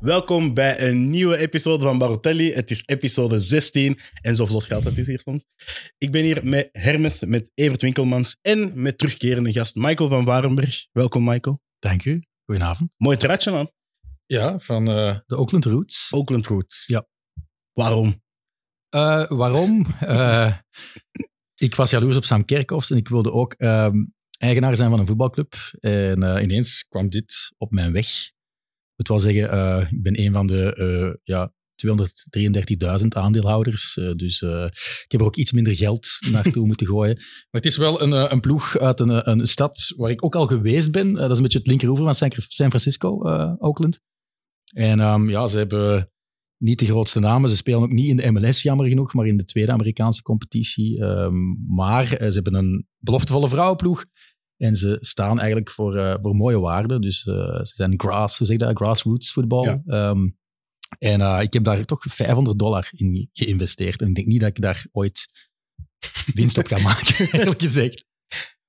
Welkom bij een nieuwe episode van Barotelli. Het is episode 16 en zo vlot gaat het dus hier soms. Ik ben hier met Hermes, met Evert Winkelmans en met terugkerende gast Michael van Warenberg. Welkom Michael. Dank u. Goedenavond. Mooi truitje man. Ja, van eh, De Oakland Roots. Oakland Roots. Ja. Waarom? Eh, waarom? Eh, ik was jaloers op Sam Kerkhoffs en ik wilde ook ehm, eigenaar zijn van een voetbalclub. En eh, ineens kwam dit op mijn weg. Ik moet wel zeggen, eh, ik ben een van de eh, ja, 233.000 aandeelhouders. Eh, dus eh, ik heb er ook iets minder geld naartoe moeten gooien. Maar het is wel een, eh, een ploeg uit een, eh, een stad waar ik ook al geweest ben. Eh, dat is een beetje het linkeroever van San- San Francisco, eh, Oakland. En ehm, ja, ze hebben niet de grootste namen. Ze spelen ook niet in de MLS, jammer genoeg, maar in de tweede Amerikaanse competitie. Ehm, maar eh, ze hebben een beloftevolle vrouwenploeg. En ze staan eigenlijk voor, eh, voor mooie waarden. Dus eh, ze zijn grass, hoe zeg je dat? grassroots voetbal. Ja. Ehm, en eh, ik heb daar toch 500 dollar in geïnvesteerd. En ik denk niet dat ik daar ooit winst op ga maken, eerlijk gezegd.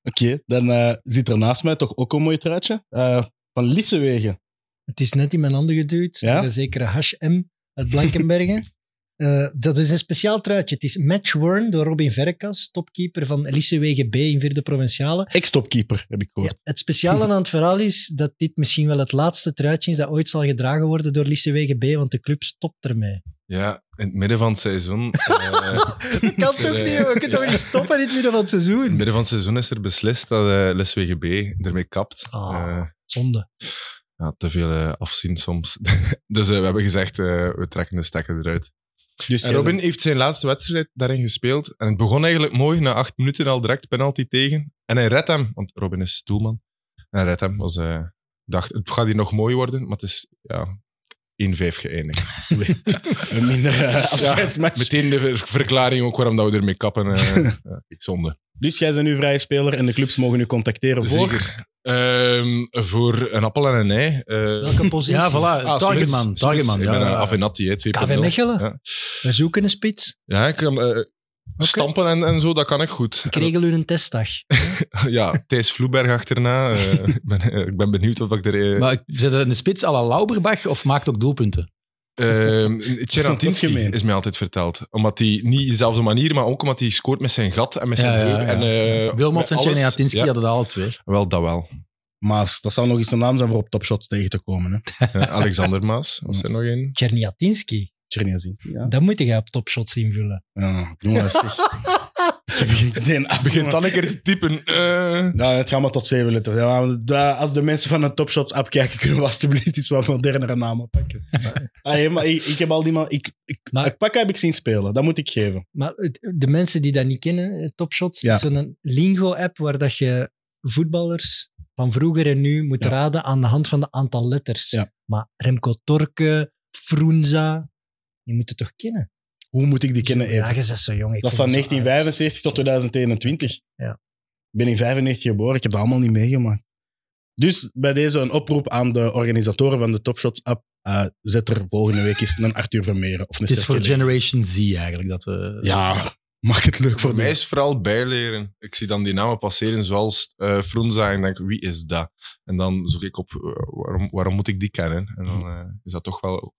Oké, dan eh, zit er naast mij toch ook een mooi truitje. Eh, van Lissewegen. Het is net in mijn handen geduwd. Ja? door Een zekere Hash M uit Blankenbergen. Eh, dat is een speciaal truitje. Het is matchworn door Robin Verkas, topkeeper van Elysewegen B in vierde provinciale. Ex-topkeeper, heb ik gehoord. Ja, het speciale aan het verhaal is dat dit misschien wel het laatste truitje is dat ooit zal gedragen worden door Elysewegen B, want de club stopt ermee. Ja, in het midden van het seizoen. eh, Dat kan toch is er, niet? eh, We kunnen toch ja. niet stoppen in het midden van het in het seizoen? midden van het seizoen is er beslist dat eh Les WGB ermee kapt. Ah. Eh, Zonde. ja, te veel eh, afzien soms. dus eh, we hebben gezegd, eh, we trekken de stekker eruit. Dus En jij- Robin heeft zijn laatste wedstrijd daarin gespeeld. En het begon eigenlijk mooi, na acht minuten al direct penalty tegen. En hij redt hem, want Robin is doelman. En hij redt hem. Was, eh, dacht, het gaat hier nog mooi worden, maar het is ja, 1-5 geëindigd. Een minder eh, afscheidsmatch. Meteen de ver- verklaring ook waarom dat we ermee kappen. eh, ja, ik zonde. Dus jij bent nu vrije speler en de clubs mogen u contacteren voor... Zeker. Ehm, voor een appel en een ei. eh, Welke positie? Ja, voilà. ah, targetman. spits, targetman spits. ja, Ik ben ja. een Avenatti, hè, 2.0. KV Mechelen? Ja, We zoeken een spits. ja ik kan eh, stampen en, en zo, dat kan ik goed. Kregel u een testdag. Ja, Thijs Vloeberg achterna. eh, ik, ben, eh, ik ben benieuwd of ik er... eh, Maar zet een spits à la Lauberbach of maakt ook doelpunten? Ehm, Tjerantinski Dat is gemeen. is mij altijd verteld. Omdat hij niet dezelfde manier, maar ook omdat hij scoort met zijn gat en met zijn Ja, ja, heup. ja. En, eh, Wilmots en met alles. Tjerniatinski Ja, hadden dat alle twee. Wel, dat wel. Maar dat zou nog eens een naam zijn voor op topshots tegen te komen. Hè. Eh, Alexander Maas, was er nog één? Tjerniatinski. Tjernjazin. Ja. Dat moet je op topshots invullen. Ja, jongens. zeg. Ik heb hier meteen af- Begint dan een keer te typen. eh. Ja, het gaat maar tot zeven letters. Ja, maar da- als de mensen van de Topshots app kijken, kunnen we alsjeblieft iets wat modernere namen pakken. Ah, nee, maar ik, ik heb al die man... Ik, ik, Maar- Akpaka heb ik zien spelen, dat moet ik geven. Maar het- de mensen die dat niet kennen, eh, Topshots, Ja. is zo'n lingo-app waar dat je voetballers van vroeger en nu moet Ja. raden aan de hand van de aantal letters. Ja. Maar Remco Torke, Frunza, die moeten toch kennen? Hoe moet ik die kennen Ja, even? je bent zo jong. Ik Dat is voel van me zo oud. 1975 tot 2021. Ja. Ik ben in 95 geboren, ik heb dat allemaal niet meegemaakt. Dus bij deze een oproep aan de organisatoren van de Topshots app. eh, zet er volgende week eens een Arthur Vermeeren of een Het is voor Seth Kelly. Generation Z eigenlijk dat we... Ja, maak het leuk Voor voor mij mij. is het vooral bijleren. Ik zie dan die namen passeren zoals eh Frunza en ik denk, wie is dat? En dan zoek ik op, eh, waarom, waarom moet ik die kennen? En dan eh, is dat toch wel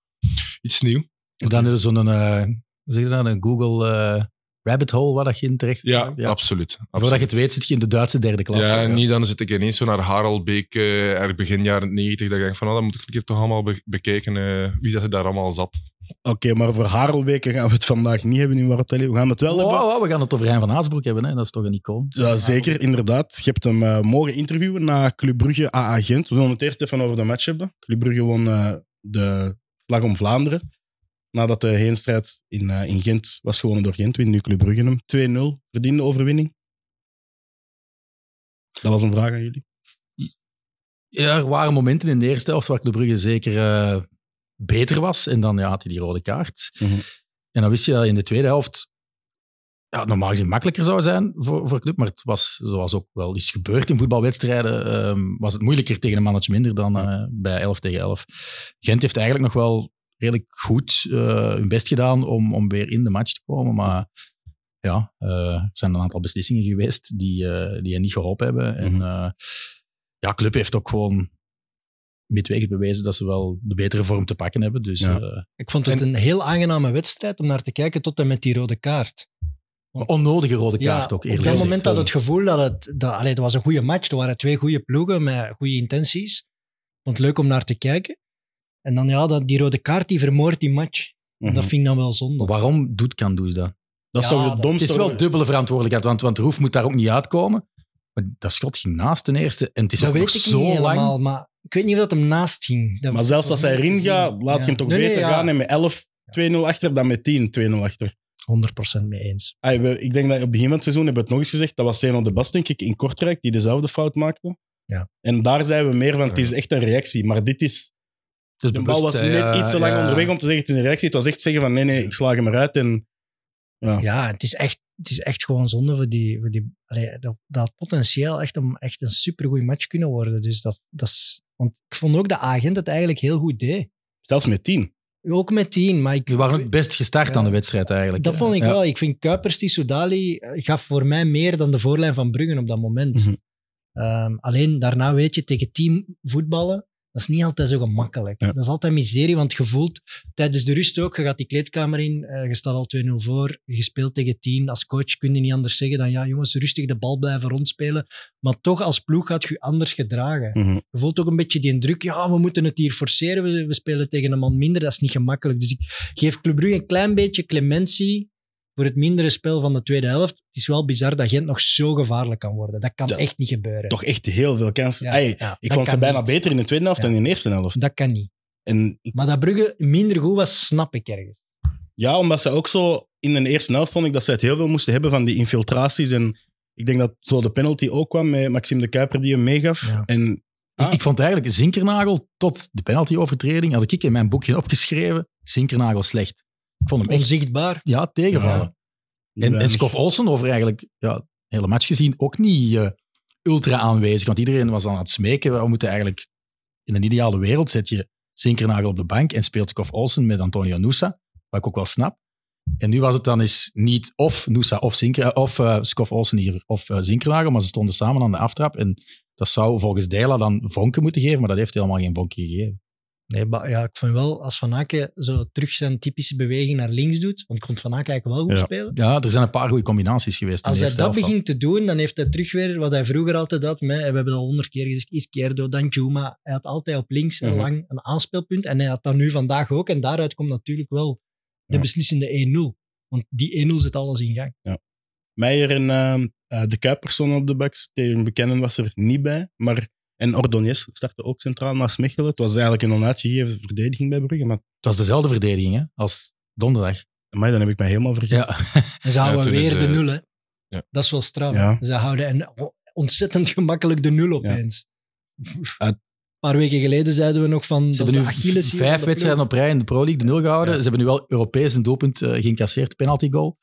iets nieuw. En Dan is er zo'n eh, hoe zeg je dat, een Google eh, rabbit hole waar dat je in terecht Ja, Voordat absoluut. je absoluut. het weet zit je in de Duitse derde klas. ja, en niet dan zit ik ineens zo naar Harald Beek, eh, erg begin jaren 90, dat ik denk van, oh, dat moet ik een keer toch allemaal be- bekijken, eh, wie dat er daar allemaal zat. Oké, maar voor Harelbeke gaan we het vandaag niet hebben in Wartelli. We gaan het wel Wow, hebben. wow, eh, we gaan het over Hein van Haasbroek hebben, hè. dat is toch een icoon. Ja, zeker, inderdaad. Je hebt hem eh, mogen interviewen na Club Brugge AA Gent. We zullen het eerst even over de match hebben. Club Brugge won eh, de Slag om Vlaanderen. Nadat de heenstrijd in, eh, in Gent was gewonnen door Gent, wint nu Club Brugge hem. 2-0, verdiende overwinning. Dat was een vraag aan jullie. Ja, er waren momenten in de eerste helft waar de Brugge zeker eh, beter was. En dan ja, had hij die rode kaart. Mhm. En dan wist je dat in de tweede helft ja, normaal gezien makkelijker zou zijn voor, voor club. Maar het was, zoals ook wel is gebeurd in voetbalwedstrijden, ehm, was het moeilijker tegen een mannetje minder dan eh, bij 11 tegen 11. Gent heeft eigenlijk nog wel redelijk goed eh, hun best gedaan om, om weer in de match te komen. Maar ja, eh, er zijn een aantal beslissingen geweest die, eh die hen niet geholpen hebben. En Mhm. eh, ja, club heeft ook gewoon midweeks bewezen dat ze wel de betere vorm te pakken hebben. Dus Ja. eh, Ik vond het een heel aangename wedstrijd om naar te kijken tot en met die rode kaart. een onnodige rode kaart ook, eerlijk Op dat gezegd. moment had het gevoel dat het... Dat, allee, het was een goede match. Er waren twee goede ploegen met goede intenties. Ik vond het leuk om naar te kijken. En dan ja, dat, die rode kaart die vermoordt die match. Mhm. Dat vind ik dan wel zonde. Maar Waarom doet Kandus dat? Dat Ja, zou dat- het domste... Het is wel dubbele verantwoordelijkheid, want, want Roef moet daar ook niet uitkomen. Maar dat schot ging naast ten eerste. En het is dat ook weet nog ik niet zo lang. helemaal, maar ik weet niet of dat hem naast ging. Dat Maar heb zelfs ik als nog hij niet erin gezien. gaat, laat Ja. je hem toch Nee, nee, beter ja. gaan en met 11 2-0 achter dan met 10 2-0 achter. 100% mee eens. Ai, we- ik denk dat op het begin van het seizoen hebben we het nog eens gezegd. Dat was Zeno de Bast, denk ik, in Kortrijk, die dezelfde fout maakte. Ja. En daar zijn we meer van, het Ja. is echt een reactie. Maar dit is... Dus De bal was net iets te lang onderweg om te zeggen het is een reactie. Het was echt zeggen van nee, nee, ik slaag hem eruit. En Ja. Ja, het is echt, het is echt gewoon zonde voor die... Voor die allee, dat, dat had potentieel echt een, echt een supergoeie match kunnen worden. Dus dat, dat is, want ik vond ook dat agent het eigenlijk heel goed deed. zelfs met 10. Ook met 10, maar ik... Die waren ook best gestart Ja. aan de wedstrijd eigenlijk. Dat hè. vond ik Ja. wel. Ik vind Kuipers, die Soudali, eh, gaf voor mij meer dan de voorlijn van Bruggen op dat moment. Mhm. Ehm, alleen daarna weet je, tegen team voetballen, dat is niet altijd zo gemakkelijk. Ja. Dat is altijd miserie, want je voelt tijdens de rust ook, je gaat die kleedkamer in, eh, je staat al 2-0 voor, je speelt tegen 10. Als coach kun je niet anders zeggen dan, ja jongens, rustig de bal blijven rondspelen. Maar toch, als ploeg gaat je anders gedragen. Mhm. Je voelt ook een beetje die druk. Ja, we moeten het hier forceren. We, we spelen tegen een man minder. Dat is niet gemakkelijk. Dus ik geef Club Brugge een klein beetje clementie voor het mindere spel van de tweede helft. Het is wel bizar dat Gent nog zo gevaarlijk kan worden. Dat kan Ja. echt niet gebeuren. Toch echt heel veel kansen. Ja, Ai, ja, ik dat vond ze kan bijna niet. beter in de tweede helft Ja. dan in de eerste helft. Dat kan niet. En Maar dat Brugge minder goed was, snap ik ergens. ja, omdat ze ook zo in de eerste helft vond ik dat ze het heel veel moesten hebben van die infiltraties. En ik denk dat zo de penalty ook kwam met Maxime de Kuiper die hem meegaf. Ja. En Ik- Ah. Ik vond eigenlijk Zinkernagel tot de penalty-overtreding, had ik in mijn boekje opgeschreven, Zinkernagel slecht. Ik vond hem echt Onzichtbaar. ja, tegenvallen. en en weinig. Skof Olsen over eigenlijk ja, de hele match gezien ook niet eh, ultra aanwezig. Want iedereen was dan aan het smeken. We moeten eigenlijk in een ideale wereld zet je Zinkernagel op de bank en speelt Skof Olsen met Antonio Nusa, wat ik ook wel snap. En nu was het dan eens niet of Nusa of, Zinker, eh, of eh, Skof Olsen hier of eh, Zinkernagel, maar ze stonden samen aan de aftrap. En dat zou volgens Dela dan vonken moeten geven, maar dat heeft helemaal geen vonkje gegeven. Nee, maar ja, ik vond wel, als Van Aken zo terug zijn typische beweging naar links doet, want ik vond Van Aken eigenlijk wel goed Ja. spelen. Ja, er zijn een paar goede combinaties geweest. in de Als hij eerste dat helft al. begint te doen, dan heeft hij terug weer wat hij vroeger altijd had. Met, we hebben dat al honderd keer gezegd, Izquierdo, dan Juma. Hij had altijd op links en Mhm. lang een aanspeelpunt. En hij had dat nu vandaag ook. En daaruit komt natuurlijk wel de Ja. beslissende 1-0. Want die 1-0 zet alles in gang. Meijer en ehm, eh, de Kuiperson op de backs. Tegen Bekennen was er niet bij. Maar, en Ordonez startte ook centraal naast Mechelen. Het was eigenlijk een onuitgegeven verdediging bij Brugge. Maar Het was dezelfde verdediging hè, als donderdag. amai, dan heb ik mij helemaal vergist. Ja. En ze houden toen is, weer de eh, nul, hè. ja. Dat is wel straf. Ja. Ze houden en ontzettend gemakkelijk de nul opeens. Uit- Een paar weken geleden zeiden we nog van... Ze dat is hebben de nu Achilles hier van vijf de wedstrijden op rij in de Pro League de nul gehouden. Ja. Ze hebben nu wel Europees een doelpunt eh, geïncasseerd, penalty goal.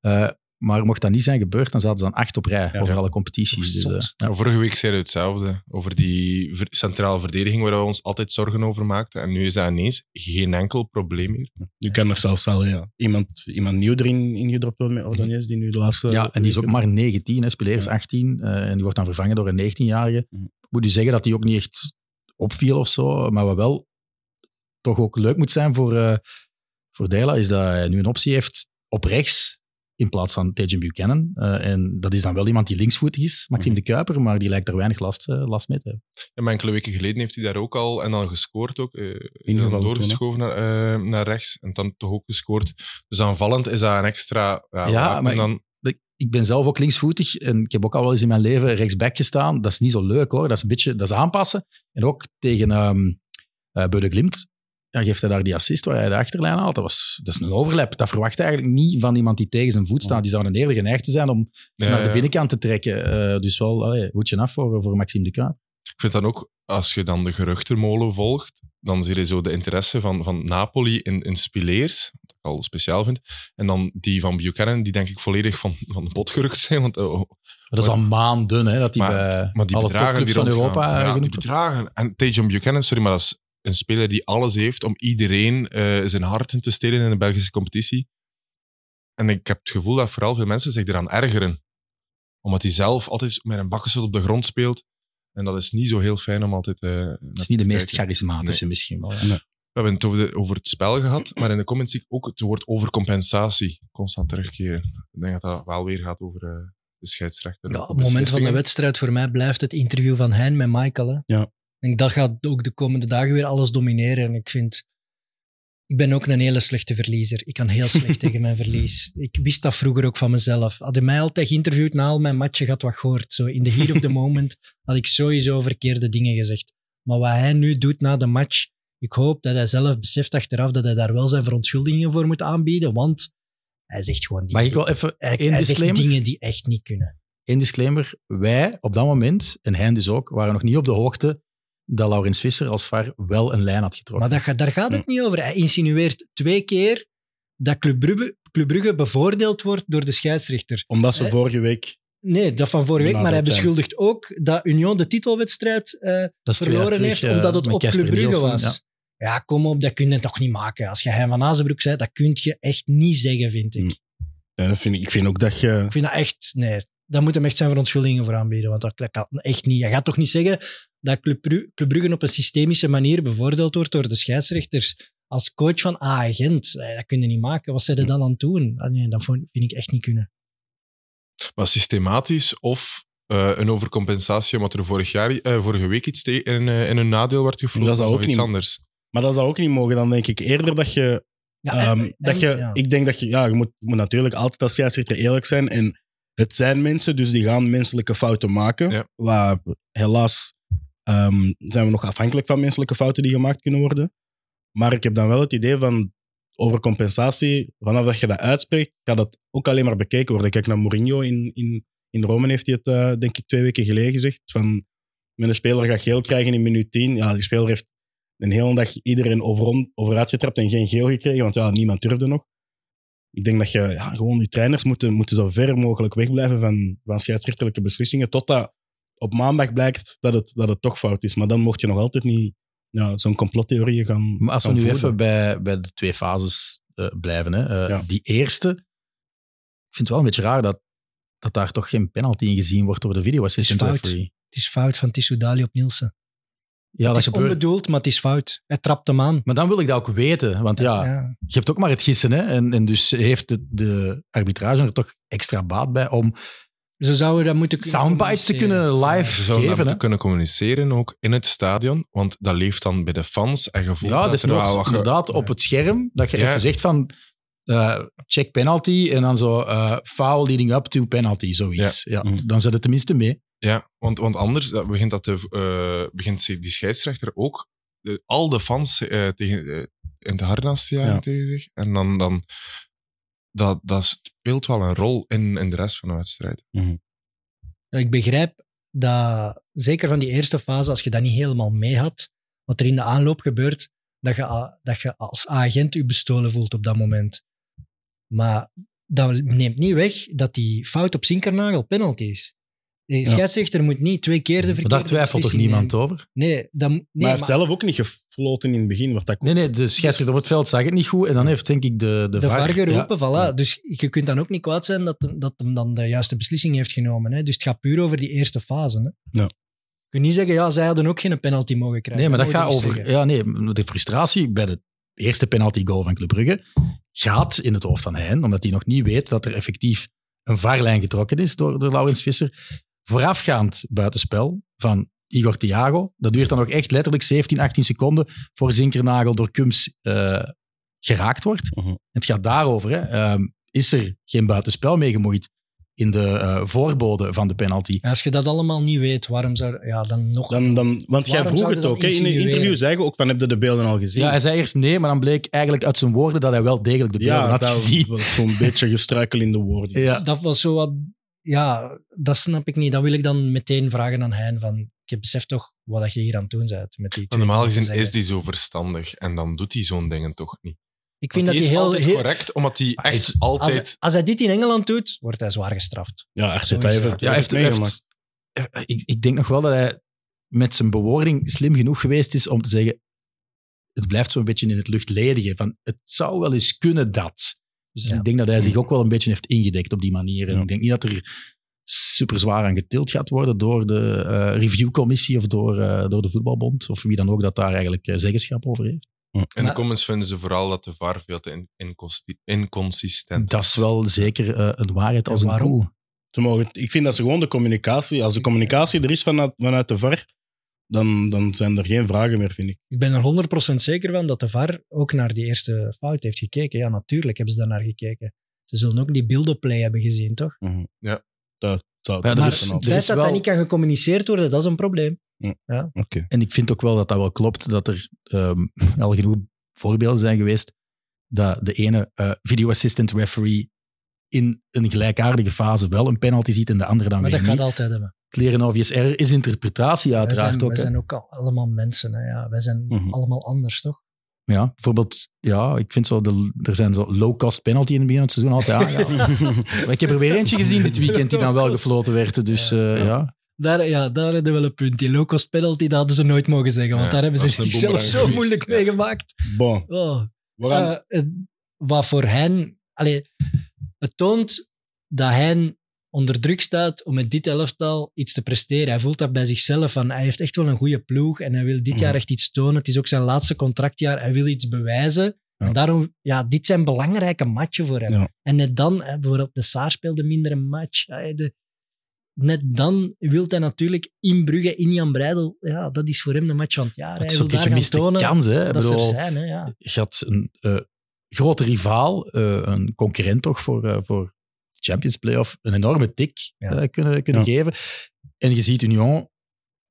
Eh, maar mocht dat niet zijn gebeurd, dan zaten ze dan acht op rij Ja. over Ja. alle competities. Dus, Zot. eh, ja. Maar Vorige week zeiden we hetzelfde over die ver- centrale verdediging waar we ons altijd zorgen over maakten. En nu is dat ineens geen enkel probleem meer. Nu kan er zelfs al ja, iemand, iemand nieuw erin ingedropt worden met Ordonez, die nu de laatste... ja, en die is ook maar 19, hè, speleers dus, eh, Ja. 18. eh, en die wordt dan vervangen door een 19-jarige. Mhm. Ik moet u zeggen dat die ook niet echt opviel of zo. Maar wat wel toch ook leuk moet zijn voor, eh voor Dela, is dat hij nu een optie heeft op rechts in plaats van Tejan Buchanan. Eh, en dat is dan wel iemand die linksvoetig is, Maxime Mhm. de Kuiper, maar die lijkt er weinig last, eh, last mee te hebben. Ja, maar enkele weken geleden heeft hij daar ook al en dan gescoord ook. eh, is Ingevallen dan toen, doorgeschoven naar, eh, naar rechts en dan toch ook gescoord. Dus aanvallend is dat een extra. Ja, Ja, wapen maar dan, ik- ik ben zelf ook linksvoetig en ik heb ook al wel eens in mijn leven rechtsback gestaan. Dat is niet zo leuk hoor. Dat is een beetje dat is aanpassen. En ook tegen ehm eh Beude Glimt ja, geeft hij daar die assist waar hij de achterlijn haalt. Dat, was, dat is een overlap. Dat verwacht je eigenlijk niet van iemand die tegen zijn voet staat. Die zou dan eerder geneigd te zijn om Ja, naar de ja. binnenkant te trekken. Eh, dus wel allee, hoedje af voor, voor Maxime de Kruijf. Ik vind dan ook, als je dan de geruchtenmolen volgt, dan zie je zo de interesse van, van Napoli in, in Spileers, wat ik al speciaal vind. En dan die van Buchanan, die denk ik volledig van, van de bot gerukt zijn. Want, eh, Dat is al maanden hè, dat hij Maar- bij maar die alle bedragen topclubs die van rondgaan, Europa eh, ja, die genoemd wordt. bedragen. En Tejan Buchanan, sorry, maar dat is een speler die alles heeft om iedereen eh, zijn hart in te stelen in de Belgische competitie. En ik heb het gevoel dat vooral veel mensen zich eraan ergeren. Omdat hij zelf altijd met een bakkenstoot op de grond speelt. En dat is niet zo heel fijn om altijd... eh, naar Het is te niet de meest kijken. charismatische misschien wel. ja. We hebben het over, de- over het spel gehad, maar in de comments zie ik ook het woord overcompensatie constant terugkeren. Ik denk dat dat wel weer gaat over eh, de scheidsrechter. Ja, op het moment van de Beslissingen. wedstrijd voor mij blijft het interview van Hein met Michael. Hè. Ja. Ik denk, dat gaat ook de komende dagen weer alles domineren. En ik vind... Ik ben ook een hele slechte verliezer. Ik kan heel slecht tegen mijn verlies. Ik wist dat vroeger ook van mezelf. Had hij mij altijd geïnterviewd na al mijn matchen, gaat wat gehoord. Zo in de heat of the moment had ik sowieso verkeerde dingen gezegd. Maar wat hij nu doet na de match, ik hoop dat hij zelf beseft achteraf dat hij daar wel zijn verontschuldigingen voor moet aanbieden, want hij zegt gewoon dingen, Mag ik die, wel even hij, één hij zegt disclaimer? dingen die echt niet kunnen. Eén disclaimer. Wij op dat moment, en hij dus ook, waren nog niet op de hoogte dat Laurens Visser als VAR wel een lijn had getrokken. Maar dat, ga- daar gaat het Hm. niet over. Hij insinueert twee keer dat Club Brugge, Club Brugge bevoordeeld wordt door de scheidsrechter. Omdat ze Eh? vorige week... Nee, dat van vorige week. Nou, maar hij dat, eh, beschuldigt ook dat Union de titelwedstrijd eh, Dat is twee jaar verloren terug, heeft eh, omdat het met op Casper Club Brugge Nielsen, was. Ja. kom op, dat kun je toch niet maken. Als je Hein van Azenbroek zei, dat kun je echt niet zeggen, vind ik. Hm. Ja, dat vind ik, ik vind ook dat je... Ik vind dat echt... Nee, daar moet hem echt zijn verontschuldigingen voor aanbieden, want dat, dat kan echt niet. Je gaat toch niet zeggen dat Club, Bru- Club Brugge op een systemische manier bevoordeeld wordt door de scheidsrechters. Als coach van A-agent, dat kun je niet maken. Wat zijn er dan aan het doen? Ah, nee, dat vond- vind ik echt niet kunnen. Maar systematisch of eh, een overcompensatie omdat er vorig jaar, eh, vorige week iets te- in, eh, in hun nadeel werd gefloten. Dat zou nog ook iets niet- anders. Maar dat zou ook niet mogen. Dan denk ik eerder dat je Ja, en- Ehm, en- dat je, ja. Ik denk dat je, ja, je moet, je moet natuurlijk altijd als scheidsrechter eerlijk zijn. En het zijn mensen, dus die gaan menselijke fouten maken. Ja. Waar, helaas ehm, zijn we nog afhankelijk van menselijke fouten die gemaakt kunnen worden. Maar ik heb dan wel het idee van overcompensatie. Vanaf dat je dat uitspreekt, gaat dat ook alleen maar bekeken worden. Kijk naar Mourinho in, in, in Rome, heeft hij het eh, denk ik twee weken geleden gezegd. Van, mijn speler gaat geel krijgen in minuut 10. Ja, die speler heeft een hele dag iedereen overom, overuit getrapt en geen geel gekregen, want ja, niemand durfde nog. Ik denk dat je ja, gewoon die trainers moeten, moeten zo ver mogelijk wegblijven van, van scheidsrechtelijke beslissingen, totdat op maandag blijkt dat het, dat het toch fout is. Maar dan mocht je nog altijd niet ja, zo'n complottheorie gaan Maar als we gaan nu voeden. even bij, bij de twee fases eh, blijven. Hè. Eh, Ja. Die eerste, ik vind het wel een beetje raar dat, dat daar toch geen penalty in gezien wordt door de video assistant Het is fout. referee. Het is fout van Tissoudali op Nielsen. Ja, dat het is gebeurt. onbedoeld, maar het is fout. Hij trapt hem aan. Maar dan wil ik dat ook weten, want ja, Ja. je hebt ook maar het gissen. Hè? En, en dus heeft de, de arbitrage er toch extra baat bij om Ze zouden dat moeten kunnen soundbites te communiceren. kunnen Ja. Ze live zouden geven. dat moeten hè. kunnen communiceren ook in het stadion, want dat leeft dan bij de fans en gevoel. Ja, dat dus er wel wat ge- inderdaad op het scherm dat je Ja. even zegt van eh, check penalty en dan zo eh, foul leading up to penalty, zoiets. Ja. Mhm. Dan zit het tenminste mee. Ja, want, want anders dat begint, dat de, eh, begint die scheidsrechter ook de- al de fans eh, tegen, eh, in het harnas te jagen Ja. tegen zich. En dan, dan dat, dat speelt wel een rol in, in de rest van de wedstrijd. Ja, Ik begrijp dat, zeker van die eerste fase, als je dat niet helemaal mee had, wat er in de aanloop gebeurt, dat je, a- dat je als agent je bestolen voelt op dat moment. Maar dat neemt niet weg dat die fout op Zinkernagel penalty is. De scheidsrechter moet niet twee keer de Maar verkeerde daar twijfelt toch beslissing niemand nemen. over? Nee, dat, nee Maar hij maar- heeft zelf ook niet gefloten in het begin, want dat Nee, nee, de scheidsrechter op het veld zag het niet goed en dan heeft denk ik de, de, de VAR, geroepen, Ja. voilà. Dus je kunt dan ook niet kwaad zijn dat hem, dat hem dan de juiste beslissing heeft genomen. Hè? Dus het gaat puur over die eerste fase. Hè? Ja. Je kunt niet zeggen, ja, zij hadden ook geen penalty mogen krijgen. Nee, maar dat moet je gaat niet over... zeggen. Ja, nee, de frustratie bij de eerste penalty goal van Club Brugge gaat in het hoofd van Heijn, omdat hij nog niet weet dat er effectief een vaarlijn getrokken is door, door Laurens Visser. Voorafgaand buitenspel van Igor Thiago, dat duurt dan ook echt letterlijk 17, 18 seconden voor Zinkernagel door Kums eh, geraakt wordt. Mhm. Het gaat daarover, hè. Ehm, is er geen buitenspel mee gemoeid in de eh voorbode van de penalty? Ja, Als je dat allemaal niet weet, waarom zou... Ja, dan nog... Dan, dan, want jij Waarom vroeg zouden het dat ook. hè. In een insinueren? interview zei je ook van, heb je de beelden al gezien? Ja, hij zei eerst nee, maar dan bleek eigenlijk uit zijn woorden dat hij wel degelijk de beelden ja had dat gezien. was zo'n beetje gestruikel in de woorden. Ja. Dat was zo wat... Ja, dat snap ik niet. Dat wil ik dan meteen vragen aan Hein. Van, je beseft toch wat dat je hier aan het doen bent met die En normaal twee gezien zeggen. is die zo verstandig en dan doet hij zo'n dingen toch niet. Ik vind Want dat hij die is heel... altijd heel- correct, omdat hij Maar hij echt is- altijd... als, als hij dit in Engeland doet, wordt hij zwaar gestraft. Ja, Arteta heeft het- Ja, Ja, heeft, meegemaakt. heeft, eh, ik, ik denk nog wel dat hij met zijn bewoording slim genoeg geweest is om te zeggen: het blijft zo'n beetje in het luchtledige. Van, het zou wel eens kunnen dat. Dus Ja. Mm. ik denk dat hij zich ook wel een beetje heeft ingedekt op die manier. En Ja. ik denk niet dat er super zwaar aan getild gaat worden door de eh, reviewcommissie of door, eh, door de voetbalbond of wie dan ook dat daar eigenlijk eh, zeggenschap over heeft. In Maar- de comments vinden ze vooral dat de VAR veel te in- inconsti- inconsistent Dat is wel zeker eh, een waarheid als En een waarom? koe. Ze mogen, ik vind dat ze gewoon de communicatie, als de communicatie er is vanuit, vanuit de VAR, dan, dan zijn er geen vragen meer, vind ik. Ik ben er 100% zeker van dat de VAR ook naar die eerste fout heeft gekeken. Ja, natuurlijk hebben ze daar naar gekeken. Ze zullen ook die beeldenplay hebben gezien, toch? Mhm. Ja. Dat zou Ja, er maar is- Oké. het er feit is dat wel- dat niet kan gecommuniceerd worden, dat is een probleem. En ik vind ook wel dat dat wel klopt, dat er ehm, al genoeg voorbeelden zijn geweest dat de ene eh video assistant referee in een gelijkaardige fase wel een penalty ziet en de andere dan Maar dat weer gaat Ah, niet. altijd hebben. Kleren of JSR is interpretatie Wij uiteraard zijn, ook. wij hè. zijn ook al- allemaal mensen. Hè? Ja, wij zijn Mhm. allemaal anders, toch? Ja, bijvoorbeeld, ja, ik vind zo, de, er zijn zo low-cost penalty in het begin van het seizoen altijd aangehaald. maar ik heb er weer eentje gezien dit weekend die dan wel gefloten werd, dus eh, ja. Daar, ja, daar hadden we wel een punt. Die low-cost penalty, dat hadden ze nooit mogen zeggen. Want Ja, daar hebben ze dat is een zichzelf boemerang zo geweest, moeilijk ja. mee gemaakt. Bon, Oh. we gaan- Eh, het- wat voor hen... Allee, het toont dat hen onder druk staat om met dit elftal iets te presteren. Hij voelt dat bij zichzelf. Van, hij heeft echt wel een goede ploeg en hij wil dit Mm. jaar echt iets tonen. Het is ook zijn laatste contractjaar. Hij wil iets bewijzen. Ja. En daarom, ja, dit zijn belangrijke matchen voor hem. Ja. En net dan, hè, bijvoorbeeld de Saar speelde minder een match. Hij- de- net dan wil hij natuurlijk in Brugge, in Jan Breidel. Ja, dat is voor hem de match van het jaar. Het Hij is wil ook een daar gaan gemiste tonen kans, hè. Ik dat ze er bedoel, zijn. Hè, ja. je had een eh, grote rivaal, eh, een concurrent toch voor, eh, voor Champions Playoff, een enorme tik Ja. eh, kunnen, kunnen Ja. geven. En je ziet Union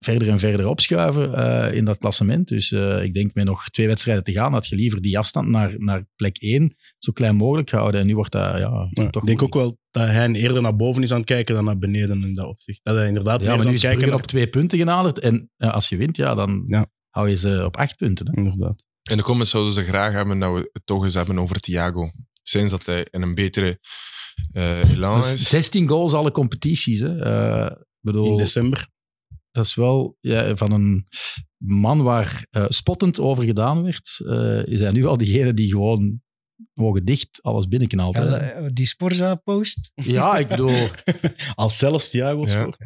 verder en verder opschuiven eh, in dat klassement. Dus eh, ik denk met nog twee wedstrijden te gaan, had je liever die afstand naar, naar plek één zo klein mogelijk houden. En nu wordt dat ja, Ja, toch ik denk ook moeilijk. wel dat hij eerder naar boven is aan het kijken dan naar beneden in dat opzicht. Dat hij inderdaad Ja, meer maar is nu aan is het kijken Brugge naar... op twee punten genaderd. En ja, als je wint, ja, dan Ja. hou je ze op acht punten. Hè? Inderdaad. In de comments zouden ze graag hebben dat we het toch eens hebben over Thiago. Sinds dat hij in een betere eh elan Dat is is. 16 Dus goals alle competities. Hè. Eh, bedoel, In december. dat is wel ja, van een man waar eh, spottend over gedaan werd, eh, is hij nu al diegene die gewoon ogen dicht alles binnenknalt. hè. Ja, Ja, eh, die Sporza-post. ik bedoel, eh, Als zelfs Thiago Ja. scoort.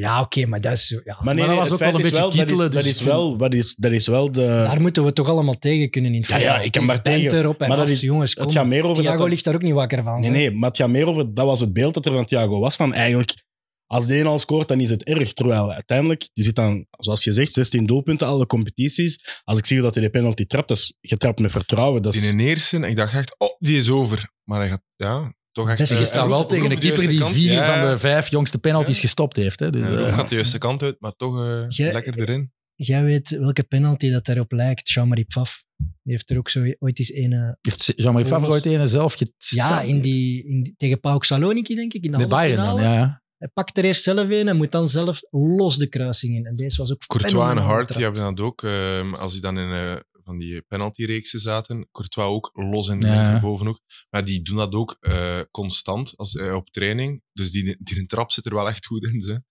Ja, oké, maar dat is zo. Ja. Maar, nee, dat nee, was het ook wel feit een is beetje wel, dat is- kietelen, Dat dus is wel- dat is- dat is wel de... daar moeten we toch allemaal tegen kunnen in het Ja, ja, voetbal. ik kan daar Tegen tegen. Twente erop en Maar dat af, is- jongens, kom. Het gaat meer over Thiago dat... er- ligt daar ook niet wakker van. Nee, zeg. nee, maar het gaat meer over... Dat was het beeld dat er van Thiago was. Van eigenlijk, als de een al scoort, dan is het erg. Terwijl uiteindelijk, die zit dan, zoals je zegt, 16 doelpunten, alle competities. Als ik zie hoe dat hij de penalty trapt, dat is getrapt met vertrouwen. Dat Die is, in eerste, ik dacht echt, oh, die is over. Maar hij gaat, ja, toch echt... Best eh, Dus je is hij staat wel roept- tegen een roept de keeper die juiste kant. vier Ja, van ja. de vijf jongste penalties Ja. gestopt heeft. Hè. Dus, Ja, Roep eh, gaat de juiste kant uit, maar toch eh, Jij- lekker erin. Jij weet welke penalty dat daarop lijkt. Jean-Marie Pfaff. Die heeft er ook zo ooit eens een... eh, heeft Jean-Marie Favre ooit ene zelf gestaan? ja, in die, in die- tegen PAOK Saloniki, denk ik, in de Met halve Bayern dan, finale. ja. ja. Hij pakt er eerst zelf een en moet dan zelf los de kruising in. En deze was ook Courtois en fenomenaal Hart, getrapt. die hebben dat ook. ehm, als die dan in eh, van die penaltyreeksen zaten, Courtois ook los in de Ja. bovenhoek. Maar die doen dat ook eh, constant als, eh, op training. Dus die, die een trap zit er wel echt goed in. Ze.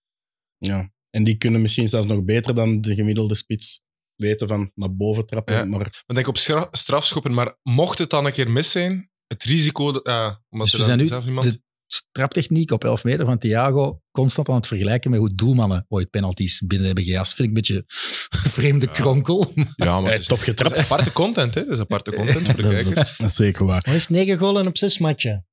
Ja. En die kunnen misschien zelfs nog beter dan de gemiddelde spits weten van naar boven trappen. Ja. Maar Maar denk op schra- strafschoppen, maar mocht het dan een keer mis zijn, het risico... dat- ja, Dus omdat ze we dan zijn nu zelf niemand... de straptechniek op 11 meter van Thiago constant aan het vergelijken met hoe doelmannen ooit penalties binnen hebben gejast. Vind ik een beetje vreemde Ja. kronkel. Ja, hij maar het is is, top het getrapt. is aparte content, hè. Dat is aparte content voor de Eh, Dat- dat- kijkers. Dat is zeker waar. Wat is negen golen op zes matchen?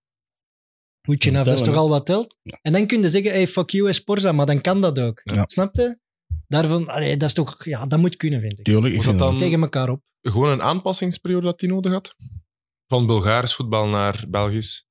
Moet je Dat nou, dat is tellen, toch al wat telt? Ja. En dan kun je zeggen, hey, fuck you, Esporza, maar dan kan dat ook. Ja. Snap je? Daarvan, allee, dat is toch, ja, dat moet kunnen, vind ik. Tuurlijk, ik Moet dat vind dat dan Tegen elkaar op. gewoon een aanpassingsperiode dat die nodig had? Van Bulgaars voetbal naar Belgisch.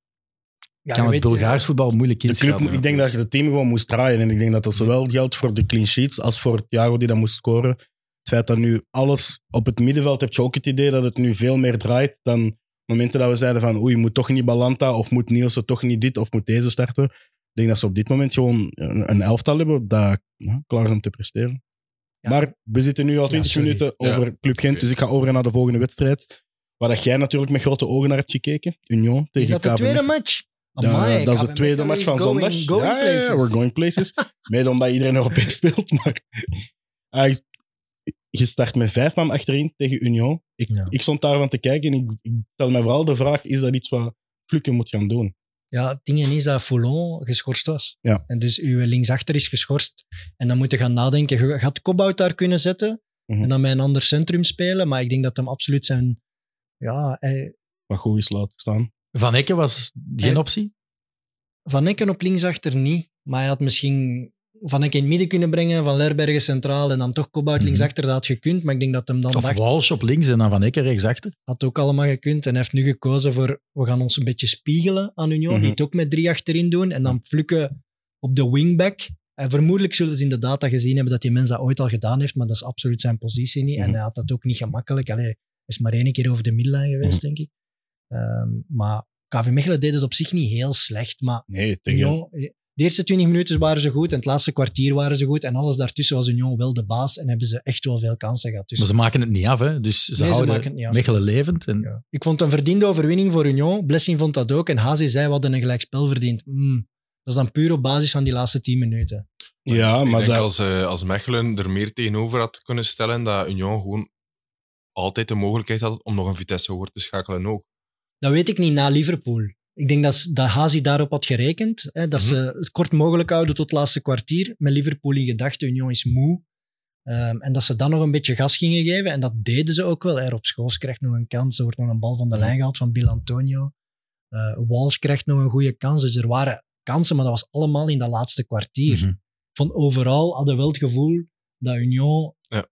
Ja, kan je het weet- Bulgaars voetbal moeilijk de club, inschatten. ik denk dat je het team gewoon moest draaien. En ik denk dat dat zowel geldt voor de clean sheets als voor Thiago die dat moest scoren. Het feit dat nu alles op het middenveld, heb je ook het idee dat het nu veel meer draait dan momenten dat we zeiden van oei, moet toch niet Balanta of moet Nielsen toch niet dit of moet deze starten. Ik denk dat ze op dit moment gewoon een, een elftal hebben dat ja, klaar is om te presteren. Ja. Maar we zitten nu al 20 sorry. minuten over Club Gent, dus ik ga over naar de volgende wedstrijd. Waar dat jij natuurlijk met grote ogen naar hebt gekeken. Union Is tegen dat de KV tweede Mechelen. match? Ja, Amai, dat is KV de tweede Mechelen match is van going- zondag. going ja, ja, ja, places. we're going places. Mede omdat iedereen Europees speelt. Maar Ah, je start met vijf man achterin tegen Union. Ik, Ja. ik stond daarvan te kijken en ik, ik stel me vooral de vraag: is dat iets wat Fluke moet gaan doen? Ja, het ding is dat Foulon geschorst was. Ja. En dus uw linksachter is geschorst. En dan moet je gaan nadenken. Je gaat Kobbout daar kunnen zetten Mhm. en dan met een ander centrum spelen. Maar ik denk dat hem absoluut zijn... Ja, hij- Wat goed is laten staan. Van Ecke was geen Nee. optie. Van Ecken op linksachter niet. Maar hij had misschien Van Ecken in het midden kunnen brengen, Van Lerbergen centraal en dan toch Kobbout Mhm. linksachter. Dat had gekund, maar ik denk dat hem dan Of dacht, Walsh op links en dan Van Ecke rechtsachter. had ook allemaal gekund. En hij heeft nu gekozen voor, we gaan ons een beetje spiegelen aan Union, Mhm. die het ook met drie achterin doen. En dan flukken op de wingback. En vermoedelijk zullen ze in de data gezien hebben dat die mens dat ooit al gedaan heeft, maar dat is absoluut zijn positie niet. En Mhm. hij had dat ook niet gemakkelijk. Allee, hij is maar één keer over de middellijn geweest, denk ik. Ehm, maar KV Mechelen deed het op zich niet heel slecht, maar Nee, Union... eh, De eerste 20 minuten waren ze goed en het laatste kwartier waren ze goed. En alles daartussen was Union wel de baas en hebben ze echt wel veel kansen gehad. Dus Maar ze maken het niet af, hè. Dus ze ze houden maken het niet af. Mechelen levend. En ja. Ik vond het een verdiende overwinning voor Union. Blessing vond dat ook. En Hazi zei, we hadden een gelijkspel verdiend. Mm. Dat is dan puur op basis van die laatste 10 minuten. Ja, ik maar denk dat... als, eh, als Mechelen er meer tegenover had kunnen stellen, dat Union gewoon altijd de mogelijkheid had om nog een Vitesse hoger te schakelen ook. Dat weet ik niet na Liverpool. Ik denk dat, ze- dat Hazi daarop had gerekend. Hè, dat Mhm. ze het kort mogelijk houden tot het laatste kwartier. Met Liverpool in gedachten. Union is moe. Ehm, en dat ze dan nog een beetje gas gingen geven. En dat deden ze ook wel. Hè. Rob Schoofs krijgt nog een kans. Er wordt nog een bal van de lijn gehaald van Bill Antonio. Eh, Walsh krijgt nog een goede kans. Dus er waren kansen, maar dat was allemaal in dat laatste kwartier. Mhm. van overal hadden wel het gevoel dat Union Ja.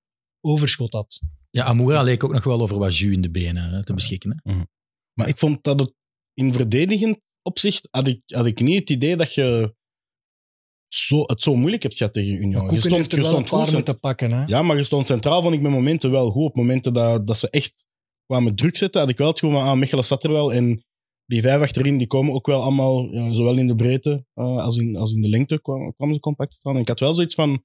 overschot had. Ja, Amoura leek ook nog wel over wat jus in de benen hè, te beschikken. Hè. Maar ik vond dat het in verdedigend opzicht had ik, had ik niet het idee dat je zo, het zo moeilijk hebt gehad tegen Union. Maar Je Koeken stond- heeft er je wel een stond goed paar cent- moeten pakken. Hè? Ja, maar je stond centraal vond ik met momenten wel goed. Op momenten dat, dat ze echt kwamen druk zetten, had ik wel het gewoon aan Mechelen zat er wel. En die vijf achterin, die komen ook wel allemaal, ja, zowel in de breedte eh, als, in, als in de lengte, kwamen, kwamen ze compact te staan. En ik had wel zoiets van,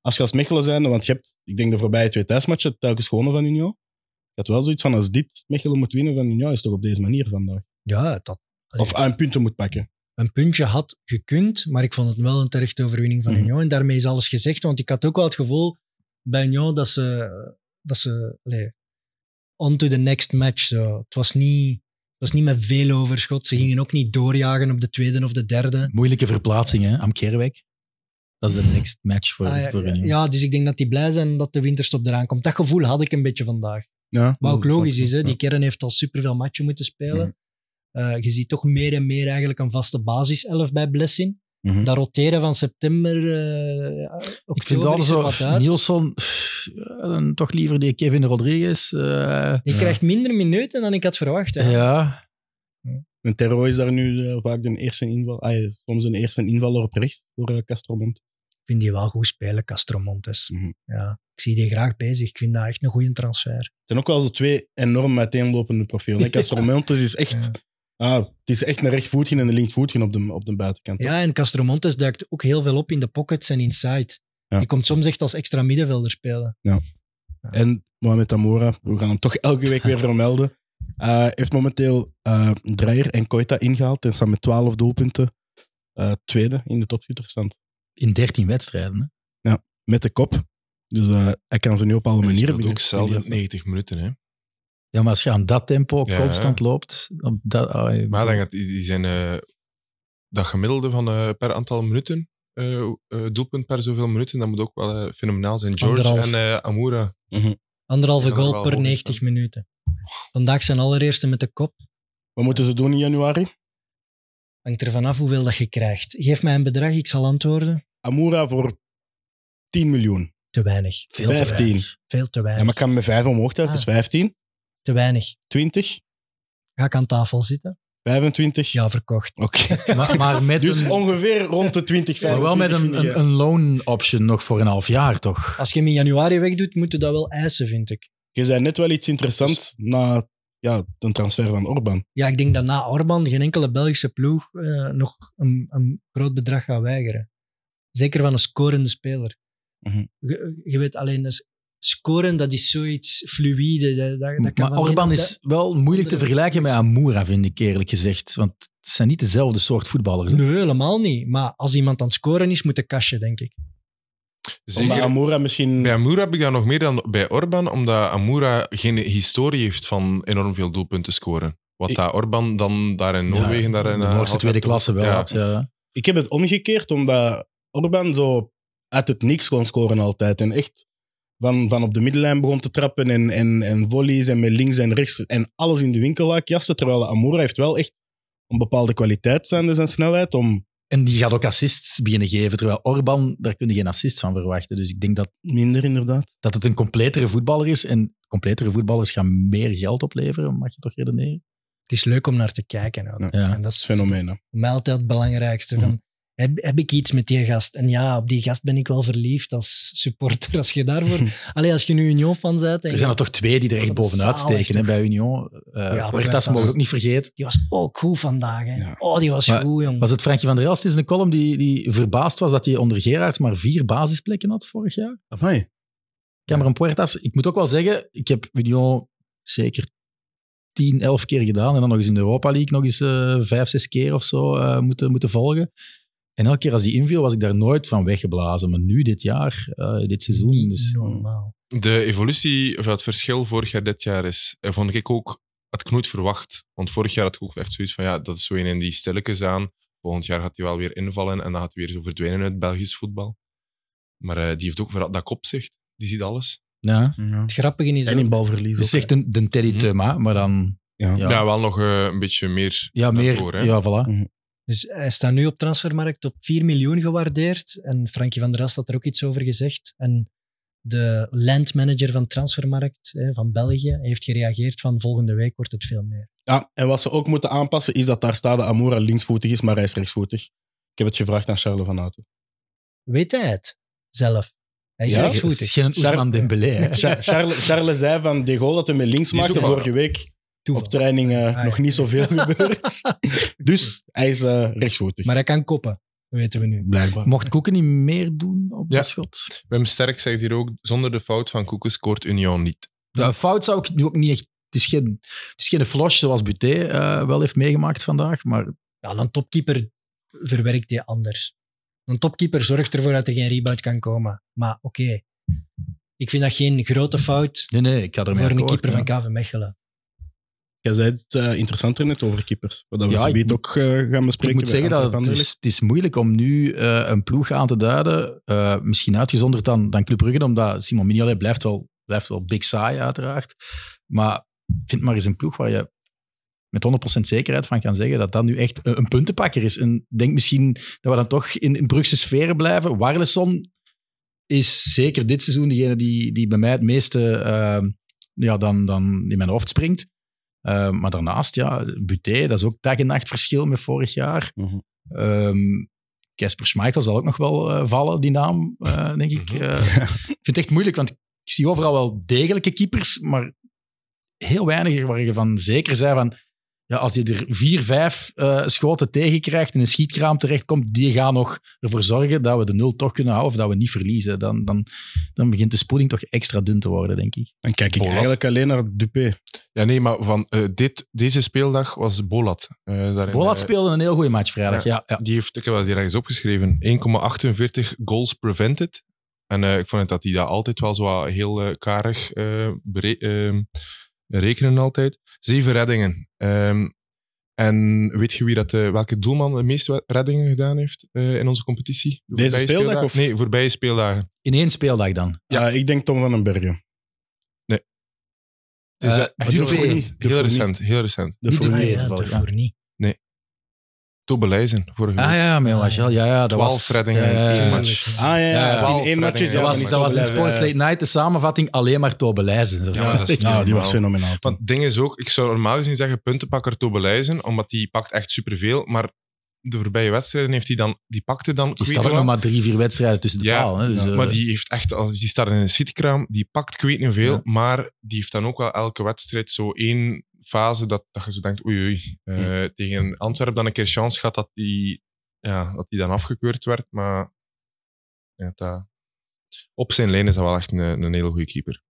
als je als Mechelen zijn, want je hebt, ik denk de voorbije twee thuismatchen, telkens gewonnen van Union. Ik had wel zoiets van, als dit Mechelen moet winnen van Union, is het toch op deze manier vandaag. Ja, dat Of aan punten moet pakken. een puntje had gekund, maar ik vond het wel een terechte overwinning van Mhm. Union. En daarmee is alles gezegd, want ik had ook wel het gevoel bij Union dat ze... Dat ze allee, on to the next match. Zo. Het, was niet, het was niet met veel overschot. Ze gingen ook niet doorjagen op de tweede of de derde. Moeilijke verplaatsing, hè. Amkerwijk. Dat is de next match voor, Ah, ja, voor Union. ja, dus ik denk dat die blij zijn dat de winterstop eraan komt. Dat gevoel had ik een beetje vandaag. Ja, Wat Mm, ook logisch dat- is, hè? ja. die kern heeft al superveel matchen moeten spelen. Eh, je ziet toch meer en meer eigenlijk een vaste basiself bij Blessing. Mhm. Dat roteren van september, eh oktober Ik vind altijd is er wat zo, uit. Nielsen, pff, eh, toch liever die Kevin Rodriguez. eh, Die krijgt minder minuten dan ik had verwacht. hè. ja, En Terro is daar nu eh, vaak de eerste inval, ah, ja, soms een eerste invaller op rechts voor eh, Castromont. Ik vind die wel goed spelen, Castro Montes. Mhm. Ja, ik zie die graag bezig. Ik vind dat echt een goede transfer. Het zijn ook wel zo twee enorm uiteenlopende profielen. hè. Castromontes is echt... Ah, het is echt een rechtsvoetje en een linksvoetje op de, op de buitenkant. Ja, en Castro Montes duikt ook heel veel op in de pockets en inside. Ja. Die komt soms echt als extra middenvelder spelen. En Mohamed Amora, we gaan hem toch elke week weer vermelden, eh, heeft momenteel eh Dreyer en Koita ingehaald en staat met 12 doelpunten eh, tweede in de topschutterstand. in 13 wedstrijden. Hè. Met de kop. Dus eh, hij kan ze nu op alle En die manieren speelde ook zelden Nee. 90 minuten. Hè. Ja, maar als je aan dat tempo Ja. constant loopt... Op dat, ah, eh, Maar ik denk dat die, die zijn eh, dat gemiddelde van eh, per aantal minuten, eh, eh, doelpunt per zoveel minuten, dat moet ook wel eh, fenomenaal zijn. George Anderhalf. en eh, Amoura. Anderhalve Ja, dat goal wel per hoog is 90 dan. minuten. Vandaag zijn allereerste met de kop. Wat moeten ze doen in januari? Hangt er vanaf hoeveel dat je krijgt. Geef mij een bedrag, ik zal antwoorden. Amura voor 10 miljoen. Te weinig. Veel te weinig. 15. Veel te Ja, weinig. maar ik kan met 5 omhoog trekken, Ah. dus 15. Te weinig. 20, Ga ik aan tafel zitten? 25. Ja, verkocht. Oké. Maar, maar met Dus een, ongeveer rond de 20, 25. maar wel met een, een, een loan option nog voor een half jaar, toch? Als je hem in januari wegdoet, moet je dat wel eisen, vind ik. Je zei net wel iets interessants na ja, de transfer van Orban. Ja, ik denk dat na Orban geen enkele Belgische ploeg eh, nog een, een groot bedrag gaat weigeren. Zeker van een scorende speler. Mhm. je, je weet alleen, dus scoren dat is zoiets fluïde. Dat, dat, dat kan Maar van de Orban ene- is wel moeilijk te andere- vergelijken met Amoura, vind ik eerlijk gezegd. Want het zijn niet dezelfde soort voetballers. hè. Nee, helemaal niet. Maar als iemand aan het scoren is, moet de kastje, denk ik. Omdat Zeker. Amora misschien... Bij Amoura heb ik dat nog meer dan bij Orban, omdat Amoura geen historie heeft van enorm veel doelpunten scoren. Wat Ik- dat Orban dan daar in Noorwegen... daar in, de eh, Noorse had- tweede had- klasse wel ja. had. Ja. Ik heb het omgekeerd, omdat Orban zo uit het niks kon scoren altijd. En echt van, van op de middenlijn begon te trappen en, en, en volleys en met links en rechts en alles in de winkel laat jassen. Terwijl Amoura heeft wel echt een bepaalde kwaliteit zijn, dus zijn snelheid, om En die gaat ook assists beginnen geven, terwijl Orban, daar kun je geen assists van verwachten. Dus ik denk dat, minder inderdaad. dat het een completere voetballer is. En completere voetballers gaan meer geld opleveren, mag je toch redeneren? Het is leuk om naar te kijken. ook. Ja. Ja. Mhm. En dat is Fenomeen. hè. voor mij altijd het belangrijkste. Van, heb, heb ik iets met die gast? En ja, op die gast ben ik wel verliefd als supporter. Als je daarvoor... Allee, als je nu Union-fan bent... en Er zijn je- er toch twee die er echt Wat een bovenuit zalig, steken hè, toch? bij Union. Eh Ja, Huertas mogen we ook niet vergeten. Die was ook goed vandaag. Hè. Ja. Oh, die was Maar- goed, Mm. jongen. Was het Frankie van der Elst in een column die, die verbaasd was dat hij onder Gerards maar vier basisplekken had vorig jaar? Amai. Cameron Puertas. Ik moet ook wel zeggen, ik heb Union zeker 10, 11 keer gedaan. En dan nog eens in de Europa League nog eens eh 5, 6 keer of zo eh, moeten, moeten volgen. En elke keer als die inviel, was ik daar nooit van weggeblazen. Maar nu, dit jaar, eh, dit seizoen. Dus, Niet normaal. De evolutie, of het verschil vorig jaar dit jaar is, eh, vond ik ook, had ik nooit verwacht. Want vorig jaar had ik ook echt zoiets van, ja, dat is zo een in die stilletjes aan. Volgend jaar gaat hij wel weer invallen en dan gaat hij weer zo verdwijnen uit Belgisch voetbal. Maar eh, die heeft ook vooral dat kopzicht. Die ziet alles. ja. Het grappige is... En ook- in balverlies. Dus ook, Mm. echt een, de Teddy Mhm. Teuma, maar dan... Ja. Ja, ja, wel nog eh, een beetje meer. Ja, meer... daarvoor, hè. ja, voilà. Dus hij staat nu op transfermarkt op 4 miljoen gewaardeerd. En Frankie van der Elst had er ook iets over gezegd. En de landmanager van transfermarkt hè, van België heeft gereageerd van volgende week wordt het veel meer. Ja, en wat ze ook moeten aanpassen is dat daar staat dat Amoura linksvoetig is, maar hij is rechtsvoetig. Ik heb het gevraagd aan Charles van Houten. Weet hij het zelf? Hij is Ja? echt Het goed. is geen Ousmane Sharp- Dembélé. hè. Cha- Charles, Charles zei van de goal dat hij met links Die is maakte ook wel- vorige week. Toeval. Op training Ah, eh, ja. nog niet zoveel gebeurd. Dus hij is eh, rechtsvoetig. Maar hij kan koppen, weten we nu. Blijkbaar. Mocht Koeken niet meer doen op Ja. dat schot? Wim Sterk zegt hier ook, zonder de fout van Koeken scoort Union niet. Ja, Eh, fout zou ik nu ook niet echt... Het is geen, het is geen flosh zoals Buté eh, wel heeft meegemaakt vandaag, maar Ja, een topkeeper verwerkt die anders. Een topkeeper zorgt ervoor dat er geen rebound kan komen. Maar oké, ik vind dat geen grote fout Nee, nee, ik ga ermee voor een akkoord, keeper ja. van KV Mechelen. Jij zei het eh, interessanter net over keepers. Wat dat we Ja, zometeen ik moet- ook eh, gaan bespreken. Ik moet bij zeggen dat Antwerp het is, Anderlecht. het is moeilijk om nu eh, een ploeg aan te duiden. Eh, misschien uitgezonderd dan, dan Club Brugge, omdat Simon Mignolet blijft wel, blijft wel big saai, uiteraard. Maar vind maar eens een ploeg waar je met 100% zekerheid van kan zeggen dat dat nu echt een, een puntenpakker is. En ik denk misschien dat we dan toch in, in Brugse sferen blijven. Warleson is zeker dit seizoen degene die, die bij mij het meeste eh, ja, dan, dan in mijn hoofd springt. Eh, maar daarnaast, ja, Buté, dat is ook dag en nacht verschil met vorig jaar. Mhm. Ehm, Casper Schmeichel zal ook nog wel eh, vallen, die naam, eh, denk ik. Mhm. Eh, ik vind het echt moeilijk, want ik zie overal wel degelijke keepers, maar heel weinig waar je van zeker zijn van... Ja, als je er vier, vijf eh, schoten tegen krijgt en een schietkraam terechtkomt, die gaan nog ervoor zorgen dat we de nul toch kunnen houden of dat we niet verliezen. Dan, dan, dan begint de spoeling toch extra dun te worden, denk ik. Dan kijk ik Bolat. eigenlijk alleen naar Dupé. Ja, nee, maar van eh, dit, deze speeldag was Bolat. eh, daarin, Bolat eh, speelde een heel goede match vrijdag, ja. ja. Die heeft, ik heb dat hier ergens opgeschreven, 1,48 goals prevented. En eh, ik vond het dat hij dat altijd wel zo wat heel eh, karig eh, bere- ehm, rekenen altijd. Zeven reddingen. Ehm, en weet je wie dat, eh, welke doelman de meeste we- reddingen gedaan heeft eh, in onze competitie? De Deze voorbije speeldag speeldagen? of- Nee, voorbije speeldagen. In één speeldag dan. Ja. Ah, ik denk Tom van den Bergen. Het is Eh, echt maar heel, Dupé- recent, Dupé heel niet. recent. Heel recent. De Niet Fournier. Ah, Dupé. ja, toevallig, daarvoor niet. Tobelijzen, vorige Ah week. ja, met El Agel, ja, ja. Dat 12 was, eh, reddingen ja, in ja, één ja. match. Ah ja, ja, Ja, dat was in twaalf één match is reddingen. ja, Dat was, maar dat was in blijven, Sports eh, Late Night de samenvatting alleen maar Tobeleizen. Ja, dat is niet Nou, die was normaal. fenomenaal. Maar het ding is ook, ik zou normaal gezien zeggen puntenpakker Tobeleizen, omdat die pakt echt superveel. Maar de voorbije wedstrijden heeft hij dan, die pakte dan... Die staat ook nog Kwetewa, maar drie, vier wedstrijden tussen de Ja, paal. Hè, dus, eh, maar die heeft echt, als die staat in een schietkraam, die pakt ik weet niet hoeveel, Ja. maar die heeft dan ook wel elke wedstrijd zo één fase dat, dat je zo denkt, oei oei, eh, tegen Antwerpen dan een keer chance gehad dat die, ja, dat die dan afgekeurd werd, maar ja, dat, op zijn lijn is dat wel echt een, een hele goede keeper.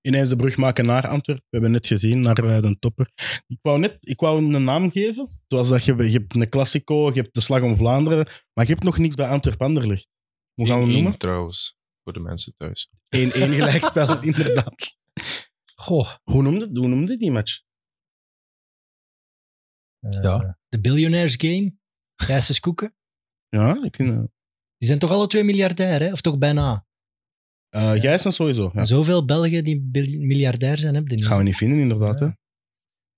ineens de brug maken naar Antwerpen. We hebben net gezien, naar eh, de topper. Ik wou, net, ik wou hem een naam geven. Zoals dat je, je hebt een Classico, je hebt de Slag om Vlaanderen, maar je hebt nog niks bij Antwerp-Anderlecht. Hoe gaan we hem 1-1 noemen? trouwens, voor de mensen thuis. 1-1 gelijkspel, inderdaad. goh, Hoe noemde, hoe noemde die match? Eh, Ja. De Billionaires Game. Gijsens Koeken. Ja, ik vind... eh, Die zijn toch alle twee miljardair, hè? of toch bijna? eh, Gijs en sowieso. Ja. En Zoveel Belgen die bil- miljardair zijn, heb je Dat niet. gaan we niet vinden, inderdaad. Ja. Hè.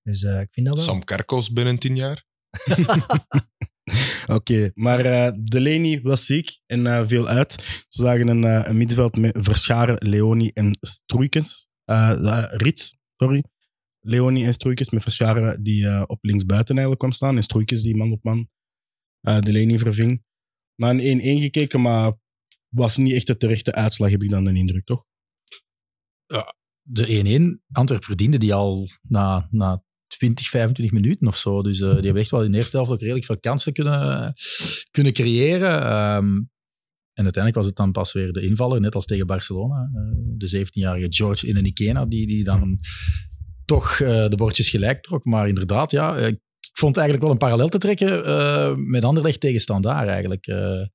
Dus eh, ik vind dat wel. Sam Kerkos binnen tien jaar. Oké, maar eh, Delaney was ziek en eh, viel uit. Ze zagen een, eh, een middenveld met Verscharen, Leoni en Stroeikens. Eh, eh, Rits, sorry. Leoni en Stroeikens met Verscharen die eh, op linksbuiten eigenlijk kwam staan. En Stroeikens die man op man eh Delaney verving. Na een 1-1 gekeken, maar was niet echt de terechte uitslag, heb ik dan de indruk, toch? De 1-1, Antwerp verdiende die al na, na 20, 25 minuten of zo. Dus eh, die hebben echt wel in de eerste helft ook redelijk veel kansen kunnen, kunnen creëren. Ehm, en uiteindelijk was het dan pas weer de invaller, net als tegen Barcelona. Eh, de 17-jarige George Inenikena, die, die dan toch eh, de bordjes gelijk trok. Maar inderdaad, ja, eh, ik vond eigenlijk wel een parallel te trekken eh, met Anderlecht tegen Standaard eigenlijk. Eh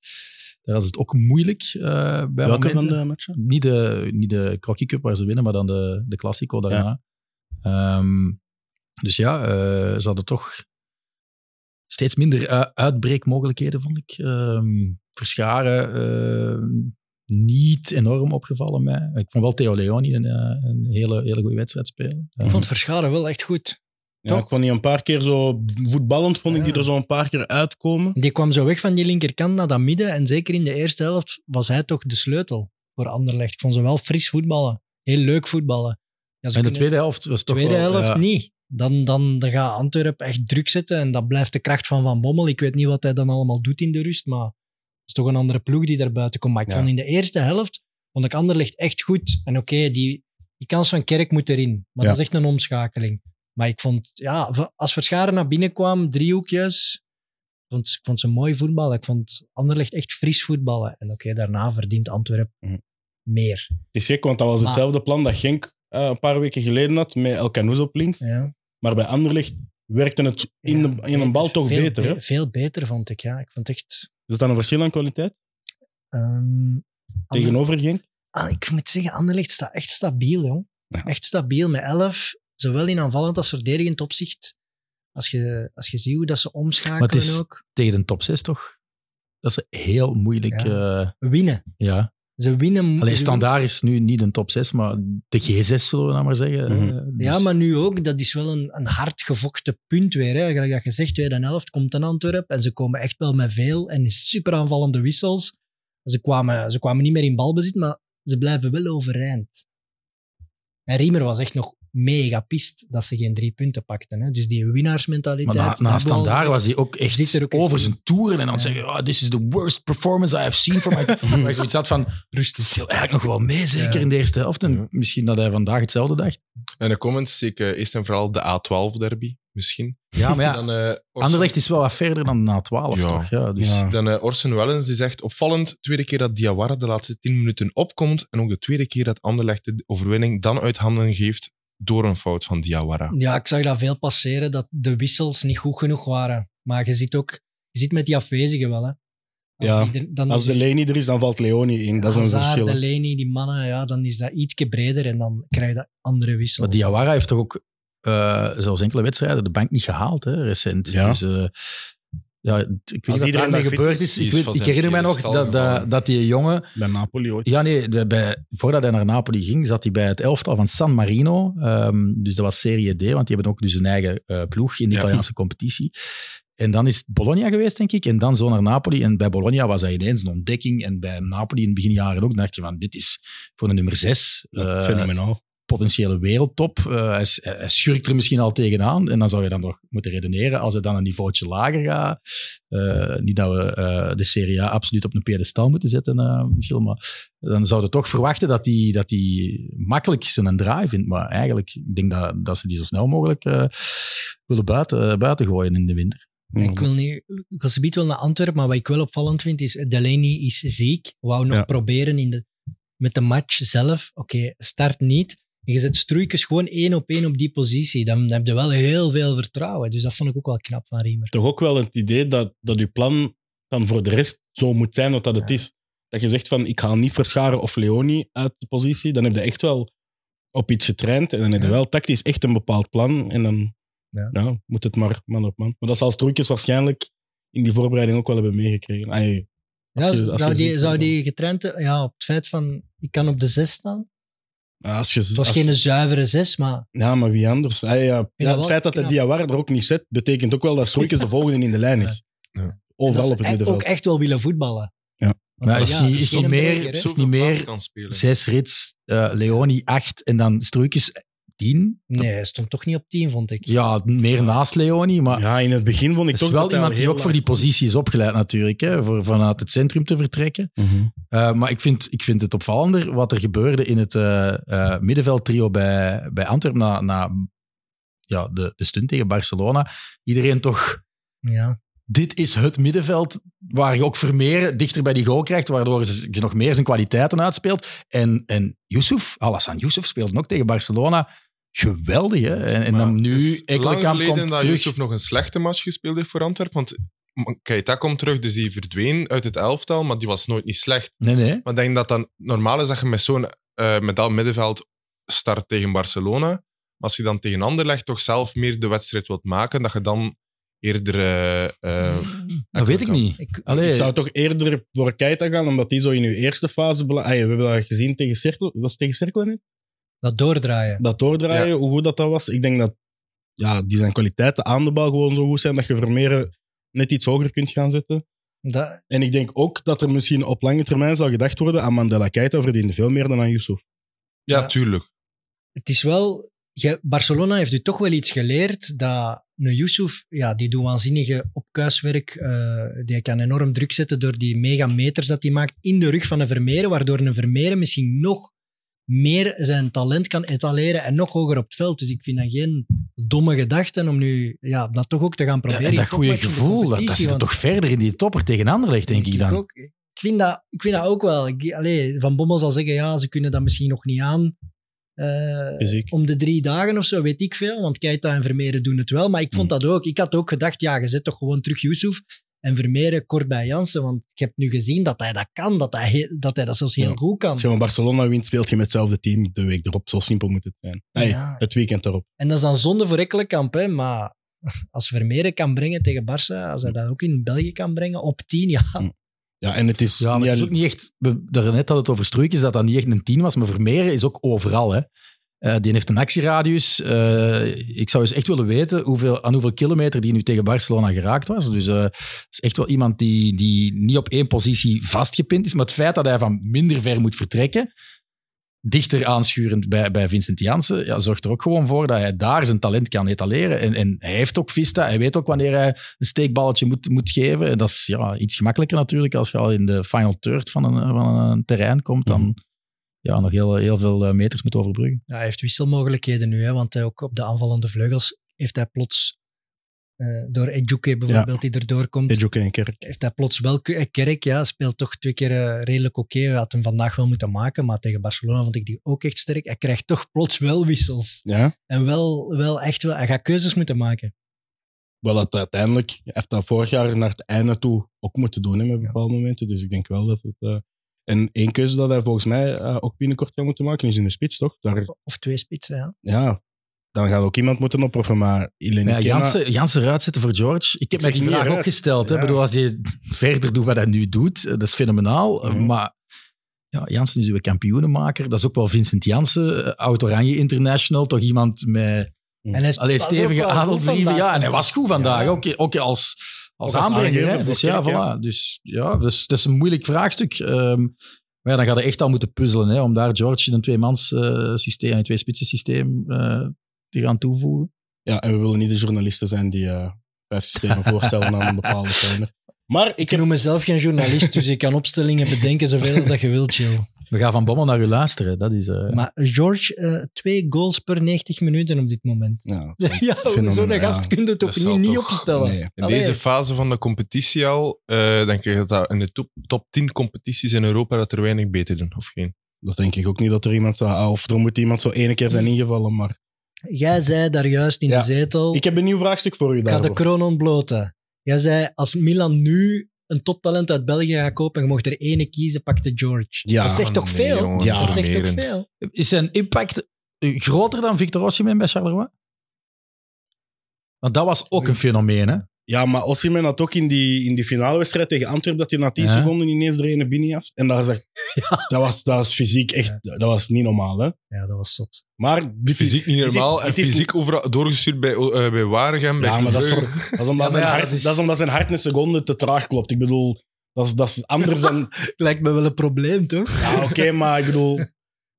daar was het ook moeilijk eh, bij Welke momenten. van de matchen? Niet de, niet de Crocky Cup waar ze winnen, maar dan de, de Classico daarna. Ehm, dus ja, eh, ze hadden toch steeds minder eh, uitbreekmogelijkheden, vond ik. Ehm, verscharen, eh, niet enorm opgevallen mij. Ik vond wel Theo Leoni een, eh, een hele, hele goede wedstrijd spelen. Ik vond Verscharen wel echt goed. Ja, Toch? ik vond die een paar keer zo voetballend, vond ik die Ja. er zo een paar keer uitkomen. Die kwam zo weg van die linkerkant naar dat midden. En zeker in de eerste helft was hij toch de sleutel voor Anderlecht. Ik vond ze wel fris voetballen. Heel leuk voetballen. Ja, ze en de kunnen- tweede helft was toch tweede wel, helft ja, niet. Dan, dan, dan gaat Antwerpen echt druk zetten. En dat blijft de kracht van Van Bommel. Ik weet niet wat hij dan allemaal doet in de rust. Maar het is toch een andere ploeg die daar buiten komt. Maar ik Ja. vond in de eerste helft vond ik Anderlecht echt goed. En oké, die, die kans van Kerk moet erin. Maar Ja. dat is echt een omschakeling. Maar ik vond, ja, v- als Verscharen naar binnen kwam, driehoekjes. Ik vond, ik vond ze mooi voetballen. Ik vond Anderlecht echt fris voetballen. En oké, daarna verdient Antwerpen Mhm. meer. Het is gek, want dat was Maar- hetzelfde plan dat Genk eh, een paar weken geleden had met El Canoes op links. Ja. Maar bij Anderlecht werkte het in, Ja, de, in een bal toch veel beter. Hè? be- Veel beter vond ik, ja. Ik vond echt... Is dat een verschil aan kwaliteit ehm, Ander- tegenover Genk? Ah, ik moet zeggen, Anderlecht staat echt stabiel, jong. Ja. Echt stabiel, met 11. Zowel in aanvallend als verdedigend opzicht. Als je, als je ziet hoe dat ze Maar het omschakelen is- ook. tegen de top 6 toch? Dat is heel moeilijk. Ja. Winnen. ja. Ze winnen. Alleen ze standaard is nu niet een top 6, maar de G6 zullen we nou maar zeggen. Mhm. Eh, dus- winnen. Hm. Ja, maar nu ook. Dat is wel een, een hard gevochten punt weer. Hè. Gelijk dat je zegt, tweede helft komt een Antwerp. En ze komen echt wel met veel. En super aanvallende wissels. Ze kwamen, ze kwamen niet meer in balbezit, maar ze blijven wel overeind. En Riemer was echt nog mega pist dat ze geen drie punten pakten. Hè. Dus die winnaarsmentaliteit... Maar na, na dat hebben we al standaard gezegd. was hij ook Zit echt er ook echt over in. zijn toeren en aan het Ja. zeggen: oh, This is the worst performance I have seen for my. Maar ik zoiets had van: Rustig, viel eigenlijk nog wel mee, zeker Ja. in de eerste helft. En Ja. misschien dat hij vandaag hetzelfde dacht. En de comments zie ik eh, eerst en vooral de A12-derby, misschien. Ja, maar ja, Dan, eh, Orson- Anderlecht is wel wat verder dan na 12, Ja. toch? Ja, dus Ja. Dan eh, Orson Wellens die zegt opvallend, tweede keer dat Diawara de laatste tien minuten opkomt en ook de tweede keer dat Anderlecht de overwinning dan uit handen geeft door een fout van Diawara. Ja, ik zag dat veel passeren, dat de wissels niet goed genoeg waren. Maar je ziet ook... Je ziet met die afwezigen wel, hè. Als Ja, die er- dan Als de Leni er is, dan valt Leoni in. Dat is een Hazard, verschil. hè. Delaney, die mannen, ja, dan is dat ietsje breder en dan krijg je dat andere wissels. Maar Diawara heeft toch ook, eh zelfs enkele wedstrijden, de bank niet gehaald, hè, recent. Ja, Dus, eh, ja, ik weet niet wat iedereen daar daarmee fit gebeurd is, is. die Ik, is weet- van ik zijn herinner mij nog piedestal dat, gevallen. dat, dat die jongen Bij Napoli ooit. Ja, nee, de- bij, voordat hij naar Napoli ging, zat hij bij het elftal van San Marino. Ehm, dus dat was Serie D, want die hebben ook dus een eigen eh, ploeg in de Ja. Italiaanse competitie. En dan is het Bologna geweest, denk ik. En dan zo naar Napoli. En bij Bologna was hij ineens een ontdekking. En bij Napoli in het beginjaren ook. Dan dacht je van, dit is voor de nummer zes. eh, Fenomenaal. potentiële wereldtop. Eh, hij, s- hij schurkt er misschien al tegenaan. En dan zou je dan nog moeten redeneren als het dan een niveautje lager gaat. Eh, niet dat we eh, de Serie A absoluut op een pedestal moeten zetten, eh Michiel. Maar dan zouden we toch verwachten dat hij dat die makkelijk zijn draai vindt. Maar eigenlijk, ik denk dat, dat ze die zo snel mogelijk eh, willen buiten, eh, buiten gooien in de winter. Ik wil niet, ik was wel naar Antwerpen, maar wat ik wel opvallend vind is, Delaney is ziek. Wou nog Ja. proberen in de, met de match zelf. Oké, start niet. En je zet stroeikens gewoon één op één op die positie. Dan heb je wel heel veel vertrouwen. Dus dat vond ik ook wel knap van Riemer. Toch ook wel het idee dat, dat je plan dan voor de rest zo moet zijn wat dat het Ja. is. Dat je zegt van, ik ga niet Verscharen of Leoni uit de positie. Dan heb je echt wel op iets getraind. En dan heb je Ja. wel tactisch echt een bepaald plan. En dan Ja, moet het maar man op man. Maar dat zal Stroekjes waarschijnlijk in die voorbereiding ook wel hebben meegekregen. Ai, als Ja, je- als zou, je die, ziet- zou die getraind ja, op het feit van ik kan op de zes staan. als je, Het was als- geen zuivere zes, maar Ja, maar wie anders? Ah, ja. Ja, dat het wel feit dat hij knap. Diawara er ook niet zet, betekent ook wel dat Stroeikens de volgende in de lijn is. Ja. Ja. dat Overal ze op het echt- middenveld. ook echt wel willen voetballen. Ja. Want, Maar is die- het is geen nog meer- burger, hè. is niet meer kan spelen. Zes rits, eh, Leoni acht en dan Stroeikens tien. Nee, hij stond toch niet op 10, vond ik. Ja, meer naast Leoni, maar ja, in het begin vond ik het toch is wel dat hij al iemand die heel ook voor die positie is opgeleid natuurlijk, hè, voor vanuit het centrum te vertrekken. lang- Mhm. Eh, maar ik vind, ik vind het opvallender wat er gebeurde in het eh eh middenveldtrio bij, bij Antwerpen na, na ja, de, de stunt tegen Barcelona. Iedereen toch, Ja. dit is het middenveld waar je ook Vermeer dichter bij die goal krijgt, waardoor ze- je nog meer zijn kwaliteiten uitspeelt. En, en Yusuf, Alassane Yusuf speelde ook tegen Barcelona. Geweldig, hè? En, en Maar dan het nu, is lang Ekkelkamp geleden komt dat terug. Yusuf nog een slechte match gespeeld heeft voor Antwerpen. Want Keita komt terug, dus die verdween uit het elftal, maar die was nooit niet slecht. Nee, nee. Maar ik denk dat dan normaal is dat je met zo'n eh, met dat middenveld start tegen Barcelona. Maar als je dan tegen Anderlecht toch zelf meer de wedstrijd wilt maken, dat je dan eerder... eh, eh, Dat weet ik niet. Ik, Allee, Ik zou toch eerder voor Keita gaan, omdat die zo in uw eerste fase... bela- Ah, ja, we hebben dat gezien tegen Cirkel. Was het tegen Cirkel niet? dat doordraaien. Dat doordraaien, hoe goed dat, dat was. Ik denk dat ja, die zijn kwaliteiten aan de bal gewoon zo goed zijn dat je Vermeer net iets hoger kunt gaan zetten. Dat, En ik denk ook dat er misschien op lange termijn zou gedacht worden aan Mandela Keita verdiende veel meer dan aan Yusuf. ja, Ja. tuurlijk. het is wel... je- Barcelona heeft u toch wel iets geleerd dat een Yusuf, ja, die doet waanzinnige opkuiswerk. eh, die kan enorm druk zetten door die megameters dat hij maakt in de rug van een Vermeer, waardoor een Vermeer misschien nog meer zijn talent kan etaleren en nog hoger op het veld. Dus ik vind dat geen domme gedachten om nu ja, dat toch ook te gaan ja, proberen. en in dat goede topmatchen in de gevoel, dat, dat competitie, zit want- toch verder in die topper tegen Anderlecht, denk ik dan. ook. Ik vind dat, ik vind dat ook wel. Ik- allee, Van Bommel zal zeggen, ja, ze kunnen dat misschien nog niet aan. eh, Fysiek. om de drie dagen of zo, weet ik veel. Want Keita en Vermeeren doen het wel. Maar ik vond Hmm. dat ook. Ik had ook gedacht, ja, je zet toch gewoon terug Yusuf en Vermeeren kort bij Jansen. Want ik heb nu gezien dat hij dat kan. Dat hij he- dat, hij dat zelfs heel Ja. goed kan. Als je van Barcelona wint, speelt je met hetzelfde team de week erop. Zo simpel moet het zijn. Nee, Ja. het weekend erop. En dat is dan zonde voor Ekkelenkamp, hè. Maar als Vermeeren kan brengen tegen Barça, als hij dat ook in België kan brengen, op tien, ja. Ja, en het is, Ja, maar niet het is ook alleen- niet echt... We, daarnet hadden we het over Struikens, dat dat niet echt een 10 was. Maar Vermeeren is ook overal, hè. Eh, die heeft een actieradius. Eh, ik zou eens echt willen weten hoeveel, aan hoeveel kilometer die nu tegen Barcelona geraakt was. Dus eh, het is echt wel iemand die, die niet op één positie vastgepind is. Maar het feit dat hij van minder ver moet vertrekken, dichter aanschurend bij, bij Vincent Janssen, ja, zorgt er ook gewoon voor dat hij daar zijn talent kan etaleren. En, en hij heeft ook vista. Hij weet ook wanneer hij een steekballetje moet, moet geven. En dat is ja, iets gemakkelijker natuurlijk als je al in de final third van een, van een terrein komt. Mhm. Dan ja, nog heel, heel veel eh, meters moet overbruggen. Ja, hij heeft wisselmogelijkheden nu, hè, want hij ook op de aanvallende vleugels heeft hij plots, eh, door Ejuke bijvoorbeeld, die erdoor komt, Edge ook in Kerk. heeft hij plots wel... Ke- eh, Kerk ja, speelt toch twee keer eh, redelijk oké. Hij had hem vandaag wel moeten maken, maar tegen Barcelona vond ik die ook echt sterk. Hij krijgt toch plots wel wissels. Ja, En wel, wel echt wel... Hij gaat keuzes moeten maken. wel dat uiteindelijk hij heeft dat vorig jaar naar het einde toe ook moeten doen hè, met bepaalde momenten. Dus ik denk wel dat het. eh, en één keuze dat hij volgens mij eh, ook binnenkort gaat moeten maken is in de spits, toch? Daar, Of twee spitsen, ja. ja, dan gaat ook iemand moeten opofferen. Maar Ilene Ja, Kena- Jansen, Jansen eruit zetten voor George. Ik Het heb mij is die niet vraag raar. ook gesteld. Hè. Ja. Ik bedoel, als hij verder doet wat hij nu doet, eh, dat is fenomenaal. Eh, Mhm. Maar ja, Jansen is uw kampioenenmaker. Dat is ook wel Vincent Jansen, eh, oud-Oranje international. Toch iemand met En hij allee, was ook stevige wel eh, goed adelbrieven. vandaag, Ja, en hij vond ik. was goed vandaag. Ja. Ook, ook als, als Ook als aanbrenger. aangever hè. voor Dus ja, Kerk, voilà. Dus ja, dus, dat is een moeilijk vraagstuk. Ehm, maar ja, dan gaat hij echt al moeten puzzelen hè, om daar George in een tweemans eh, systeem, in een twee-spitsen systeem eh, te gaan toevoegen. Ja, en we willen niet de journalisten zijn die eh, vijf systemen voorstellen aan een bepaalde trainer. Maar ik Ik heb noem mezelf geen journalist, dus ik kan opstellingen bedenken zoveel als dat je wilt, Jill. We gaan van Bommel naar u luisteren. Dat is, eh, Maar George, eh, twee goals per 90 minuten op dit moment. Ja, Ja, Fenomenaal, zo'n ja. gast kun je toch Dat zal niet, niet toch- opstellen. nee. In Allee. deze fase van de competitie al, eh, denk ik dat dat in de top, top 10 competities in Europa dat er weinig beter doen, of geen? dat denk ik ook niet dat er iemand zou... Of er moet iemand zo ene keer zijn ingevallen, maar... Jij zei daar juist in Ja. de zetel, Ik ik heb een nieuw vraagstuk voor u ga de daarvoor. kroon ontbloten. Jij zei, als Milan nu een toptalent uit België gaat kopen en je mocht er ene kiezen, pakte George. Ja, dat zegt toch nee, veel? jongen, Ja. dat zegt toch vermeren. veel? is zijn impact eh, groter dan Victor Osimhen bij Charleroi? Want dat was ook een fenomeen, hè? Ja, maar Osimhen had ook in die, in die finalewedstrijd tegen Antwerpen dat hij na 10 Ja. seconden ineens er ene binnen had. En daar zag, dat, was, dat was fysiek echt... Dat was niet normaal, hè. Ja, dat was zot. Maar dit is- Fysiek niet dit is- normaal. En dit is niet- fysiek overal doorgestuurd bij, eh, bij Waregem. bij Ja, maar dat is, Club. voor- dat is omdat Ja, maar zijn ja, hart, dat is- dat is omdat zijn hart een seconde te traag klopt. Ik bedoel, dat is, dat is anders dan... Lijkt me wel een probleem, toch? Ja, oké, maar ik bedoel...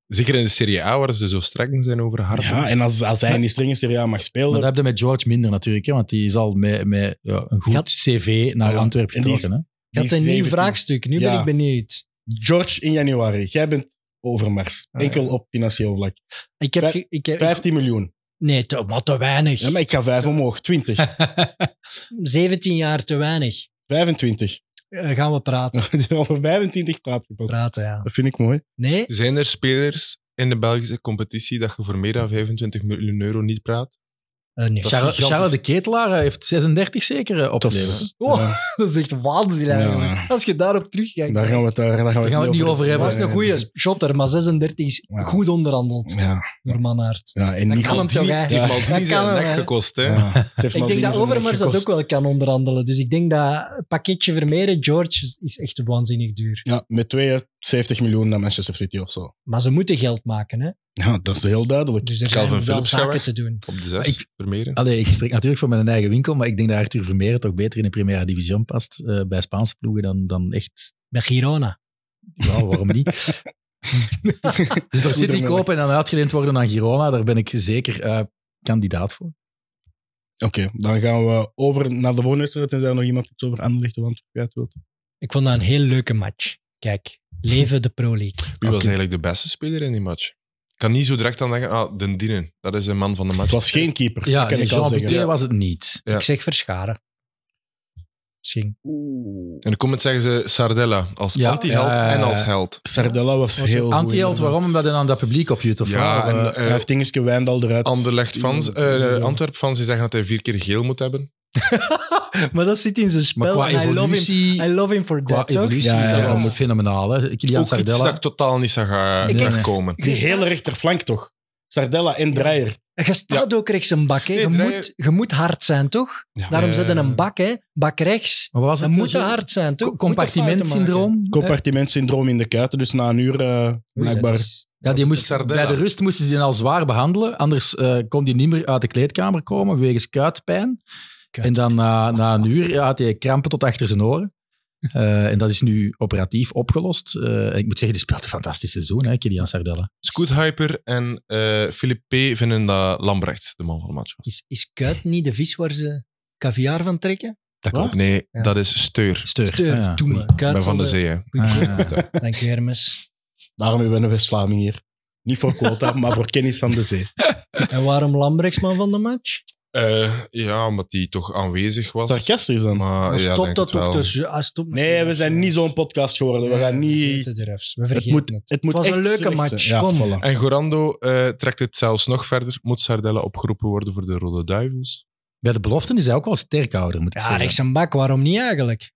Zeker in de Serie A, waar ze zo streng zijn over hard. Ja, en als, als hij in die strenge Serie A mag Maar spelen... dat heb je met George minder natuurlijk, hè? Want die is al met, met ja, een goed Gaat- cv naar Ja, Antwerpen en die is- getrokken, hè? Je had die een nieuw 17. vraagstuk. Nu ben Ja. ik benieuwd. George in januari. Jij bent overmars. Ah, ja. Enkel op financieel vlak. Ik heb... Vijf- ge- ik heb 15 miljoen. nee, te, maar te weinig. Ja, maar ik ga 5 omhoog. 20. 17 jaar te weinig. 25. Eh, gaan we praten. Over 25 praat je pas. Praten, ja. Dat vind ik mooi. Nee? Zijn er spelers in de Belgische competitie dat je voor meer dan 25 miljoen euro niet praat? Eh, nee. Dat is Charles, gigantisch. Charles de Ketelaar eh, heeft 36 zeker eh, Dat opgeleverd. is, Oh, ja, dat is echt waanzin eigenlijk. Ja. Als je daarop terugkijkt. daar gaan we het, eh, daar gaan we gaan we het niet over hebben. Dat was een goede shotter, maar 36 is Ja. goed onderhandeld Ja, door Mannaert. ja, en Dat Nico- kan hem toch, hè? Die Ja. Maldini Dat zijn kan nek hem, hè. gekost, hè? Ja, het heeft Ik denk Maldini dat zijn Overmars dat ook gekost. wel kan onderhandelen. Dus ik denk dat een pakketje Vermeeren, George, is echt waanzinnig duur. Ja, met 72 miljoen naar Manchester City of zo. Maar ze moeten geld maken, hè? Ja, dat is heel duidelijk. Dus er Calvin zijn wel Phillips gaat zaken weg. te doen. Op de zes, Ik- Ah, Vermeeren. Allee, ik spreek natuurlijk voor mijn eigen winkel, maar ik denk dat Arthur Vermeer toch beter in de Primera Division past eh, bij Spaanse ploegen dan, dan echt... Met Girona. Ja, waarom niet? dus door City kopen en dan uitgeleend worden aan Girona, daar ben ik zeker eh, kandidaat voor. Oké, dan gaan we over naar de volgende wedstrijd. Tenzij er nog iemand iets over Anderlecht of Antwerpen kwijt wilt. Ik vond dat een heel leuke match. Kijk, leven de Pro League. Wie was eigenlijk de beste speler in die match? Ik kan niet zo direct aan denken, ah, Den Dienen, dat is een man van de match. Het was geen keeper, Ja, dat kan nee, ik al Jean zeggen. Buté was het niet. Ja. Ik zeg verscharen. Misschien. In de comments zeggen ze Sardella, als Ja. antiheld Ja, ja, ja. en als held. Sardella was Was heel goed. Anti-held, waarom? inderdaad. Omdat hij aan dat publiek opjuwt of Ja, waar? en Eh, Hij eh heeft Dingeske Wijndal eruit. Anderlecht fans, eh Antwerp fans, die zeggen dat hij vier keer geel moet hebben. Maar dat zit in zijn maar spel. qua I love him. evolutie, I love him for qua that, toch? evolutie Ja, is ja, dat ja. wel fenomenaal. Hè? Kilian Ook iets dat Sardella. ik totaal niet zag eh, Ik- terugkomen. Die hele rechterflank toch? Sardella en Dreyer. En Je staat ook rechts een bak. Hè. Nee, je, Dreyer- moet, je moet hard zijn, toch? Ja. Daarom Eh. zetten een bak, hè? Bak rechts. Maar wat was Dan het? moet je Zo- hard zijn, toch? Co- Compartimentsyndroom. hè? Compartimentsyndroom in de kuiten, dus na een uur eh, blijkbaar. Ja, die is moest, Sardella. bij de rust moesten ze die al zwaar behandelen. Anders eh, kon die niet meer uit de kleedkamer komen wegens kuitpijn. En dan na, na een uur ja, had hij krampen tot achter zijn oren. Eh, en dat is nu operatief opgelost. Eh, ik moet zeggen, die speelt een fantastisch seizoen, hè, Kilian Sardella. Scoot Hyper en eh Philippe P. vinden dat Lambrecht de man van de match was. Is, is kuit niet de vis waar ze caviar van trekken? Dat Wat? klopt. Nee, Ja. dat is Steur. Steur. Deur, Ah, ja, doe goed. maar. Kuit Ik ben van de zal zee, hè. de- Ah, ja. Dank je, Hermes. Daarom hebben we een West-Vlaming hier. Niet voor quota, maar voor kennis van de zee. En waarom Lambrechtsman van de match? Eh, ja, omdat die toch aanwezig was. Sarcastisch dan. Maar, ja, stop denk dat het wel. toch tussen. Ah, stop met die Nee, we refs, zijn niet jongens. zo'n podcast geworden. We gaan Nee, we niet. vergeten de refs. We Het vergeten het. moet, het moet was een echt leuke slecht match, zijn. Ja, kom. voilà. En Gorando eh, trekt het zelfs nog verder. Moet Sardella opgeroepen worden voor de Rode Duivels? Bij de beloften is hij ook wel sterkhouder, moet ik Ja, zeggen. rechts een bak, waarom niet eigenlijk?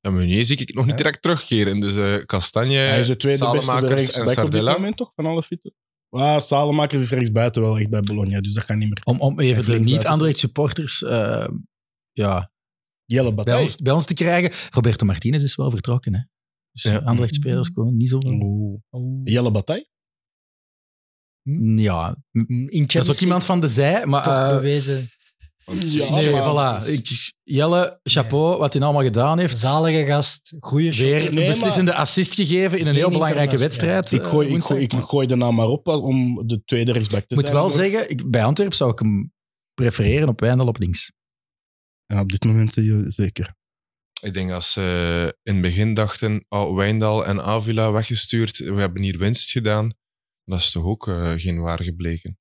Ja, Meunier zie ik nog niet direct terugkeren. Dus eh Kastanje, Hij is de tweede beste de Salemakers en rechtsback op dit Sardella. moment toch, van alle fietsen? Ah, Salemakers is rechtsbuiten wel echt bij Bologna, dus dat gaat niet meer. Om, om even de Links niet-Anderlecht supporters eh, ja, Jelle bij, Bataille. ons, bij ons te krijgen. Roberto Martinez is wel vertrokken. Hè? Dus Ja. eh, Mm. Anderlecht-spelers komen niet zo... Oeh. Jelle Bataille? Ja, In dat is ook iemand van de zij, maar... toch Dus- eh, bewezen. Ja, nee, maar- voilà. Ik, Jelle, chapeau, wat hij nou allemaal gedaan heeft. Zalige gast, goede Weer een Nee, maar- beslissende assist gegeven in een Geen heel belangrijke internationale. wedstrijd. Ik eh, gooi, ik, woensdag. gooi, ik gooi de naam maar op om de tweede rechtsback te dus Ik moet zijn. wel zeggen, ik, bij Antwerp zou ik hem prefereren op Wijndal op links. Ja, op dit moment eh, zeker. Ik denk dat ze eh, in het begin dachten, oh, Wijndal en Avila weggestuurd. We hebben hier winst gedaan. Dat is toch ook eh, geen waar gebleken.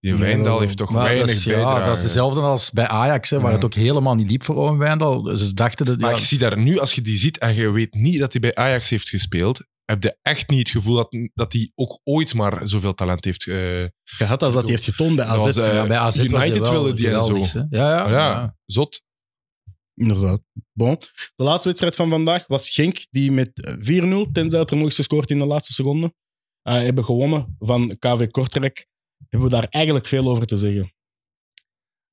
Die Nee, Wijndal wel. heeft toch Maar weinig dat is, ja, bijdrage. dat is dezelfde als bij Ajax, hè, waar Ja. het ook helemaal niet liep voor Owen Wijndal. Ze dachten dat... Maar ja, ik zie daar nu, als je die ziet en je weet niet dat hij bij Ajax heeft gespeeld, heb je echt niet het gevoel dat, dat hij ook ooit maar zoveel talent heeft. eh, Gehad als dat hij heeft getoond bij Dat AZ. was, eh, ja, bij AZ was hij United wel willen die en zo. Oh, geweldig, hè. Ja, ja. ja, ja. zot. Inderdaad. Bon. De laatste wedstrijd van vandaag was Genk, die met eh, 4-0, tenzij het er nog eens gescoord in de laatste seconde, eh, hebben gewonnen van KV Kortrijk. Hebben we daar eigenlijk veel over te zeggen?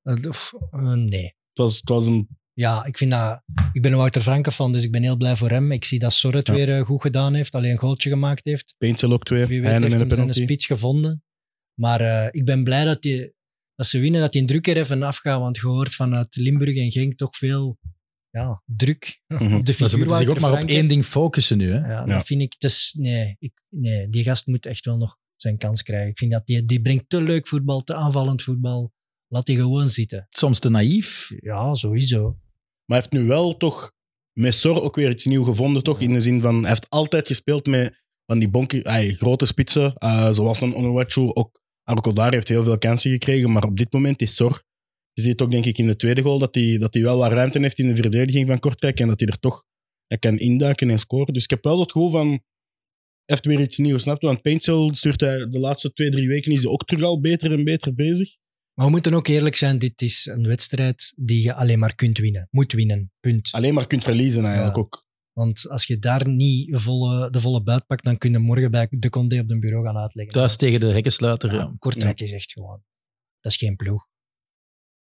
Eh, Of, eh, nee. was, het was een... Ja, ik vind dat... Ik ben een Wouter Franke fan, dus ik ben heel blij voor hem. Ik zie dat Sorre het Ja. weer eh, goed gedaan heeft. Alleen een goaltje gemaakt heeft. Paintje ook twee. Wie weet Heinen heeft en een hem zijn penalty. spits gevonden. Maar eh, ik ben blij dat, die, dat ze winnen, dat die druk er even afgaat. Want je hoort vanuit Limburg en Genk toch veel ja, druk Mhm. op de Maar figuur. ze moeten zich Wouter ook maar op Franke. één ding focussen nu. Hè. Ja, Ja. dat vind ik... het is- nee, ik nee, die gast moet echt wel nog zijn kans krijgen. Ik vind dat die, die brengt te leuk voetbal, te aanvallend voetbal. Laat die gewoon zitten. Soms te naïef. Ja, sowieso. Maar hij heeft nu wel toch met Sor ook weer iets nieuws gevonden, toch? In de zin van, hij heeft altijd gespeeld met van die bonkie, ai, grote spitsen, eh, zoals een Onuwachu. Ook Arkodar heeft heel veel kansen gekregen, maar op dit moment is Sor... Je ziet het ook, denk ik, in de tweede goal, dat hij, dat hij wel wat ruimte heeft in de verdediging van Kortrijk en dat hij er toch hij kan induiken en scoren. Dus ik heb wel het gevoel van... Hij heeft weer iets nieuws, snap je? Want Paintsel stuurt hij de laatste twee, drie weken is hij ook terug al beter en beter bezig. Maar we moeten ook eerlijk zijn, dit is een wedstrijd die je alleen maar kunt winnen. Moet winnen, punt. Alleen maar kunt verliezen eigenlijk Ja. ook. Want als je daar niet volle, de volle buit pakt, dan kun je morgen bij de Condé op een bureau gaan uitleggen. Thuis tegen de hekkensluiter. eh, Ja, ja. Kortrijk is echt gewoon... Dat is geen ploeg.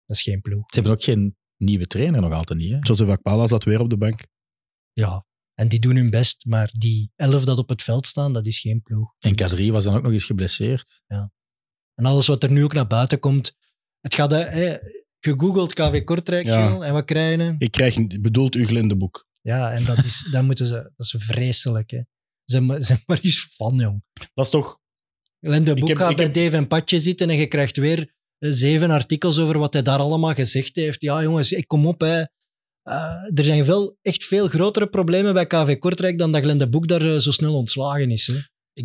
Dat is geen ploeg. Ze hebben ook geen nieuwe trainer nog altijd niet. Hè. Joseph Akpala zat weer op de bank. Ja. En die doen hun best, maar die elf dat op het veld staan, dat is geen ploeg. En K3 was dan ook nog eens geblesseerd. En alles wat er nu ook naar buiten komt. Het gaat, eh, hè, gegoogeld KV Kortrijk, Ja. Gilles, en wat krijgen we? Ik krijg, bedoelt u Glendeboek? Ja, en dat is, dat moeten ze, dat is vreselijk. Hè. Zijn, maar, zijn maar eens van, jong. Dat is toch... Lende Ik Boek heb- gaat ik bij heb- Dave en Patje zitten en je krijgt weer eh, zeven artikels over wat hij daar allemaal gezegd heeft. Ja, jongens, ik kom op, hè. Eh, er zijn wel echt veel grotere problemen bij KV Kortrijk dan dat Glende Boek daar eh, zo snel ontslagen is. Hè. Ik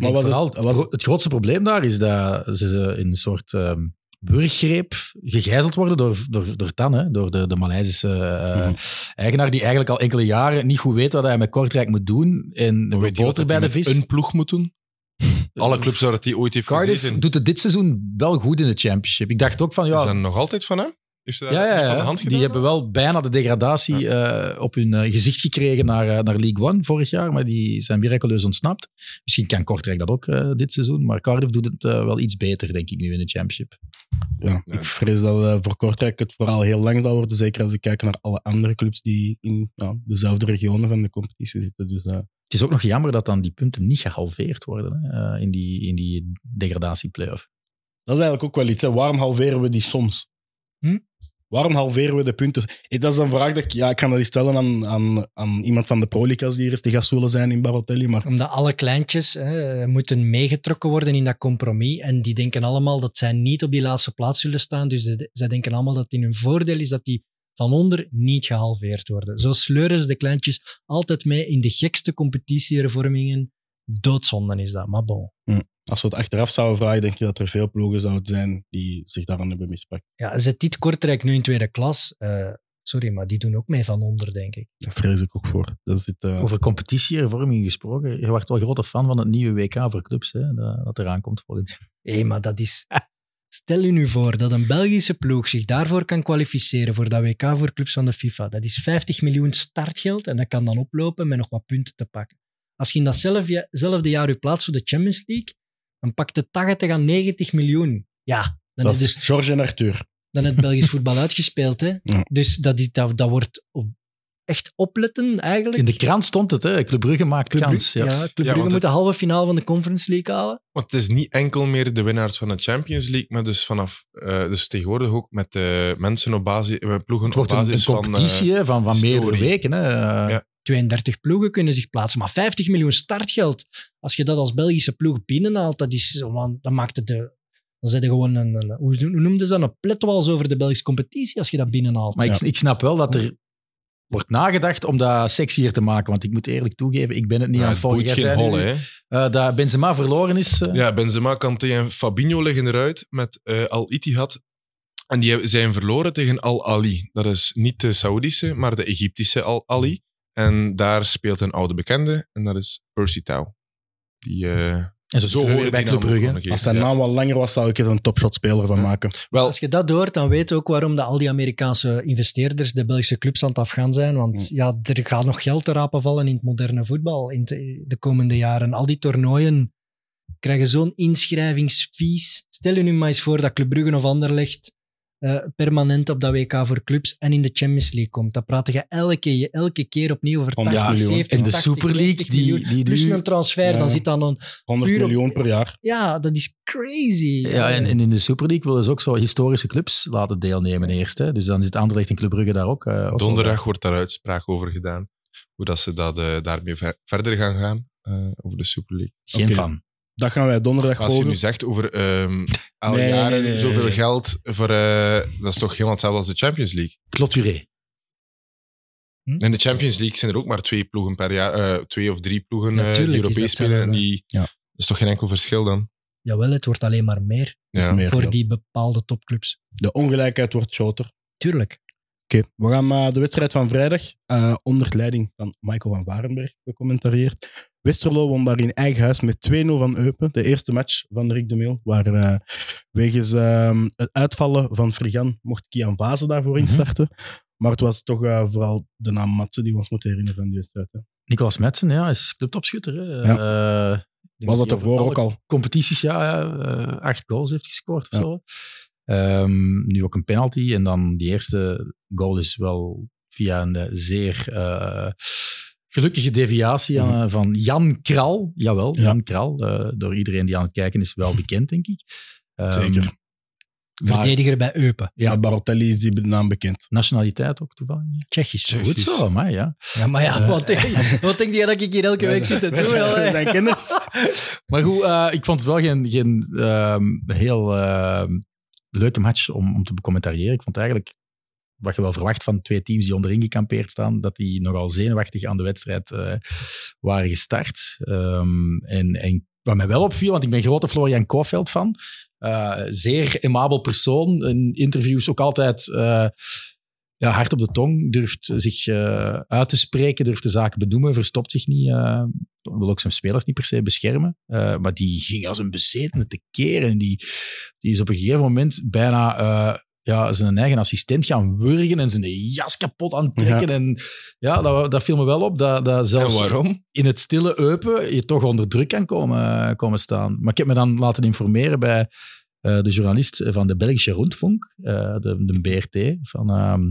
Maar denk was vooral, het- het, was- gro- het grootste probleem daar is dat ze ze in een soort ehm wurggreep gegijzeld worden door, door, door Tan, hè, door de, de Maleisische eh, Mhm. eigenaar, die eigenlijk al enkele jaren niet goed weet wat hij met Kortrijk moet doen. En de Weet je wat boter dat bij die de met vis. Een ploeg moet doen. Alle clubs waar dat die ooit heeft Cardiff gezeten. doet het dit seizoen wel goed in de championship. Ik dacht ook van, Is ja, dat nog altijd van hem? Heeft hij dat ja, ja, niet van de ja. hand gedaan? die hebben wel bijna de degradatie eh, op hun eh, gezicht gekregen naar, eh, naar League One vorig jaar, maar die zijn miraculeus ontsnapt. Misschien kan Kortrijk dat ook eh, dit seizoen, maar Cardiff doet het eh, wel iets beter, denk ik, nu in de championship. Ja, Ja. ik vrees dat eh, voor Kortrijk het vooral heel lang zal worden. Zeker als ik kijk naar alle andere clubs die in ja, dezelfde regionen van de competitie zitten. Dus eh, Het is ook nog jammer dat dan die punten niet gehalveerd worden hè, eh, in, die, in die degradatie-playoff. dat is eigenlijk ook wel iets. Hè. Waarom halveren we die soms? Hm? Waarom halveren we de punten? Eh, Dat is een vraag dat ik... Ja, ik kan dat eens stellen aan, aan, aan iemand van de Prolica's die hier eens te gast willen zijn in Barotelli. Maar Omdat alle kleintjes hè, moeten meegetrokken worden in dat compromis. En die denken allemaal dat zij niet op die laatste plaats zullen staan. Dus de- zij denken allemaal dat het in hun voordeel is dat die van onder niet gehalveerd worden. Zo sleuren ze de kleintjes altijd mee in de gekste competitiehervormingen. Doodzonden is dat, maar bon. als we het achteraf zouden vragen, denk je dat er veel ploegen zouden zijn die zich daaraan hebben mispakt. Ja, zet dit Kortrijk nu in tweede klas. Eh, sorry, maar die doen ook mee van onder, denk ik. Daar vrees ik ook voor. Dat is het, eh, Over competitiehervorming gesproken, je wordt wel grote fan van het nieuwe WK voor clubs hè, dat, dat eraan komt volgend jaar. Hé, maar dat is... Stel u nu voor dat een Belgische ploeg zich daarvoor kan kwalificeren voor dat WK voor clubs van de FIFA. Dat is 50 miljoen startgeld en dat kan dan oplopen met nog wat punten te pakken. Als je in datzelfde jaar je plaats voor de Champions League, dan pakt de 80 aan 90 miljoen. Ja, dan dat is dus is George en Arthur. dan het Belgisch voetbal uitgespeeld. Hè? Ja. Dus dat, is- dat, dat wordt op- echt opletten eigenlijk. In de krant stond het, hè, Club Brugge maakt Club kans. Brugge- ja. ja. Club Brugge want moet het- de halve finale van de Conference League halen. Want het is niet enkel meer de winnaars van de Champions League, maar dus vanaf... eh, dus tegenwoordig ook met de mensen op basis... eh, Ploegen Het wordt op een, basis eh, een competitie hè, van, van, meerdere historie. weken. Hè. Eh, Ja. 32 ploegen kunnen zich plaatsen, maar 50 miljoen startgeld. Als je dat als Belgische ploeg binnenhaalt, dat is, want dan maakt het de, dan zijn er gewoon een, een- hoe hoe noemden ze dat, een pletwals over de Belgische competitie als je dat binnenhaalt. Maar ik, ik snap wel dat er wordt nagedacht om dat sexier te maken, want ik moet eerlijk toegeven, ik ben het niet Ja, aan het het volgen. boeit Jij geen zei nu, holle, hè. eh, dat Benzema verloren is. eh. Ja, Benzema, Kanté en Fabinho liggen eruit met eh, Al Ittihad. En die zijn verloren tegen Al Ali. Dat is niet de Saoedische, maar de Egyptische Al Ali. En daar speelt een oude bekende, en dat is Percy Tau. Die, eh, En zo, zo hoor horen ik bij die Club naam ook Brugge. nog een Als keer. zijn naam wat langer was, zou ik er een topshotspeler van maken. Wel, Als je dat hoort, dan weet je ook waarom de, al die Amerikaanse investeerders de Belgische clubs aan het afgaan zijn. Want Mm. ja, er gaat nog geld te rapen vallen in het moderne voetbal in te- de komende jaren. Al die toernooien krijgen zo'n inschrijvingsfees. Stel je nu maar eens voor dat Club Brugge of Anderlecht eh, permanent op dat WK voor clubs en in de Champions League komt. Dan praten je elke, elke keer opnieuw over Van 80, ja, miljoen. 70, En de 80, Super League, 90 die, miljoen. die Plus nu... een transfer, Ja. dan zit dan een... 100 Puur op- miljoen per jaar. Ja, dat is crazy. Ja, en, en in de Super League willen ze ook zo historische clubs laten deelnemen eerst. Hè. Dus dan zit Anderlecht en Club Brugge daar ook. eh, ook Donderdag wordt daar uitspraak over gedaan. Hoe dat ze dat, eh, daarmee ver- verder gaan gaan. eh, over de Super League. Geen Oké. van. Dat gaan wij donderdag Als je volgen. nu zegt over ehm al Nee, nee, jaren nee, nee, nee, zoveel nee. geld. Voor, eh, dat is toch helemaal hetzelfde als de Champions League. Cloturé. Hm? In de Champions League zijn er ook maar twee ploegen per jaar. eh, twee of drie ploegen eh, die Natuurlijk is Europees dat spelen. En hetzelfde. die, Ja. Dat is toch geen enkel verschil dan? Jawel, het wordt alleen maar meer Ja. Meer voor geld. die bepaalde topclubs. De ongelijkheid wordt groter. Tuurlijk. Oké, we gaan naar de wedstrijd van vrijdag. eh, onder leiding van Michael van Warenberg becommentarieerd. Westerlo won daar in eigen huis met 2-0 van Eupen. De eerste match van Rick de Meel, waar eh, wegens eh, het uitvallen van Frigan mocht Kian Vaze Mhm. daarvoor instarten. Maar het was toch eh, vooral de naam Matsen die we ons moeten herinneren van die wedstrijd. Hè. Nicolas Metsen, ja, is clubtopschutter. Hè. Ja. Eh, ik denk Was dat hij over ervoor alle ook al? Competities, ja, ja, eh, acht goals heeft gescoord of Ja. zo. Ehm, nu ook een penalty. En dan die eerste goal is wel via een eh, zeer eh, gelukkige deviatie aan, eh, van Jan Kral. Jawel, Ja. Jan Kral. eh, door iedereen die aan het kijken is wel bekend, denk ik. Ehm, Zeker. Maar Verdediger bij Eupen. Ja, Barotelli is die naam bekend. nationaliteit ook toevallig. nee. Tsjechisch. Goed zo, maar ja. Ja, maar ja, Eh. wat, denk, wat denk je dat ik hier elke week zit te Wij doen? zijn- wij allee? zijn kennis. Maar goed, eh, ik vond het wel geen, geen ehm, heel ehm, leuke match om, om te becommentariëren. Ik vond eigenlijk, wat je wel verwacht van twee teams die onderin gekampeerd staan, dat die nogal zenuwachtig aan de wedstrijd eh, waren gestart. Ehm, en, en wat mij wel opviel, want ik ben grote Florian Kofeld fan. Eh, zeer amabel persoon. In interviews ook altijd eh, ja, hard op de tong. Durft zich eh, uit te spreken, durft de zaken benoemen, verstopt zich niet. eh, wil ook zijn spelers niet per se beschermen. eh, maar die ging als een bezetene te keren. Die, die is op een gegeven moment bijna eh, ja, zijn eigen assistent gaan wurgen en zijn jas kapot aan het trekken. En ja, dat, dat viel me wel op. Dat, dat zelfs En waarom? in het stille Eupen je toch onder druk kan komen, komen staan. Maar ik heb me dan laten informeren bij eh, de journalist van de Belgische Rundfunk, eh, de, de BRT van, ehm,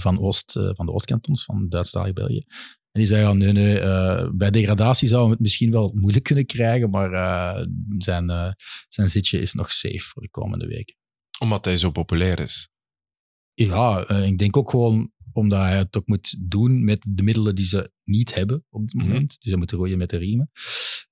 van, Oost, eh, van de Oostkantons, van Duitsstalig België. En die zei, ja, nee, nee, eh, bij degradatie zouden we het misschien wel moeilijk kunnen krijgen, maar eh, zijn, eh, zijn zitje is nog safe voor de komende weken. Omdat hij zo populair is. Ja, eh, ik denk ook gewoon omdat hij het ook moet doen met de middelen die ze niet hebben op dit Mhm. moment. Dus ze moeten roeien met de riemen.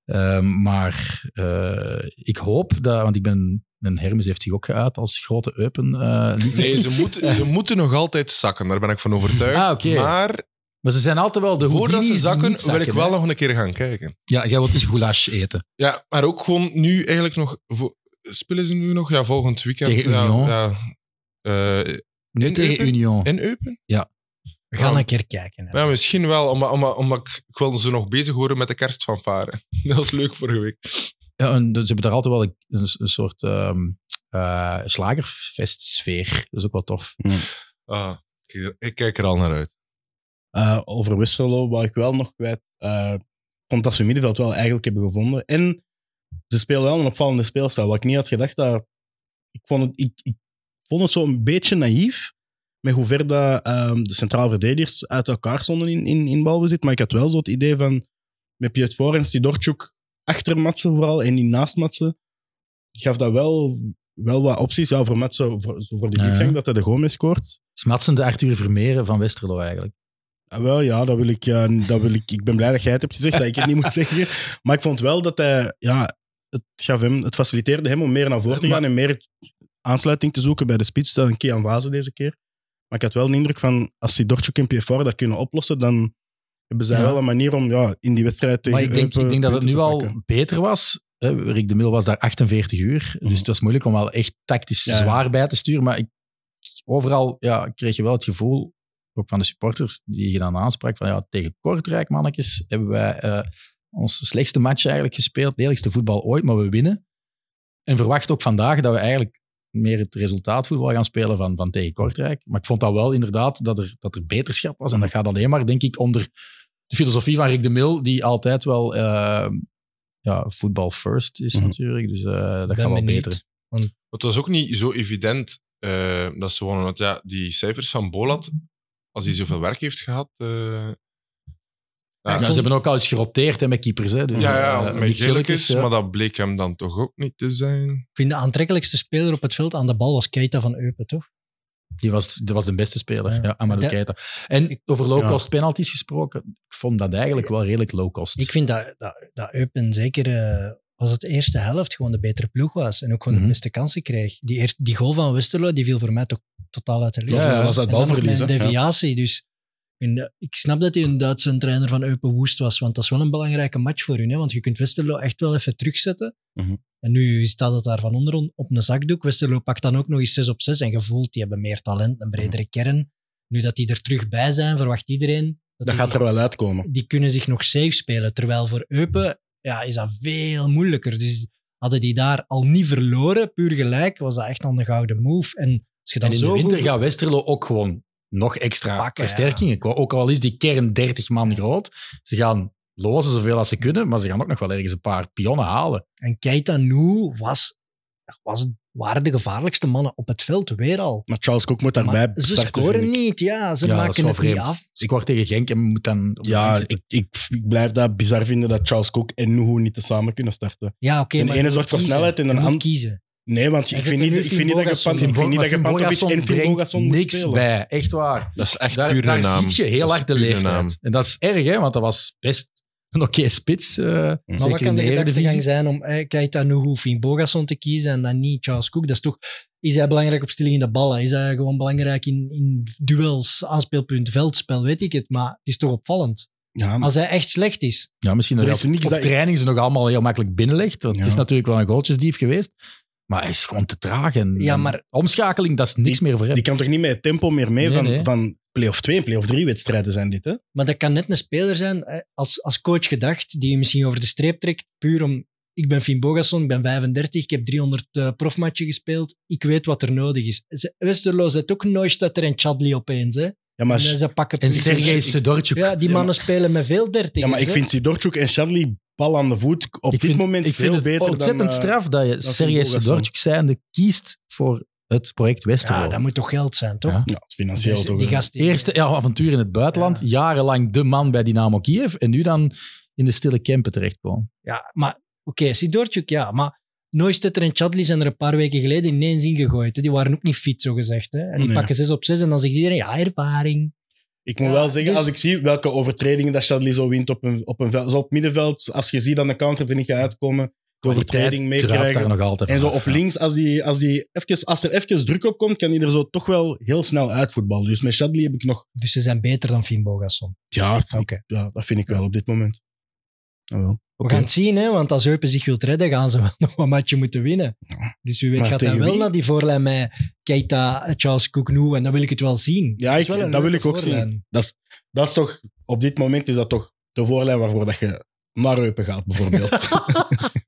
Ehm, maar eh, ik hoop dat, want ik ben, mijn Hermes heeft zich ook geuit als grote Eupen. eh, liefhebber. Nee, ze moeten, ze moeten nog altijd zakken. Daar ben ik van overtuigd. Ah, oké. Maar Maar ze zijn altijd wel de voordat Houdini's ze die zakken, niet wil ik zakken, hè. wel nog een keer gaan kijken. Ja, jij wilt dus goulash eten. Ja, maar ook gewoon nu eigenlijk nog... vo- Spelen ze nu nog? Ja, volgend weekend. Tegen ja, Union. ja. Eh, Nu In tegen Eupen? Union. in Eupen? Ja. We gaan een keer kijken. hè. Ja, misschien wel, omdat, omdat, omdat ik, ik wil ze nog bezig horen met de kerstfanfare. Dat was leuk vorige week. Ja, en ze hebben daar altijd wel een, een, een soort ehm eh slagerfestsfeer. Dat is ook wel tof. Ah, ik, ik kijk er al naar uit. Eh, over Westerlo, wat ik wel nog kwijt. eh vond dat ze hun middenveld wel eigenlijk hebben gevonden. En ze speelden wel een opvallende speelstijl. Wat ik niet had gedacht, dat, ik, vond het, ik, ik vond het zo een beetje naïef. Met hoe ver dat, ehm, de centraal verdedigers uit elkaar stonden in, in, in balbezit. Maar ik had wel zo het idee van. Met Piet Forens, die Dortjuk achter Matsen vooral en die naast Matsen. Gaf dat wel, wel wat opties. Ja, voor Matsen, voor, zo voor die Ja. diepgang, dat hij de goal mee scoort. Smatsende Arthur Vermeeren van Westerlo eigenlijk. Ah, wel, ja, dat wil ik, eh, dat wil ik. Ik ben blij dat jij het hebt gezegd, dat ik het niet moet zeggen. Maar ik vond wel dat hij, ja, het, gaf hem, het faciliteerde hem om meer naar voren te gaan Maar- en meer aansluiting te zoeken bij de spits dan Kian Vaze deze keer. Maar ik had wel de indruk van, als die Dortje en PFR dat kunnen oplossen, dan hebben zij Ja. wel een manier om ja, in die wedstrijd tegen Maar ik denk, Eupen ik denk dat het nu punten te al pakken. beter was. hè. Rick de Mil was daar 48 uur. Dus Mhm. het was moeilijk om wel echt tactisch Ja, ja. zwaar bij te sturen. Maar ik, overal ja, kreeg je wel het gevoel, ook van de supporters die je dan aansprak, van ja, tegen Kortrijk, mannetjes, hebben wij eh ons slechtste match eigenlijk gespeeld. Lelijkste voetbal ooit, maar we winnen. En verwacht ook vandaag dat we eigenlijk meer het resultaatvoetbal gaan spelen van, van tegen Kortrijk. Maar ik vond dat wel inderdaad dat er, dat er beterschap was. En dat gaat alleen maar, denk ik, onder de filosofie van Rick de Mil, die altijd wel eh, ja, voetbal first is Mhm. natuurlijk. Dus eh, dat ben gaat wel benieuwd. beter. Het was ook niet zo evident eh, eh, dat ze wonen. Want ja, die cijfers van Bolat, als hij zoveel werk heeft gehad. eh, Ja, ze hebben ook al eens geroteerd hè, met keepers. Hè, dus, ja, ja, eh, met Mick Gillikes, Gillikes, ja. maar dat bleek hem dan toch ook niet te zijn. Ik vind de aantrekkelijkste speler op het veld aan de bal was Keita van Eupen, toch? Die was, dat was de beste speler, Ja. ja. Amadou Dat- Keita. En over low-cost Ja. penalties gesproken, ik vond dat eigenlijk wel redelijk low-cost. Ik vind dat, dat, dat Eupen zeker eh, was het eerste helft gewoon de betere ploeg was. En ook gewoon Mhm. de beste kansen kreeg. Die, eerste, die goal van Westerlo die viel voor mij toch totaal uit de lucht. Dat was- Ja, ja. dat was uit En dan nog balverlies. met een hè. Ja. deviatie. Dus ik vind, eh, ik snap dat hij een Duitse trainer van Eupen woest was, want dat is wel een belangrijke match voor hun. Hè? Want je kunt Westerlo echt wel even terugzetten. Mhm. En nu staat het daar van onder on- op een zakdoek. Westerlo pakt dan ook nog eens 6 op 6 en gevoeld, die hebben meer talent, een Mhm. bredere kern. Nu dat die er terug bij zijn, verwacht iedereen... Dat Dat, die- gaat er wel uitkomen. die kunnen zich nog safe spelen. Terwijl voor Eupen ja, is dat veel moeilijker. Dus hadden die daar al niet verloren, puur gelijk, was dat echt dan de gouden move. En als je en dan in zo de winter goed- gaat Westerlo ook gewoon nog extra Pakken, versterkingen. ko- Ook al is die kern 30 man groot, ze gaan lozen zoveel als ze kunnen, maar ze gaan ook nog wel ergens een paar pionnen halen. En Keita Nu was, was, waren de gevaarlijkste mannen op het veld weer al. Maar Charles Cook moet daarbij Maar ze starten, scoren vind ik. niet, ja. Ze Ja, dat is maken wel het niet vreemd. af. Ik word tegen Genk en moet dan... op de bank Ja, zitten. ik, ik, ik blijf dat bizar vinden dat Charles Cook en Nuhu niet tezamen kunnen starten. Ja, oké. De maar je ene moet zorgt voor kiezen. snelheid en Je een moet an- kiezen. Nee, want Hij ik zet vind er niet, nu ik Finn vind niet dat je Bogason Pan- ik Bo- vind niet maar dat je Finn Pantovic Bogason en Finn brengt Bogason moet niks spelen. bij, echt waar. Dat is echt Daar, puur daar een naam. ziet je heel Dat is hard de puur een leeftijd. naam. En dat is erg, hè, want dat was best een oké spits. eh Maar wat zeker in kan de de gedachtegang Eredivisie. zijn om eh, Keita Nuhu, Finn Bogason te kiezen en dan niet Charles Cook? Dat is toch... Is hij belangrijk op stilling in de ballen? Is hij gewoon belangrijk in, in duels, aanspeelpunt, veldspel? Weet ik het, maar het is toch opvallend. Ja, maar Als hij echt slecht is. Ja, misschien Er dat is hij op, niks op dat- training ze nog allemaal heel makkelijk binnenlegt. Want het Ja. is natuurlijk wel een goaltjesdief geweest. Maar hij is gewoon te traag. En, Ja, en maar- omschakeling, dat is niks meer voor hem. die kan toch niet met het tempo meer mee Nee, van, nee. van play-off 2 en play-off 3 wedstrijden zijn dit, hè? Maar dat kan net een speler zijn, eh, als, als coach gedacht, die je misschien over de streep trekt, puur om... Ik ben Finn Bogason, ik ben 35, ik heb 300 eh, profmatchen gespeeld. Ik weet wat er nodig is. Ze- Westerlo zet ook Neustadt en Chadli opeens. Hè? Ja, maar, en ze pakken en punten. Sergej Sedorchuk. Ja, die Ja, mannen spelen met veel dertigers. ja, maar ik hè. vind Sidorchuk en Shadley bal aan de voet op Ik dit vind- moment ik vind veel het beter ontzettend dan... eh, straf dat je Finn Sergej Bogason. Sedorchuk zijnde kiest voor het project Westerlo. Ja, dat moet toch geld zijn, toch? Ja. ja, financieel Dus toch. die hè. gast die- Eerste ja, avontuur in het buitenland. Ja. Jarenlang de man bij Dynamo Kiev. En nu dan in de stille Kempen terechtkomen. Ja, maar oké, Sidorchuk, ja. Maar Neustetter en Chadli zijn er een paar weken geleden ineens ingegooid. Hè. Die waren ook niet fit, zo gezegd. Hè. En die Nee. pakken zes op zes en dan zegt iedereen, ja, ervaring. Ik moet Ja, wel zeggen, dus- als ik zie welke overtredingen dat Shadley zo wint op een, op een veld, zo op middenveld, als je ziet dat de counter er niet gaat uitkomen, de overtreding Kwaliteit druipt meekrijgen. daar nog altijd En zo vanaf, op ja. links, als, die, als, die even, als er even druk op komt, kan hij er zo toch wel heel snel uitvoetballen. Dus met Shadley heb ik nog... Dus ze zijn beter dan Finn Bogason. Ja, Oké. ja dat vind ik wel op dit moment. Jawel. We gaan het zien, hè, want als Eupen zich wilt redden, gaan ze wel nog een matje moeten winnen. Dus wie weet Maar gaat hij tegen wel wie? naar die voorlijn met Keita, Charles Cooknoe, en dan wil ik het wel zien. Ja, is ik- wel een dat wil leuke ik ook zien. voorlijn. Dat is, dat is toch... Op dit moment is dat toch de voorlijn waarvoor dat je naar Eupen gaat, bijvoorbeeld.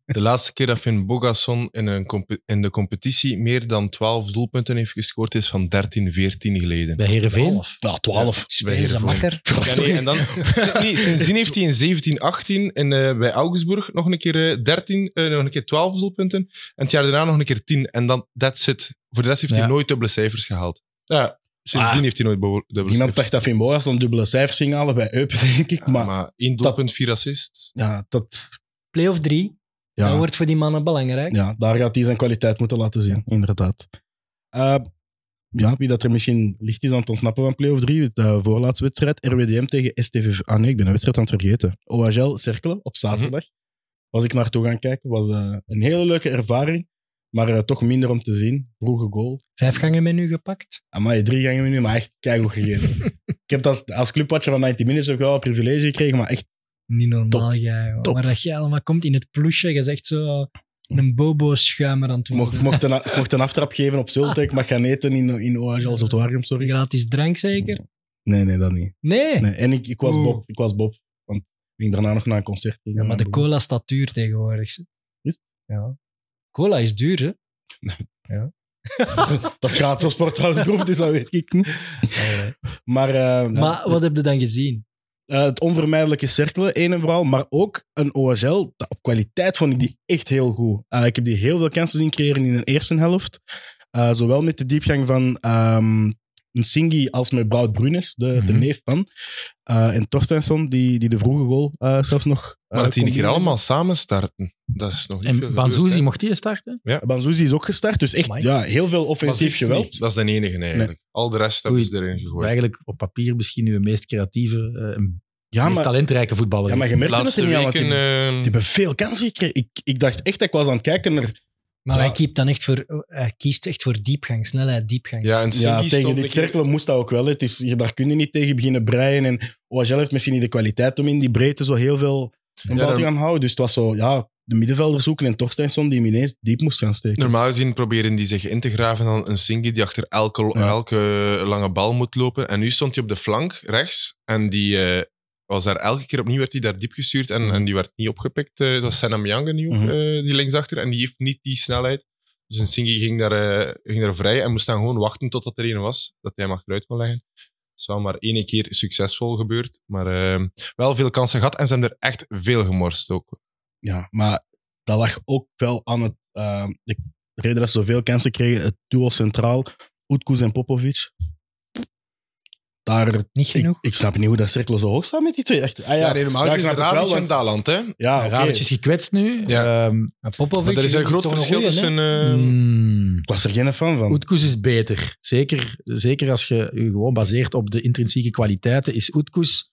De laatste keer dat Finn Bogasson in, een compe- in de competitie meer dan 12 doelpunten heeft gescoord, is van 13, 14 geleden. Bij Heerenveen. Elf. ja, twaalf. Spelen ze makker. Ja, nee, en dan, nee, sindsdien heeft hij in 17, 18 en, eh, bij Augsburg nog een keer eh, 13, eh, nog een keer 12 doelpunten. En het jaar daarna nog een keer 10. En dan, that's it. Voor de rest heeft Ja. hij nooit dubbele cijfers gehaald. Ja, sindsdien Ah. heeft hij nooit bo- dubbele Niemand cijfers dacht dat Finn Boras dan dubbele cijfers ging halen bij Eupen, denk ik. Ja, Maar, maar, één doelpunt, vier assists. ja, dat... Playoff 3. Ja. Dat wordt voor die mannen belangrijk. Ja, daar gaat hij zijn kwaliteit moeten laten zien, inderdaad. Eh, ja, wie dat er misschien licht is aan het ontsnappen van play-off 3, de voorlaatste wedstrijd, RWDM tegen STV... Ah nee, ik ben een wedstrijd aan het vergeten. OHL Cerkelen, op zaterdag. Was ik naartoe gaan kijken, was eh, een hele leuke ervaring, maar eh, toch minder om te zien. Vroege goal. Vijf gangen menu gepakt. Amai, drie gangen menu, maar echt keigoed gegeven. ik heb dat als, als clubwatcher van 90 Minutes ook wel een privilege gekregen, maar echt Niet normaal, jij. hoor. Top. Maar dat jij allemaal komt in het ploesje, je zegt zo een bobo-schuimer aan het worden. mocht, mocht, een, mocht een aftrap geven op Zulte, ik mag gaan eten in, in OHL Zotwaargem, sorry. Gratis drank, zeker? Nee, nee, dat niet. Nee. Nee, en ik, ik, was Oeh. Bob, ik was Bob, want ik ging daarna nog naar een concert. Ja, maar de cola staat duur tegenwoordig. ze. Is Ja. Cola is duur, hè? Dat is gratis op sporthoudgroep, dus dat weet ik niet. Maar, eh, Maar wat heb je dan gezien? eh, het onvermijdelijke cirkelen, één en vooral, maar ook een OSL. dat Op kwaliteit vond ik die echt heel goed. Eh, ik heb die heel veel kansen zien creëren in de eerste helft. Eh, zowel met de diepgang van ehm Nsingi als met Bout Brunes, de, de Mhm. neef van. Eh, en Torstensson, die, die de vroege goal eh, zelfs nog... eh, Maar dat die kon een keer doen. allemaal samen starten, dat is nog niet veel En gebeurd, Banzuzi hè. mocht die starten? Banzuzi is ook gestart, dus echt Amai. ja, heel veel offensief Bazic geweld. niet. Dat is de enige eigenlijk. Al de rest hebben Oei. ze erin gegooid. Eigenlijk op papier misschien uw meest creatieve, eh, en Ja, meest maar, talentrijke voetballer. ja, maar je De merkt het laatste er niet aan, want weken... die, eh, die hebben veel kansen gekregen. Ik, ik dacht echt, dat ik was aan het kijken naar... Maar Ja. hij, keept dan echt voor, hij kiest echt voor diepgang, snelheid, diepgang. ja, en Ja, Singy tegen stond die een keer- cirkel moest dat ook wel. hè. Het is, je- daar kun je niet tegen beginnen breien. En OHL heeft misschien niet de kwaliteit om in die breedte zo heel veel een Ja, bal te dan- gaan houden. Dus het was zo, ja, de middenvelder zoeken en Torstensson die hem ineens diep moest gaan steken. Normaal gezien proberen die zich in te graven dan een Singy die achter elke, Ja. elke lange bal moet lopen. En nu stond hij op de flank rechts en die eh, was daar elke keer opnieuw werd hij daar diep gestuurd en, en die werd niet opgepikt. Eh, dat was Senam Yangen nu ook, Mhm. eh, die linksachter en die heeft niet die snelheid. Dus een Singy ging daar, eh, ging daar vrij en moest dan gewoon wachten totdat er een was dat hij hem achteruit kon leggen. Het is wel maar één keer succesvol gebeurd, maar eh, wel veel kansen gehad en ze hebben er echt veel gemorst ook. Ja, maar dat lag ook wel aan het, eh, de reden dat ze zoveel kansen kregen. Het duo centraal, Utkus en Popovic. Daar, Niet ik, genoeg. ik snap niet hoe dat cirkel zo hoog staat met die twee. Echt, ah, ja, ja, normaal Ja, ik snap het wel, Ravic want- Daland, hè? ja Ah, oké. Ravic is gekwetst nu. Ja. Ehm, Maar Popovic Maar er is een toch groot verschil goeie, hè? tussen... eh, mm, Ik was er geen fan van. Oetkoes is beter. Zeker, zeker als je je gewoon baseert op de intrinsieke kwaliteiten, is Oetkoes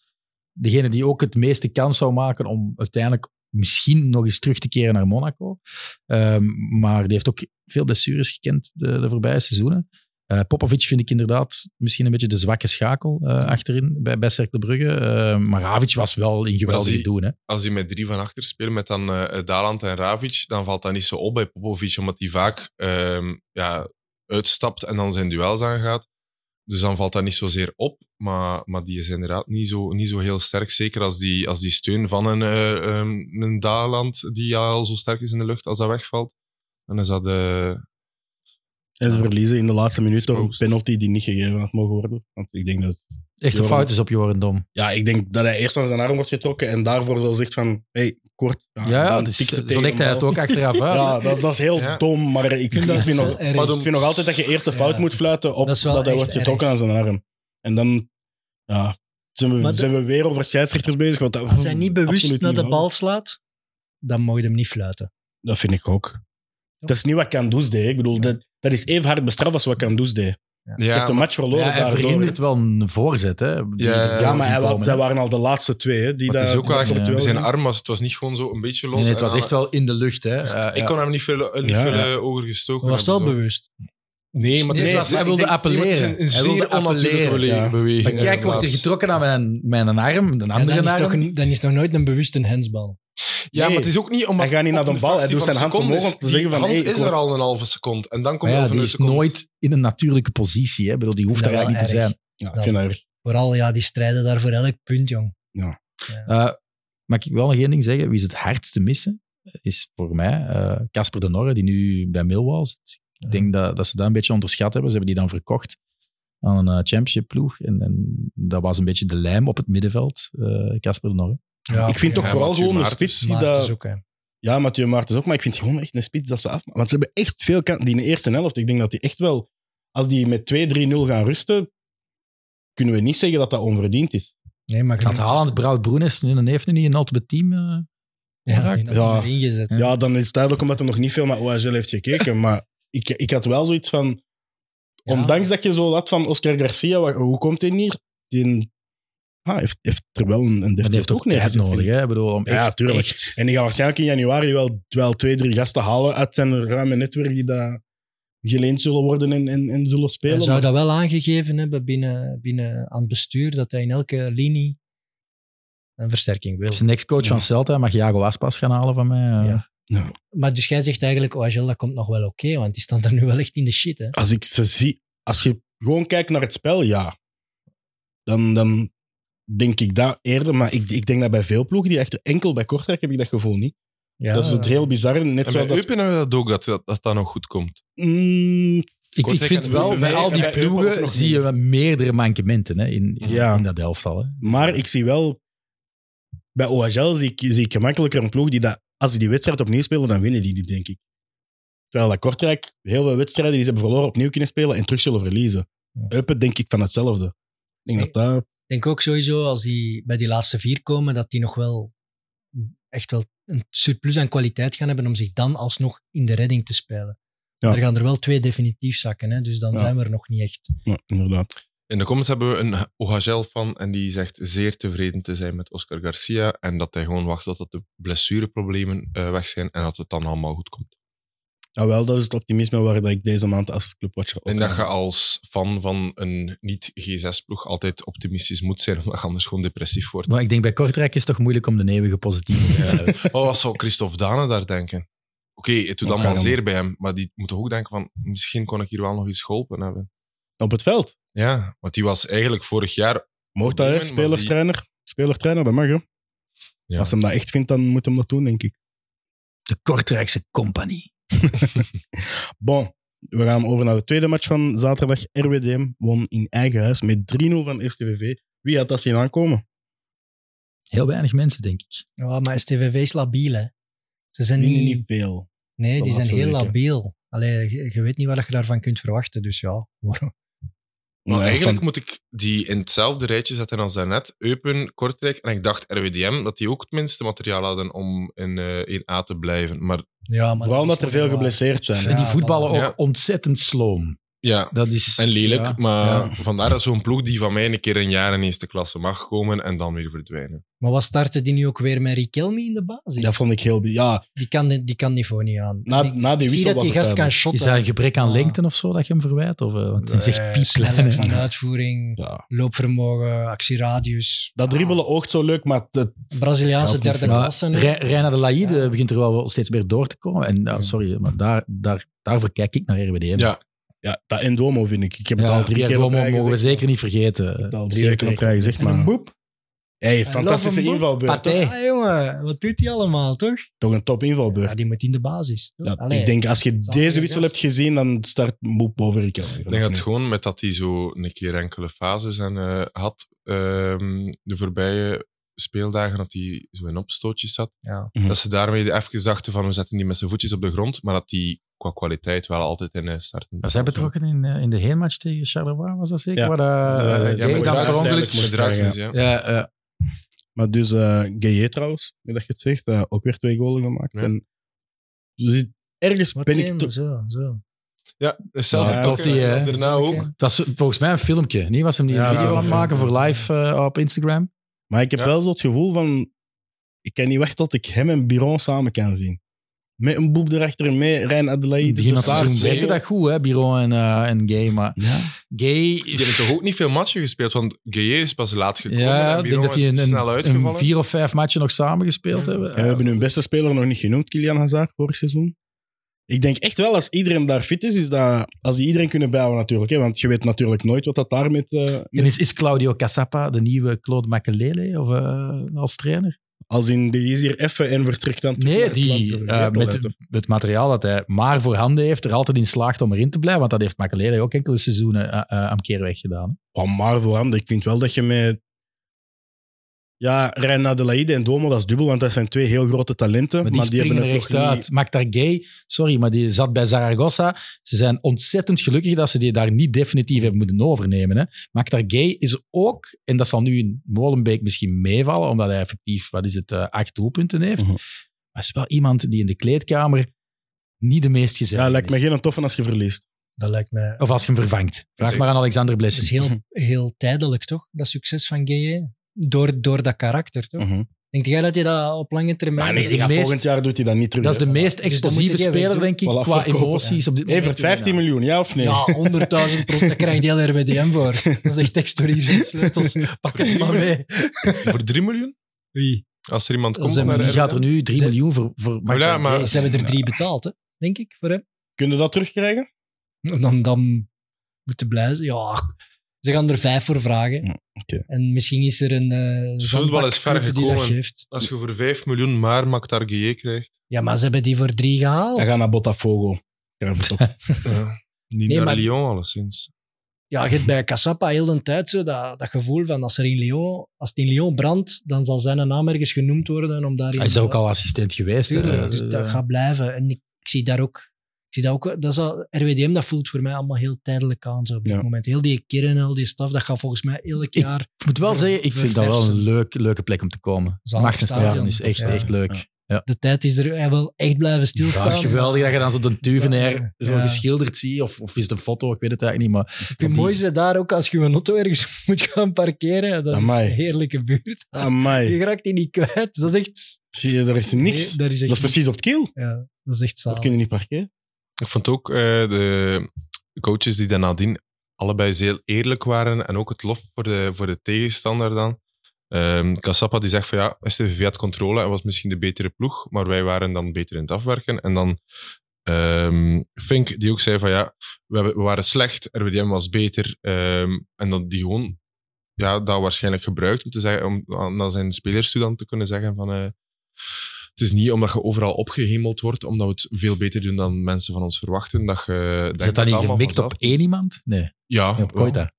degene die ook het meeste kans zou maken om uiteindelijk misschien nog eens terug te keren naar Monaco. Ehm, maar die heeft ook veel blessures gekend de, de voorbije seizoenen. Eh, Popovic vind ik inderdaad misschien een beetje de zwakke schakel eh, achterin bij, bij Cercle Brugge. Eh, maar Ravic was wel in Maar als geweldige hij- doen. Hè. als die met drie van achter spelen, met dan eh, Daland en Ravic, dan valt dat niet zo op bij Popovic, omdat hij vaak ehm, ja, uitstapt en dan zijn duels aangaat. Dus dan valt dat niet zozeer op, maar, maar die is inderdaad niet zo, niet zo heel sterk. Zeker als die, als die steun van een, eh, ehm, een Daland, die al zo sterk is in de lucht, als dat wegvalt. Dan is dat... eh, En ze verliezen in de laatste minuut door een Exposed. penalty die niet gegeven had mogen worden. Want ik denk dat, Echt een Joren- fout is op Jorendom. ja, ik denk dat hij eerst aan zijn arm wordt getrokken en daarvoor wel zegt van, hey, kort. Ja, dan dus, tikt het zo tegen legt de hij bal. dat ook achteraf uit. Ja, dat, dat is heel Ja. dom, maar ik, ik Dat vind, is nog, wel erg. maar dan- ik vind nog altijd dat je eerst de fout Ja. moet fluiten op Dat dat, is wel hij echt wordt getrokken erg. aan zijn arm. En dan ja, zijn, we, Maar de- zijn we weer over scheidsrechters bezig. Want dat, Als hij niet bewust absoluut naar niet de nodig. bal slaat, dan mag je hem niet fluiten. Dat vind ik ook. Dat is niet wat Kandus deed. Ik bedoel, dat, dat is even hard bestraft als wat Kandus deed. Je hebt de maar- match verloren Ja, hij daardoor. verhindert wel een voorzet. Hè, die Ja, er Ja, maar hij in was, komen, zij hè. waren al de laatste twee. Hè, die maar het is daar- ook wel die echt... daar- ja. Zijn arm was, het was niet gewoon zo een beetje los. Nee, nee, het en was dan- echt wel in de lucht. Hè. Eh, Ik ja. kon hem niet veel, niet Ja, veel ja. eh, ogen gestoken Dat was wel hebben, zo. bewust. Dus Nee, maar het is Nee, wel- hij ik wilde denk- appelleren. nee, maar het is Hij een wilde zeer onnatuurlijke appelleren. bele- Ja. beweging. Maar kijk, wordt er inderdaad. getrokken aan mijn, mijn arm, de En andere dan, is toch arm. niet, dan is nog nooit een bewuste handsbal. Ja, maar Nee. het is ook niet omdat... Hij gaat niet naar de op een bal, hij fractie doet van zijn hand een seconde omhoog om is- te zeggen die van, hand hey, ik is er word- al een halve seconde. En dan Maar komt er ja, over die een is seconde. nooit in een natuurlijke positie. Hè. Ik Bedoel, die hoeft Dat er wel eigenlijk niet te erg. zijn. Ja, ik vind dat erg. Vooral ja, die strijden daar voor elk punt, jong. Eh, mag ik wel nog één ding zeggen? Wie is het hardst te missen? Is voor mij eh, Casper de Norre, die nu bij Millwall zit. Ik denk dat, dat ze dat een beetje onderschat hebben. Ze hebben die dan verkocht aan een eh, championship ploeg. En, en dat was een beetje de lijm op het middenveld, eh, Casper de Norre. Ik vind toch Ja, vooral Mathieu gewoon een Maartens. spits die Maar het is dat... ook, hè. Ja, Mathieu Maartens ook, maar ik vind gewoon echt een spits dat ze afmaken. Want ze hebben echt veel kansen. Die in de eerste helft, ik denk dat die echt wel... Als die met 2-3-0 gaan rusten, kunnen we niet zeggen dat dat onverdiend is. Nee, maar Gaat Haaland, Brouw Broenes, nu een heeft nu niet een ultimate team. eh, Ja, geraakt? die had hij Ja. erin gezet. Ja, Ja. dan is het duidelijk omdat er nog niet veel naar OHL heeft gekeken. Maar ik, ik had wel zoiets van... Ja. Ondanks dat je zo had van Oscar Garcia, wa- hoe komt hij hier? Die ah, heeft, heeft er wel een, een Maar die heeft ook tijd neergezet, vind nodig, ik. hè? Ik Bedoel, om Ja, echt, tuurlijk. echt- En die gaan waarschijnlijk in januari wel, wel twee, drie gasten halen uit zijn ruime netwerk die daar geleend zullen worden en, en, en zullen Hij spelen. zou Maar- dat wel aangegeven hebben binnen, binnen aan het bestuur, dat hij in elke linie een versterking wil. Dus de next coach van Celta mag Jago Aspas gaan halen van mij. eh. Ja. Maar dus jij zegt eigenlijk, OHL, dat komt nog wel oké, want die staan daar nu wel echt in de shit. Hè? Als ik ze zie, als je gewoon kijkt naar het spel, ja. Dan, dan denk ik dat eerder. Maar ik, ik denk dat bij veel ploegen, die echt enkel bij Kortrijk, heb ik dat gevoel niet. Ja, dat is het heel bizarre. Net En zoals bij dat... Eupen hebben we dat ook, dat dat, dat dat nog goed komt. Mm, Ik, ik Kortrijk vind en wel, Eupen bij weer. al die En bij Eupen ook ploegen nog zie je wel meerdere mankementen hè, in, in, Ja. in dat elftal. Hè. maar ik zie wel... Bij OHL zie ik, zie ik gemakkelijker een ploeg die dat... Als ze die wedstrijd opnieuw spelen, dan winnen die die, denk ik. Terwijl dat Kortrijk heel veel wedstrijden die ze hebben verloren opnieuw kunnen spelen en terug zullen verliezen. Eupen denk ik van hetzelfde. Ik denk dat dat... Ik denk ook sowieso, als die bij die laatste vier komen, dat die nog wel echt wel een surplus aan kwaliteit gaan hebben om zich dan alsnog in de redding te spelen. Ja. Er gaan er wel twee definitief zakken, hè? dus dan Ja. zijn we er nog niet echt. Ja, inderdaad. In de comments hebben we een Ogagel van en die zegt zeer tevreden te zijn met Oscar Garcia en dat hij gewoon wacht tot de blessureproblemen eh, weg zijn en dat het dan allemaal goed komt. Ja, Ah, wel, dat is het optimisme waar dat ik deze maand als clubwatcher op En dat je als fan van een niet-G6-ploeg altijd optimistisch moet zijn, omdat je anders gewoon depressief wordt. Maar ik denk bij Kortrijk is het toch moeilijk om de eeuwige positieve te hebben. Maar Oh, wat zou Christophe Dane daar denken? Oké, het doet Oké, allemaal dan- zeer bij hem, maar die moet toch ook denken van misschien kon ik hier wel nog iets geholpen hebben. Op het veld. Ja, want die was eigenlijk vorig jaar... Mocht dat, hè? Problemen, maar die- Spelerstrainer. Spelertrainer, dat mag, hè. Ja. Als hem dat echt vindt, dan moet hem dat doen, denk ik. De Kortrijkse compagnie. Bon, we gaan over naar de tweede match van zaterdag. RWDM won in eigen huis met 3-0 van STVV. Wie had dat zien aankomen? Heel weinig mensen, denk ik. Ja, maar STVV is labiel, hè. Ze zijn Winnen niet... niet veel. nee, de die zijn laatste heel weken. labiel. Allee, je, je weet niet wat je daarvan kunt verwachten, dus ja. Nou, Maar Ja, Nou, eigenlijk van- moet ik die in hetzelfde rijtje zetten als daarnet. Eupen, Kortrijk en ik dacht RWDM, dat die ook het minste materiaal hadden om in eh 1A te blijven. Maar ja maar Vooral omdat dat is er toch veel wel waar. geblesseerd zijn. en die voilà. voetballen ook Ja. ontzettend sloom. ja, Dat is, En lelijk, ja. maar Ja. vandaar dat zo'n ploeg die van mij een keer een jaar in eerste klasse mag komen en dan weer verdwijnen. Maar wat startte die nu ook weer met Riquelme in de basis? Dat vond ik heel... bi- Ja, Die, kan, dit- die kan niveau niet aan. na, ik na die ik wissel zie dat was die het gast kan duidelijk. shotten. Is dat een gebrek aan Ah. lengte of zo dat je hem verwijt? Of, eh, want hij zegt Eh, pieplijn. snelheid hè. van uitvoering, Ja. loopvermogen, actieradius. Dat dribbelen oogt zo leuk, maar het- Braziliaanse Gaat niet derde ver. Maar klasse. nu. Re- Reina de Laïde Ja. begint er wel steeds meer door te komen. En, nou, sorry, maar daar, daar, daarvoor kijk ik naar RWDM. Ja, ja, dat Endomo vind ik. Ik heb het Ja, al drie die keer op Romo rij mogen we gezegd. zeker eh, niet Ik heb vergeten. het al drie Zeer keer op terecht. rij gezegd, En een maar... boep. Hey, love fantastische him, boep. invalbeurt. Pathé. Toch? Hey. Ah, jongen, wat doet hij allemaal, toch? Toch een top invalbeurt. Ja, die moet in de basis. toch? Ja, Allee, ik denk, als je zal geen deze wissel gast- hebt gezien, dan start Boep boven Riquelme. ik denk dat het gewoon met dat hij zo een keer enkele fases en, eh, had ehm, de voorbije speeldagen, dat hij zo in opstootjes zat. Ja. Hm. Mhm. Dat ze daarmee even dachten van we zetten die met zijn voetjes op de grond, maar dat die qua kwaliteit wel altijd in eh, starten. Was hij betrokken in, eh, in de heenmatch tegen Charleroi? Was dat zeker? Ja. Waar dat, eh, Eh, Ja, Dave met dan Draxler- per ongeluk- moest met Draxler, krijgen, ja. Ja, eh, Maar dus eh Gueye trouwens, nu dat je het zegt, eh, ook weer twee goals gemaakt. Ja. En, dus ergens Wat ben hem, ik... toch- Zo, zo. Ja, zelf Ja, ook, dat die, hè. daarna ook. Oké. het was volgens mij een filmpje. Nee, was hem niet Ja, een video ja, aan het maken ja. voor live eh, op Instagram? Maar ik heb Ja. wel zo het gevoel van... Ik kan niet wachten tot ik hem en Biron samen kan zien. Met een boep erachter, mee, Rijn Adelaide. In het begin van de het seizoen Saar, werkte dat goed, hè, Biron en, eh, en Gay. Maar Ja. Gay... Die hebben toch ook niet veel matchen gespeeld, want Gueye is pas laat gekomen Ja, en ik denk dat Biron is die een, snel een, uitgevallen. een vier of vijf matchen nog samen gespeeld Ja. hebben. En we hebben hun beste speler nog niet genoemd, Kilian Hazard, vorig seizoen. Ik denk echt wel, als iedereen daar fit is, is dat, als die iedereen kunnen bijhouden natuurlijk. Hè, want je weet natuurlijk nooit wat dat daar met... eh, En is, is Claudio Cassapa de nieuwe Claude Makelele of, eh, als trainer? als in, die is hier even en vertrekt dan... terug Nee, naar het land. die Dat eh, weet wel met uit, hè. het materiaal dat hij maar voorhanden heeft, er altijd in slaagt om erin te blijven. Want dat heeft Makelele ook enkele seizoenen eh, eh, aan keer weggedaan. Ja, maar voorhanden. Ik vind wel dat je met... Ja, Rein Adelaide en Domo, dat is dubbel, want dat zijn twee heel grote talenten. Maar die springen er echt nog niet- uit. Maakt daar gay. Sorry, maar die zat bij Zaragoza. Ze zijn ontzettend gelukkig dat ze die daar niet definitief hebben moeten overnemen. Hè. Maakt daar gay is ook, en dat zal nu in Molenbeek misschien meevallen, omdat hij effectief, wat is het, eh, acht doelpunten heeft. Mhm. Maar is wel iemand die in de kleedkamer niet de meest gezellig Ja, lijkt me is. geen toffe als je verliest. Dat lijkt mij... Of als je hem vervangt. Vraag Zeker. maar aan Alexander Het is Blessing. heel, heel tijdelijk, toch? Dat succes van Gueye. Door, door dat karakter, toch? Mhm. Denk jij dat hij dat op lange termijn... Maar nee, die de gaat meest- volgend jaar doet hij dat niet terug. Dat is de hè. meest Dus dan explosieve moet je die weer speler, doen. denk ik, Voilà, qua verkopen. emoties op dit moment. Evert, 15 miljoen, ja of nee? Ja, 100.000 procent. Dan krijg je heel RWDM voor. Dat is echt extra hier. Sleutels, pak het maar mee. Voor 3 miljoen? Wie? Als er iemand Dan komt zijn we naar Die gaat er nu 3 Ze- miljoen voor, voor Maarten Ja, maar- Gay. Ze hebben er drie betaald, hè? denk ik, voor hem. Kun je dat terugkrijgen? En Dan, dan moeten blij zijn. Ja, ze gaan er vijf voor vragen. Ja, oké. En misschien is er een. eh Dus voetbal is ver zandbakclub die dat gekomen. geeft. Als je voor 5 miljoen maar Maktar Gueye krijgt. Ja, maar ze hebben die voor drie gehaald. Hij gaat naar Botafogo. Schrijf het op. Niet Nee, naar maar- Lyon, alleszins. Ja, je hebt bij Cassapa heel de tijd zo dat, dat gevoel van als, er in Lyon, als het in Lyon brandt, dan zal zijn naam ergens genoemd worden. Om daar Hij is ook al assistent geweest. eh, hè. dus Tuurlijk, dus dat gaat blijven. En ik, ik zie daar ook. zie dat ook, dat is al, RWDM dat voelt voor mij allemaal heel tijdelijk aan zo op dit Ja. moment. Heel die kern, al die staf, dat gaat volgens mij elk Ik- jaar... Ik moet wel Ver- zeggen, ik vind dat wel een verversen. leuk, leuke plek om te komen. Zalig Magnestadion stadion. is echt, Ja. echt leuk. De tijd is er hij wil echt blijven Ja, stilstaan. het is geweldig dat je dan zo de Duvenair Ja. zo Ja. geschilderd ziet. Of, of is het een foto, ik weet het eigenlijk niet. Maar Ik vind het mooiste daar ook, als je een auto ergens moet gaan parkeren, dat Amai. is een heerlijke buurt. Amai. Je raakt die niet kwijt. Dat is echt... Zie je, daar is niks. Nee, daar is echt dat is precies op het keel. Ja, dat is echt Dat zalig. kun je niet parkeren. Ik vond ook eh, de coaches die dan nadien allebei zeer eerlijk waren en ook het lof voor de, voor de tegenstander dan. Ehm Kassapa die zegt van ja, STVV had controle en was misschien de betere ploeg, maar wij waren dan beter in het afwerken. En dan ehm, Fink die ook zei van ja, we, hebben- we waren slecht, RWDM was beter. Ehm, en dat die gewoon ja, dat waarschijnlijk gebruikt om, te zeggen, om aan naar zijn spelers toe dan te kunnen zeggen van... eh, het is niet omdat je overal opgehemeld wordt, omdat we het veel beter doen dan mensen van ons verwachten, dat je... is dat dan niet allemaal gemikt op vanzelf- één iemand? Nee, Ja, nee, op Koita.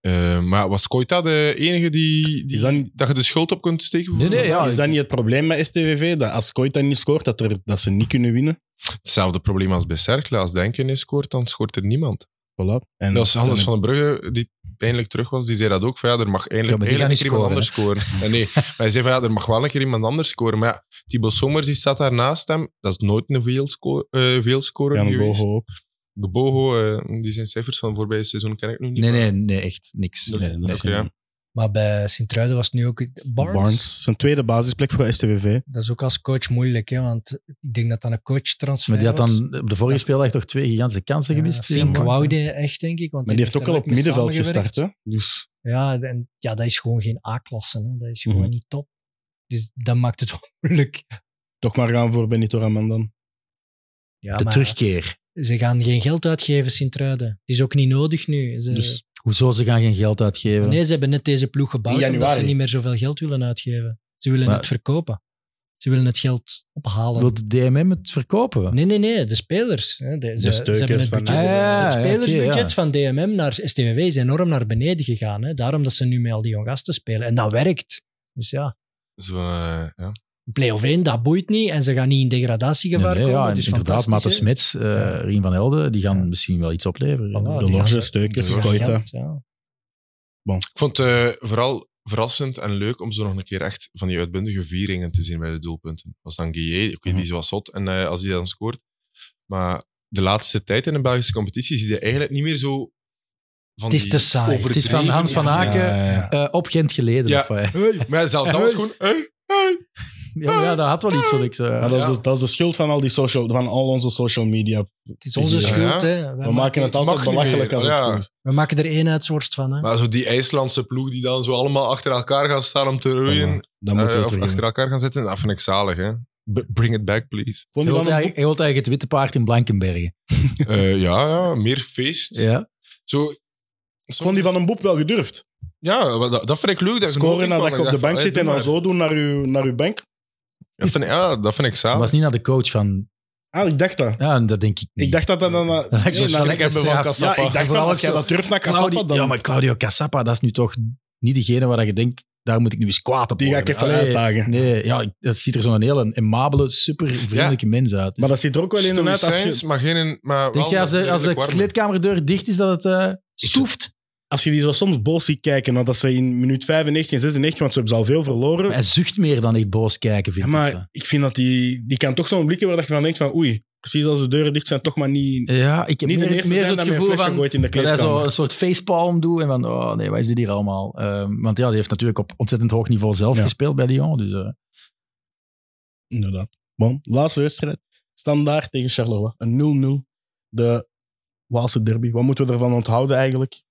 eh, maar was Koita de enige die, die Is dat niet- dat je de schuld op kunt steken? Nee, nee, ja. is dat niet het probleem met STVV? Dat als Koita niet scoort, dat, er, dat ze niet kunnen winnen? Hetzelfde probleem als bij Cercle. Als Denken is scoort, dan scoort er niemand. Voilà. En dat is Hannes en- van den Brugge, die eindelijk terug was. Die zei dat ook. Van, ja, er mag Ja, eindelijk, maar die eindelijk gaan een keer iemand niet anders scoren. En nee, maar hij zei van ja, er mag wel een keer iemand anders scoren. Maar ja, Thibaut Sommers die staat daar naast hem. Dat is nooit een veelsco- eh, veelscorer Jan geweest. Bogo ook. Geboho, eh, die zijn cijfers van het voorbije seizoen ken ik nu niet. Nee, nee, nee, echt niks. Nee, dat is Oké, ja. Maar bij Sint-Truiden was het nu ook... Barnes. Barnes. Zijn tweede basisplek voor STVV. Dat is ook als coach moeilijk, hè, want ik denk dat dat een coachtransfer Maar die had was. dan op de vorige Ja. speeldag toch twee gigantische kansen Ja, gemist. Fink Ja. Woude echt, denk ik. Want Maar die heeft ook er al op mee middenveld samengewerkt. gestart. Hè? Dus Ja, en, ja, dat is gewoon geen A-klasse. hè. Dat is gewoon Mhm. niet top. Dus dat maakt het ook moeilijk. toch maar gaan voor Benito Raman dan. Ja, De maar terugkeer. Ze gaan geen geld uitgeven, Sint-Truiden. Het is ook niet nodig nu. Ze, Dus Hoezo ze gaan geen geld uitgeven? nee, ze hebben net deze ploeg gebouwd In omdat ze januari. niet meer zoveel geld willen uitgeven. Ze willen Maar- het verkopen. Ze willen het geld ophalen. Wil de DMM het verkopen? Nee, nee, nee, de spelers. hè. De, ze, ze steukers hebben het van- budget. Ah, ja, het ja, spelersbudget oké, ja. van DMM naar STVV is enorm naar beneden gegaan. Hè. Daarom dat ze nu met al die jong gasten spelen. En dat werkt. Dus ja, Dus, eh, ja. play-off 1, dat boeit niet. En ze gaan niet in degradatiegevaar Nee, nee, komen. ja, en dus inderdaad. Maarten fantastisch. hè. Smits, eh, Rien van Helden, die gaan misschien wel iets opleveren. Voilà, Ja. de die Lorge, gasten- Steukers, die gaan Koita. geld, ja. Ik vond het eh, vooral verrassend en leuk om zo nog een keer echt van die uitbundige vieringen te zien bij de doelpunten. Als dan Guillet, oké, die is wel zot en eh, als hij dan scoort. Maar de laatste tijd in de Belgische competitie zie je eigenlijk niet meer zo. Van Het is die te saai. overdreven- Het is van Hans van Ja. Aken Ja, ja, ja. eh, op Gent geleden. Ja. of wat, hè? Maar ja, zelfs dat was gewoon. hey, hey. Ja, maar ja, dat had wel iets wat ik eh, Maar zei. dat, is Ja. de, dat is de schuld van al, die social, van al onze social media. Het is onze Ja. schuld. Hè. Wij We maken het mag altijd niet belachelijk meer, als het ja. goed is. we maken er eenheidsworst van. Hè. Maar zo die IJslandse ploeg die dan zo allemaal achter elkaar gaan staan om te roeien. Voilà. Dat moet eh, ook of terug achter in. elkaar gaan zitten, dat vind ik zalig. Hè? B- Bring it back, please. Vond je Hij wilt dan een- eigenlijk hij wilt eigenlijk het witte paard in Blankenbergen. Eh, ja, ja, meer feest. Ja. Zo, Vond die van een boep wel gedurfd? Ja, maar dat, dat vind ik leuk. Dat je Scoren nodig nadat je van- op de dacht van, bank hey, zit en doe dan maar. zo doen naar uw, naar uw bank? Dat vind, ik- ja, dat vind ik Dat samen. was niet naar de coach van... Ah, ik dacht dat. Ja, en dat denk ik niet. Ik dacht dat dat dan... Dat lijkt Nee, zo'n naar- slechte ik heb straf. wel Cassapa. Ja, ik dacht Vooral wel, als ook jij zo- dat durft naar Claudio, Cassapa, dan... Ja, maar Claudio Cassapa, dat is nu toch niet degene waar je denkt, daar moet ik nu eens kwaad op Die ga ik worden. even Allee, uitdagen. Nee, ja, ik- dat ziet er zo'n hele emabele, super vriendelijke mens uit. Dus Maar dat ziet er ook wel in uit als Stoïcijns, je, maar geen... Maar denk wel je, als de, als de redelijk warm. kleedkamerdeur dicht is, dat het eh, stoeft? als je die zo soms boos ziet kijken. want Dat ze in minuut 95 en 96, want ze hebben ze al veel verloren. Maar Hij zucht meer dan echt boos Ja, kijken, vind ik. zo. maar ik vind dat die... Die kan toch zo'n blikken waar dat je van denkt van... Oei, precies als de deuren dicht zijn, toch maar niet... Ja, Eh, ik heb Niet de meer, eerste meer zijn zo het dat met een gevoel flesje van gooit in de dat hij zo kleedkamer. een soort facepalm doet en van, oh nee, wat is dit hier allemaal? Ehm, want ja, die heeft natuurlijk op ontzettend hoog niveau zelf Ja. gespeeld bij Lyon. Dus, eh, Inderdaad. Bon, laatste wedstrijd. Standaard tegen Charleroi. Een 0-0. De Waalse derby. Wat moeten we ervan onthouden eigenlijk?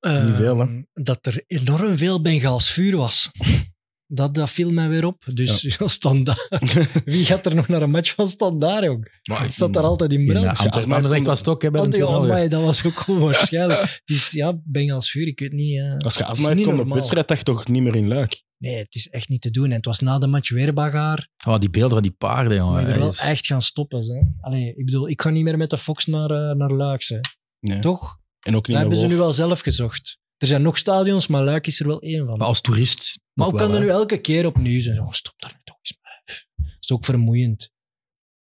Niet veel, hè? Ehm, Dat er enorm veel Bengaals vuur was. Dat, dat viel mij weer op. Dus standaard. Wie gaat er nog naar een match van standaard, jong? Ah, Het staat daar altijd in in brand. eh, Ja, Antwerpen- Antwerpen- Anderlecht was het ook, hè, bij de oh, finale. amai, dat was ook onwaarschijnlijk. dus ja, Bengaals vuur, ik weet niet. eh. Als je astma niet hebt, komt op normaal. wedstrijd echt toch niet meer in luik. Nee, het is echt niet te doen. En het was na de match weer Bagaar. Oh, die beelden van die paarden, Moet Ah, jongen. je er Hij wel is- echt gaan stoppen. Hè. Allee, ik bedoel, ik ga niet meer met de Fox naar, eh, naar Luik. hè. Nee. Toch? En ook niet Dat hebben ze meer nu Wolf. wel zelf gezocht. Er zijn nog stadions, maar Luik is er wel één van. Ah, Maar als toerist. Maar nog hoe kan wel, dat hè. nu elke keer opnieuw zijn? Oh, stop daar nu toch eens mee. Dat is ook vermoeiend.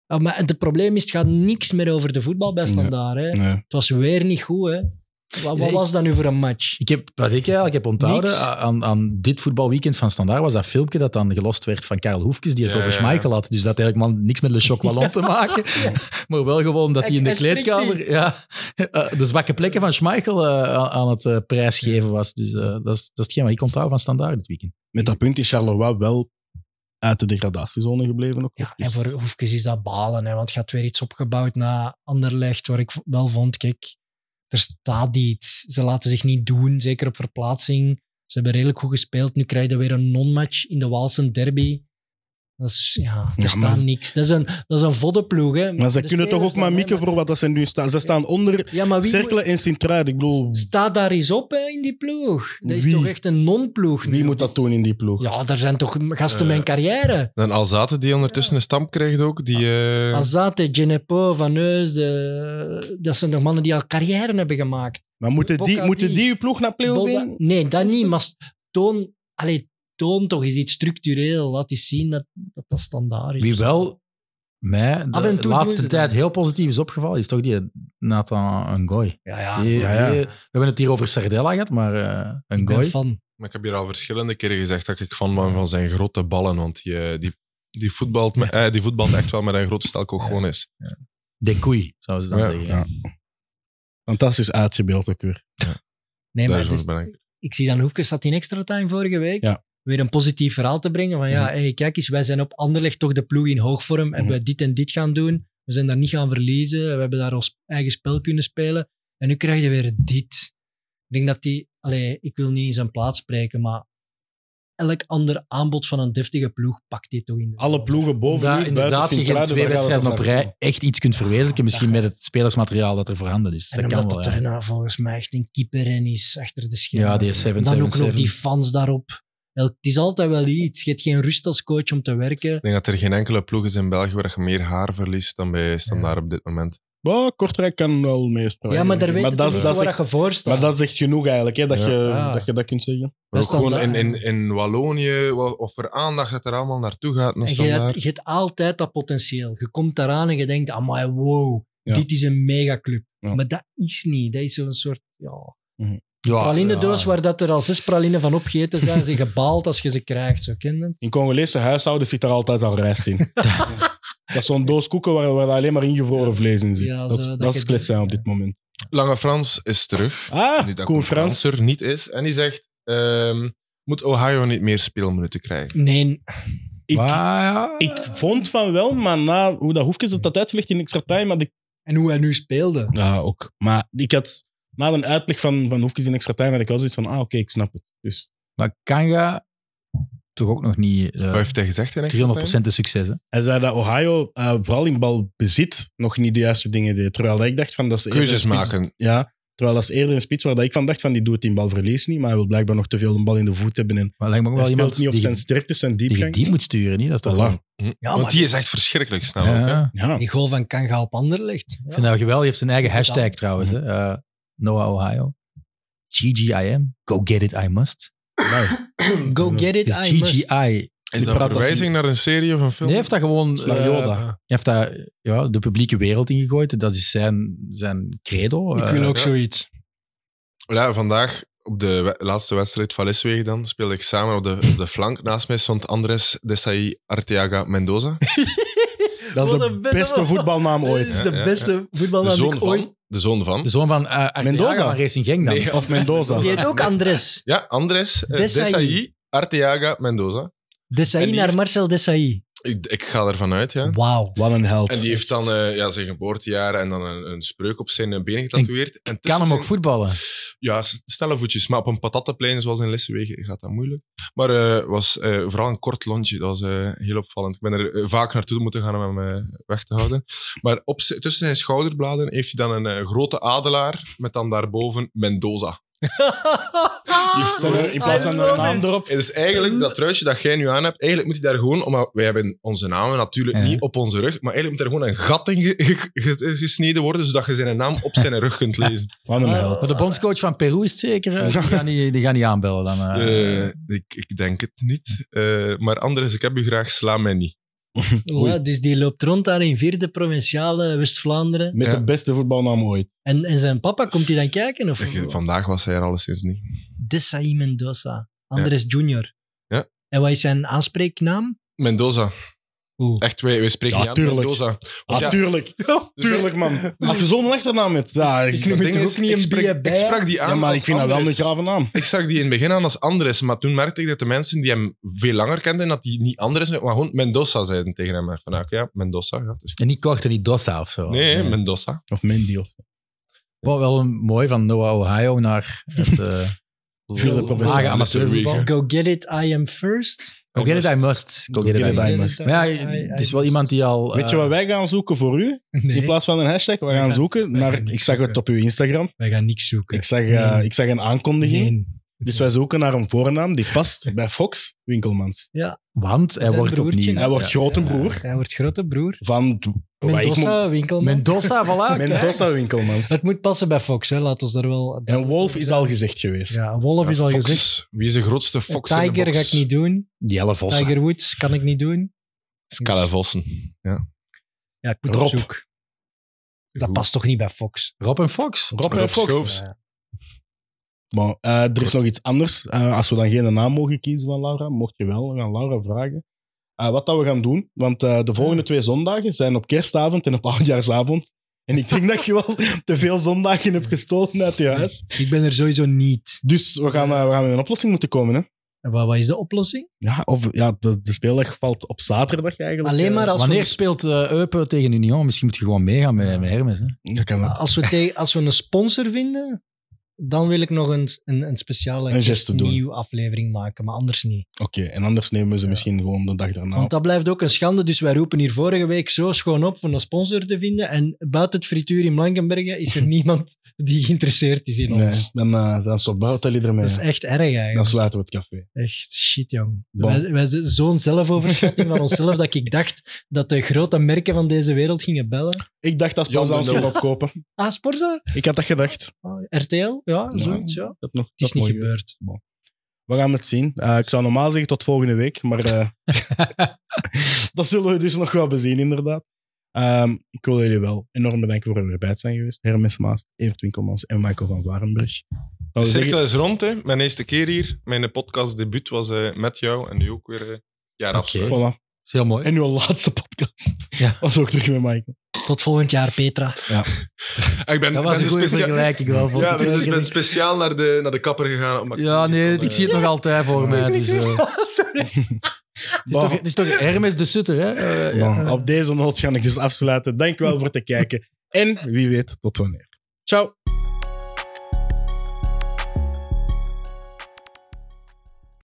Ja, maar het probleem is, het gaat niks meer over de voetbal bij Standaard. Hè. Nee. Het was weer niet goed. Hè. Wat, wat Nee, was dat nu voor een match? Ik heb, wat ik eigenlijk heb onthouden Niks. a- aan, aan dit voetbalweekend van Standaard was dat filmpje dat dan gelost werd van Karel Hoefkes, die het Ja, over ja, ja. Schmeichel had. Dus dat had eigenlijk man niks met Le Chocolat te maken, maar wel gewoon dat hij in de Hij- hij spreekt kleedkamer ja, eh, de zwakke plekken van Schmeichel eh, aan- aan het eh, prijsgeven was. Dus eh, dat, is, dat is hetgeen wat ik onthoud van Standaard dit weekend. Met dat punt is Charleroi wel uit de degradatiezone gebleven. Ook. Ja, en voor Hoefkes is dat balen, hè, want je had weer iets opgebouwd na Anderlecht, waar ik v- wel vond, kijk, er staat iets. Ze laten zich niet doen, zeker op verplaatsing. Ze hebben redelijk goed gespeeld. Nu krijg je weer een non-match in de Waalse derby. Dat is, ja, er Ja, maar staat ze- niks. Dat is een, dat is een voddenploeg, hè. Maar ze De kunnen toch ook spelers maar dan, hè, mikken voor wat dat ze nu staan. Ze staan onder Ja, maar wie Cerkelen en Sint-Truiden. Ik bedoel, moet- Sta daar eens op, hè, in die ploeg. Dat is Wie? toch echt een non-ploeg nu? wie moet dat doen in die ploeg? Ja, daar zijn toch gasten met een Eh, carrière. Dan Alzate die ondertussen een stamp krijgt ook. Die, eh, Azate, Genepo, Van Heusden, dat zijn toch mannen die al carrière hebben gemaakt. Maar moeten die, Bocati. moeten die uw ploeg naar play-off Bolda- in? nee, dat niet, maar s- toon, allee, toon toch eens iets structureel. Laat eens zien dat dat, dat standaard is. Wie wel mij Af de en toe doen laatste ze tijd dat. heel positief is opgevallen, is toch die eh, Nathan Ngoy. Ja, ja. Die- ja, ja. die- we hebben het hier over Sardella gehad, maar eh Ik ben Ngoy... fan. Maar ik heb hier al verschillende keren gezegd dat ik fan ben van zijn grote ballen. Want die, eh, die, die, voetbalt, me, eh, die voetbalt echt wel met een groot stel gewoon is. De koei, zouden ze dan Ja, zeggen. ja. Fantastisch uitgebeeld ook weer. Nee, maar het Daarvoor is- ben ik. ik zie dan Hoefkes zat in extra time vorige week. Ja. Weer een positief verhaal te brengen. Van ja, Mhm. hey, kijk eens, wij zijn op Anderlecht toch de ploeg in hoogvorm. En Mhm. wij dit en dit gaan doen. We zijn daar niet gaan verliezen. We hebben daar ons eigen spel kunnen spelen. En nu krijg je weer dit. Ik denk dat die, allee, ik wil niet in zijn plaats spreken, maar elk ander aanbod van een deftige ploeg pakt dit toch in. de- Alle ploegen boven Daar nu, buiten inderdaad je geen Sint-Truiden, twee daar gaat het wedstrijden op ook rij naartoe. echt iets kunt verwezenlijken. Misschien met het spelersmateriaal dat er voorhanden is. En Dat kan omdat wel. dat er ja. nou volgens mij echt een keeper in is, achter de schermen. Ja, die 7 dan ook nog die fans daarop. Wel, Het is altijd wel iets. Je hebt geen rust als coach om te werken. Ik denk dat er geen enkele ploeg is in België waar je meer haar verliest dan bij Standaard op dit moment. Ja, Kortrijk kan wel meespreken. Ja, maar daar weet maar je dat, tenminste dat is waar Ah. echt- je voor staat. maar dat is echt genoeg eigenlijk, hè, dat, Ja. je, Ja. dat je dat kunt zeggen. Maar Dat ook is gewoon in, standaard. in, in Wallonië, wa- of voor aandacht dat er allemaal naartoe gaat. Naar en je, standaard. hebt, je hebt altijd dat potentieel. Je komt daaraan en je denkt, amai, wow, Ja. dit is een megaclub. Ja. Maar dat is niet. Dat is zo'n soort... Ja. Ja, Pralinedoos ja. waar dat er al zes pralinen van opgegeten zijn. ze gebaald als je ze krijgt. Zo ken je het? In Congolese huishouden zit daar altijd al rijst in. dat is zo'n doos koeken waar, waar alleen maar ingevroren vlees in zit. Ja, dat, is- zo, dat dat is je- klets zijn op dit moment. Lange Frans is terug. Nu Ah, dat Koen Koen Frans. er niet is. En die zegt, ehm, moet Ohio niet meer speelminuten krijgen? Nee, Ik, Maar Ah, ja. ik vond van wel, maar na hoe dat Hoefkes het dat uitlegt in extra time, had ik en hoe hij nu speelde. Ja, ook. Maar ik had, na een uitleg van, van Hoefkes in extra time, had ik wel zoiets van, ah, oké, ik snap het. Dus Maar Kanga toch ook nog niet eh, Wat heeft hij gezegd in extra 300% de succes. Hè? hij zei dat Ohio, eh, vooral in balbezit, nog niet de juiste dingen deed. Terwijl ik dacht van, dat is time? eerder Keuzes een spits- maken. Ja, terwijl dat is eerder een spits waar dat ik van dacht van, die doet die balverlies niet, maar hij wil blijkbaar nog te veel een bal in de voet hebben. En Maar lijkt me ook hij wel speelt iemand niet op die, zijn sterkte, zijn die je diepgang. diep moet sturen. Niet? Dat is toch wel- Voilà. Hm. maar- Want die is echt verschrikkelijk snel ook. Hè? Ja. Ja. Die goal van Kanga op Anderlecht. Ik Ja. vind dat geweldig. Hij heeft zijn eigen Gedaan. hashtag trouwens. Hè. Eh, Noah Ohio. GGIM. Go get it, I must. Go get it, Dus I must. GGI. Is praat dat een als verwijzing naar een serie of een film? Nee, heeft dat gewoon... Slag eh, Yoda. Hij heeft daar ja, de publieke wereld ingegooid. Dat is zijn, zijn credo. Ik wil Eh, ook ja. zoiets. Ja, vandaag op de we- laatste wedstrijd van Leswegen dan speelde ik samen op de, op de flank. Naast mij stond Andres Desai Arteaga Mendoza. Dat is Wat de een beste bel- voetbalnaam Dit ooit. is Ja, de ja, beste voetballer De die zoon ik ooit... van. De zoon van. De zoon van eh Arteaga Mendoza. van Racing Genk dan. Nee. Of Mendoza. Die heet ook Andres. Ja, Andres eh, Desai. Desai, Arteaga Mendoza. Desailly En die naar heeft- Marcel Desailly. Ik, ik ga ervan uit, ja. Wauw. Wat een held. En die heeft dan eh, ja, zijn geboortejaar en dan een, een spreuk op zijn eh, benen getatoeëerd. En Kan tussen hem ook zijn- voetballen. Ja, s- stelle voetjes. Maar op een patattenplein zoals in Lessenwegen gaat dat moeilijk. Maar eh was eh, vooral een kort lontje. Dat was eh, heel opvallend. Ik ben er eh, vaak naartoe moeten gaan om hem eh, weg te houden. Maar op, zi- tussen zijn schouderbladen heeft hij dan een eh, grote adelaar met dan daarboven Mendoza. Ah, Zijn er Dus in plaats van I de love naam it. erop. En dus eigenlijk, dat truitje dat jij nu aan hebt, eigenlijk moet hij daar gewoon... Omdat wij hebben onze namen natuurlijk Ja. niet op onze rug, maar eigenlijk moet daar gewoon een gat in ge- ge- ge- gesneden worden, zodat je zijn naam op zijn rug kunt lezen. Wat een held. Maar de bondscoach van Peru is het zeker. eh, Die gaan niet, die gaan niet Ah, aanbellen dan. eh. Eh, ik, ik denk het niet. Eh, maar Andres, ik heb u graag, sla mij niet. Oei. Ja, dus die loopt rond daar in vierde provinciale West-Vlaanderen. Met Ja. de beste voetbalnaam ooit. En, en zijn papa, komt hij dan kijken? Of, Ik- Vandaag was hij er alleszins niet. Desai Mendoza, Andres Junior. Ja. En wat is zijn aanspreeknaam? Mendoza. Oeh. Echt, wij, wij spreken Ja, niet tuurlijk. aan Mendoza. Want ja, Natuurlijk, Ah, tuurlijk man. Als je zo'n achternaam hebt, ja, ik, het ding moet er is, ook niet ik, een sprak- bier ik bij. sprak die aan Ja, maar als ik vind dat wel een Andres. grave naam. Ik zag die in het begin aan als Andres, maar toen merkte ik dat de mensen die hem veel langer kenden, dat die niet Andres, maar gewoon Mendoza zeiden tegen hem. Maar Vandaag, ja, Mendoza. Ja, dus- En niet korter, die Dossa of zo. Oh, nee, Mendoza. Of Mendy of Wat wel een- mooi van Noah Ohio naar het eh Vulde professor. lage amateurvoetbal. Go get it, I am first. Go get it, I must. Go get it, I Go get must. it, I must. Maar ja, het is wel iemand die al... Weet je eh, wat wij gaan zoeken voor u? In Nee, plaats van een hashtag, we Wij gaan gaan- zoeken wij naar... gaan niks Ik zag het zoeken. op uw Instagram. wij gaan niks zoeken. Ik zag, eh, Nee. ik zag een aankondiging. Nee. Dus wij zoeken naar een voornaam die past bij Fox Winkelmans. Want hij Zijn wordt broertje, nou, opnieuw... hè? Hij wordt Ja. grote broer Hij wordt grote broer. van... t- wat Oh, ik moet- Mendoza, Winkelman. Mendoza, voilà. kijk. Mendoza Winkelmans. Het moet passen bij Fox, hè. laat ons daar wel... En Wolf is al gezegd geweest. Ja, Wolf is al Fox. gezegd. Wie is de grootste Fox in de Tiger box? ga ik niet doen. Jelle Vossen. Tiger Woods kan ik niet doen. Scala Vossen. Ja. Ja, ik moet Rob. op zoek. Dat Goed. past toch niet bij Fox? Rob en Fox. Rob en Rob Fox. Schoofs. Maar eh, er is nog iets anders. Eh, als we dan geen naam mogen kiezen van Laura, mocht je wel, we gaan Laura vragen. eh, wat dat we gaan doen, want eh, de volgende twee zondagen zijn op kerstavond en op oudjaarsavond. En ik denk dat je wel te veel zondagen hebt gestolen uit je huis. Ik ben er sowieso niet. Dus we gaan, eh, we gaan met een oplossing moeten komen. Hè? En Wat, wat is de oplossing? Ja, of ja, de, de speeldag valt op zaterdag eigenlijk. Alleen eh. maar als Wanneer we, speelt eh, Eupen tegen Union? Misschien moet je gewoon meegaan met, met Hermes. Hè? Dat kan wel. als, we tegen- als we een sponsor vinden, dan wil ik nog een, een, een speciale Een geste doen. nieuwe aflevering maken, maar anders niet. Oké, en anders nemen we ze misschien gewoon de dag daarna. Want dat blijft ook een schande, dus wij roepen hier vorige week zo schoon op om een sponsor te vinden. En buiten het frituur in Blankenbergen is er niemand die geïnteresseerd is in nee, ons. dan, eh dan stopt Boutelli ermee. Dat is echt erg eigenlijk. Dan sluiten we het café. Echt shit, jong. Bon. Wij, wij zijn zo'n zelfoverschatting van onszelf dat ik dacht dat de grote merken van deze wereld gingen bellen. Ik dacht dat Sporza Jan ons de Nul. ging opkopen. Ah, Sporza? Ik had dat gedacht. Ah, RTL? Ja, zoiets, ja. Dat nog, Het is niet gebeurd. gebeurd. We gaan het zien. Eh, ik zou normaal zeggen tot volgende week, maar eh, dat zullen we dus nog wel bezien, inderdaad. Ehm, ik wil jullie wel enorm bedanken voor het erbij te zijn geweest. Hermes Maas, Evert Winkelmans en Michael van Warenberg. De Dat wil cirkel zeggen- is rond, hè. Mijn eerste keer hier. Mijn podcastdebuut was eh, met jou en nu ook weer eh jaar afsluiten. Voilà. is heel mooi. En uw laatste podcast Ja. was ook terug met Michael. Tot volgend jaar, Petra. Ik ben, Dat was ben een goede specia- vergelijking wel. vond dus Ja, ik. ik ben, dus ben speciaal naar de, naar de kapper gegaan. omdat ik- ja, nee, van, ik eh, zie het nog altijd voor mij. Dus, eh, het, Sorry. is toch, het is toch Hermes de Sutter, hè? Eh, ja. Maar Op deze noot ga ik dus afsluiten. Dankjewel voor het kijken. En wie weet, tot wanneer. Ciao.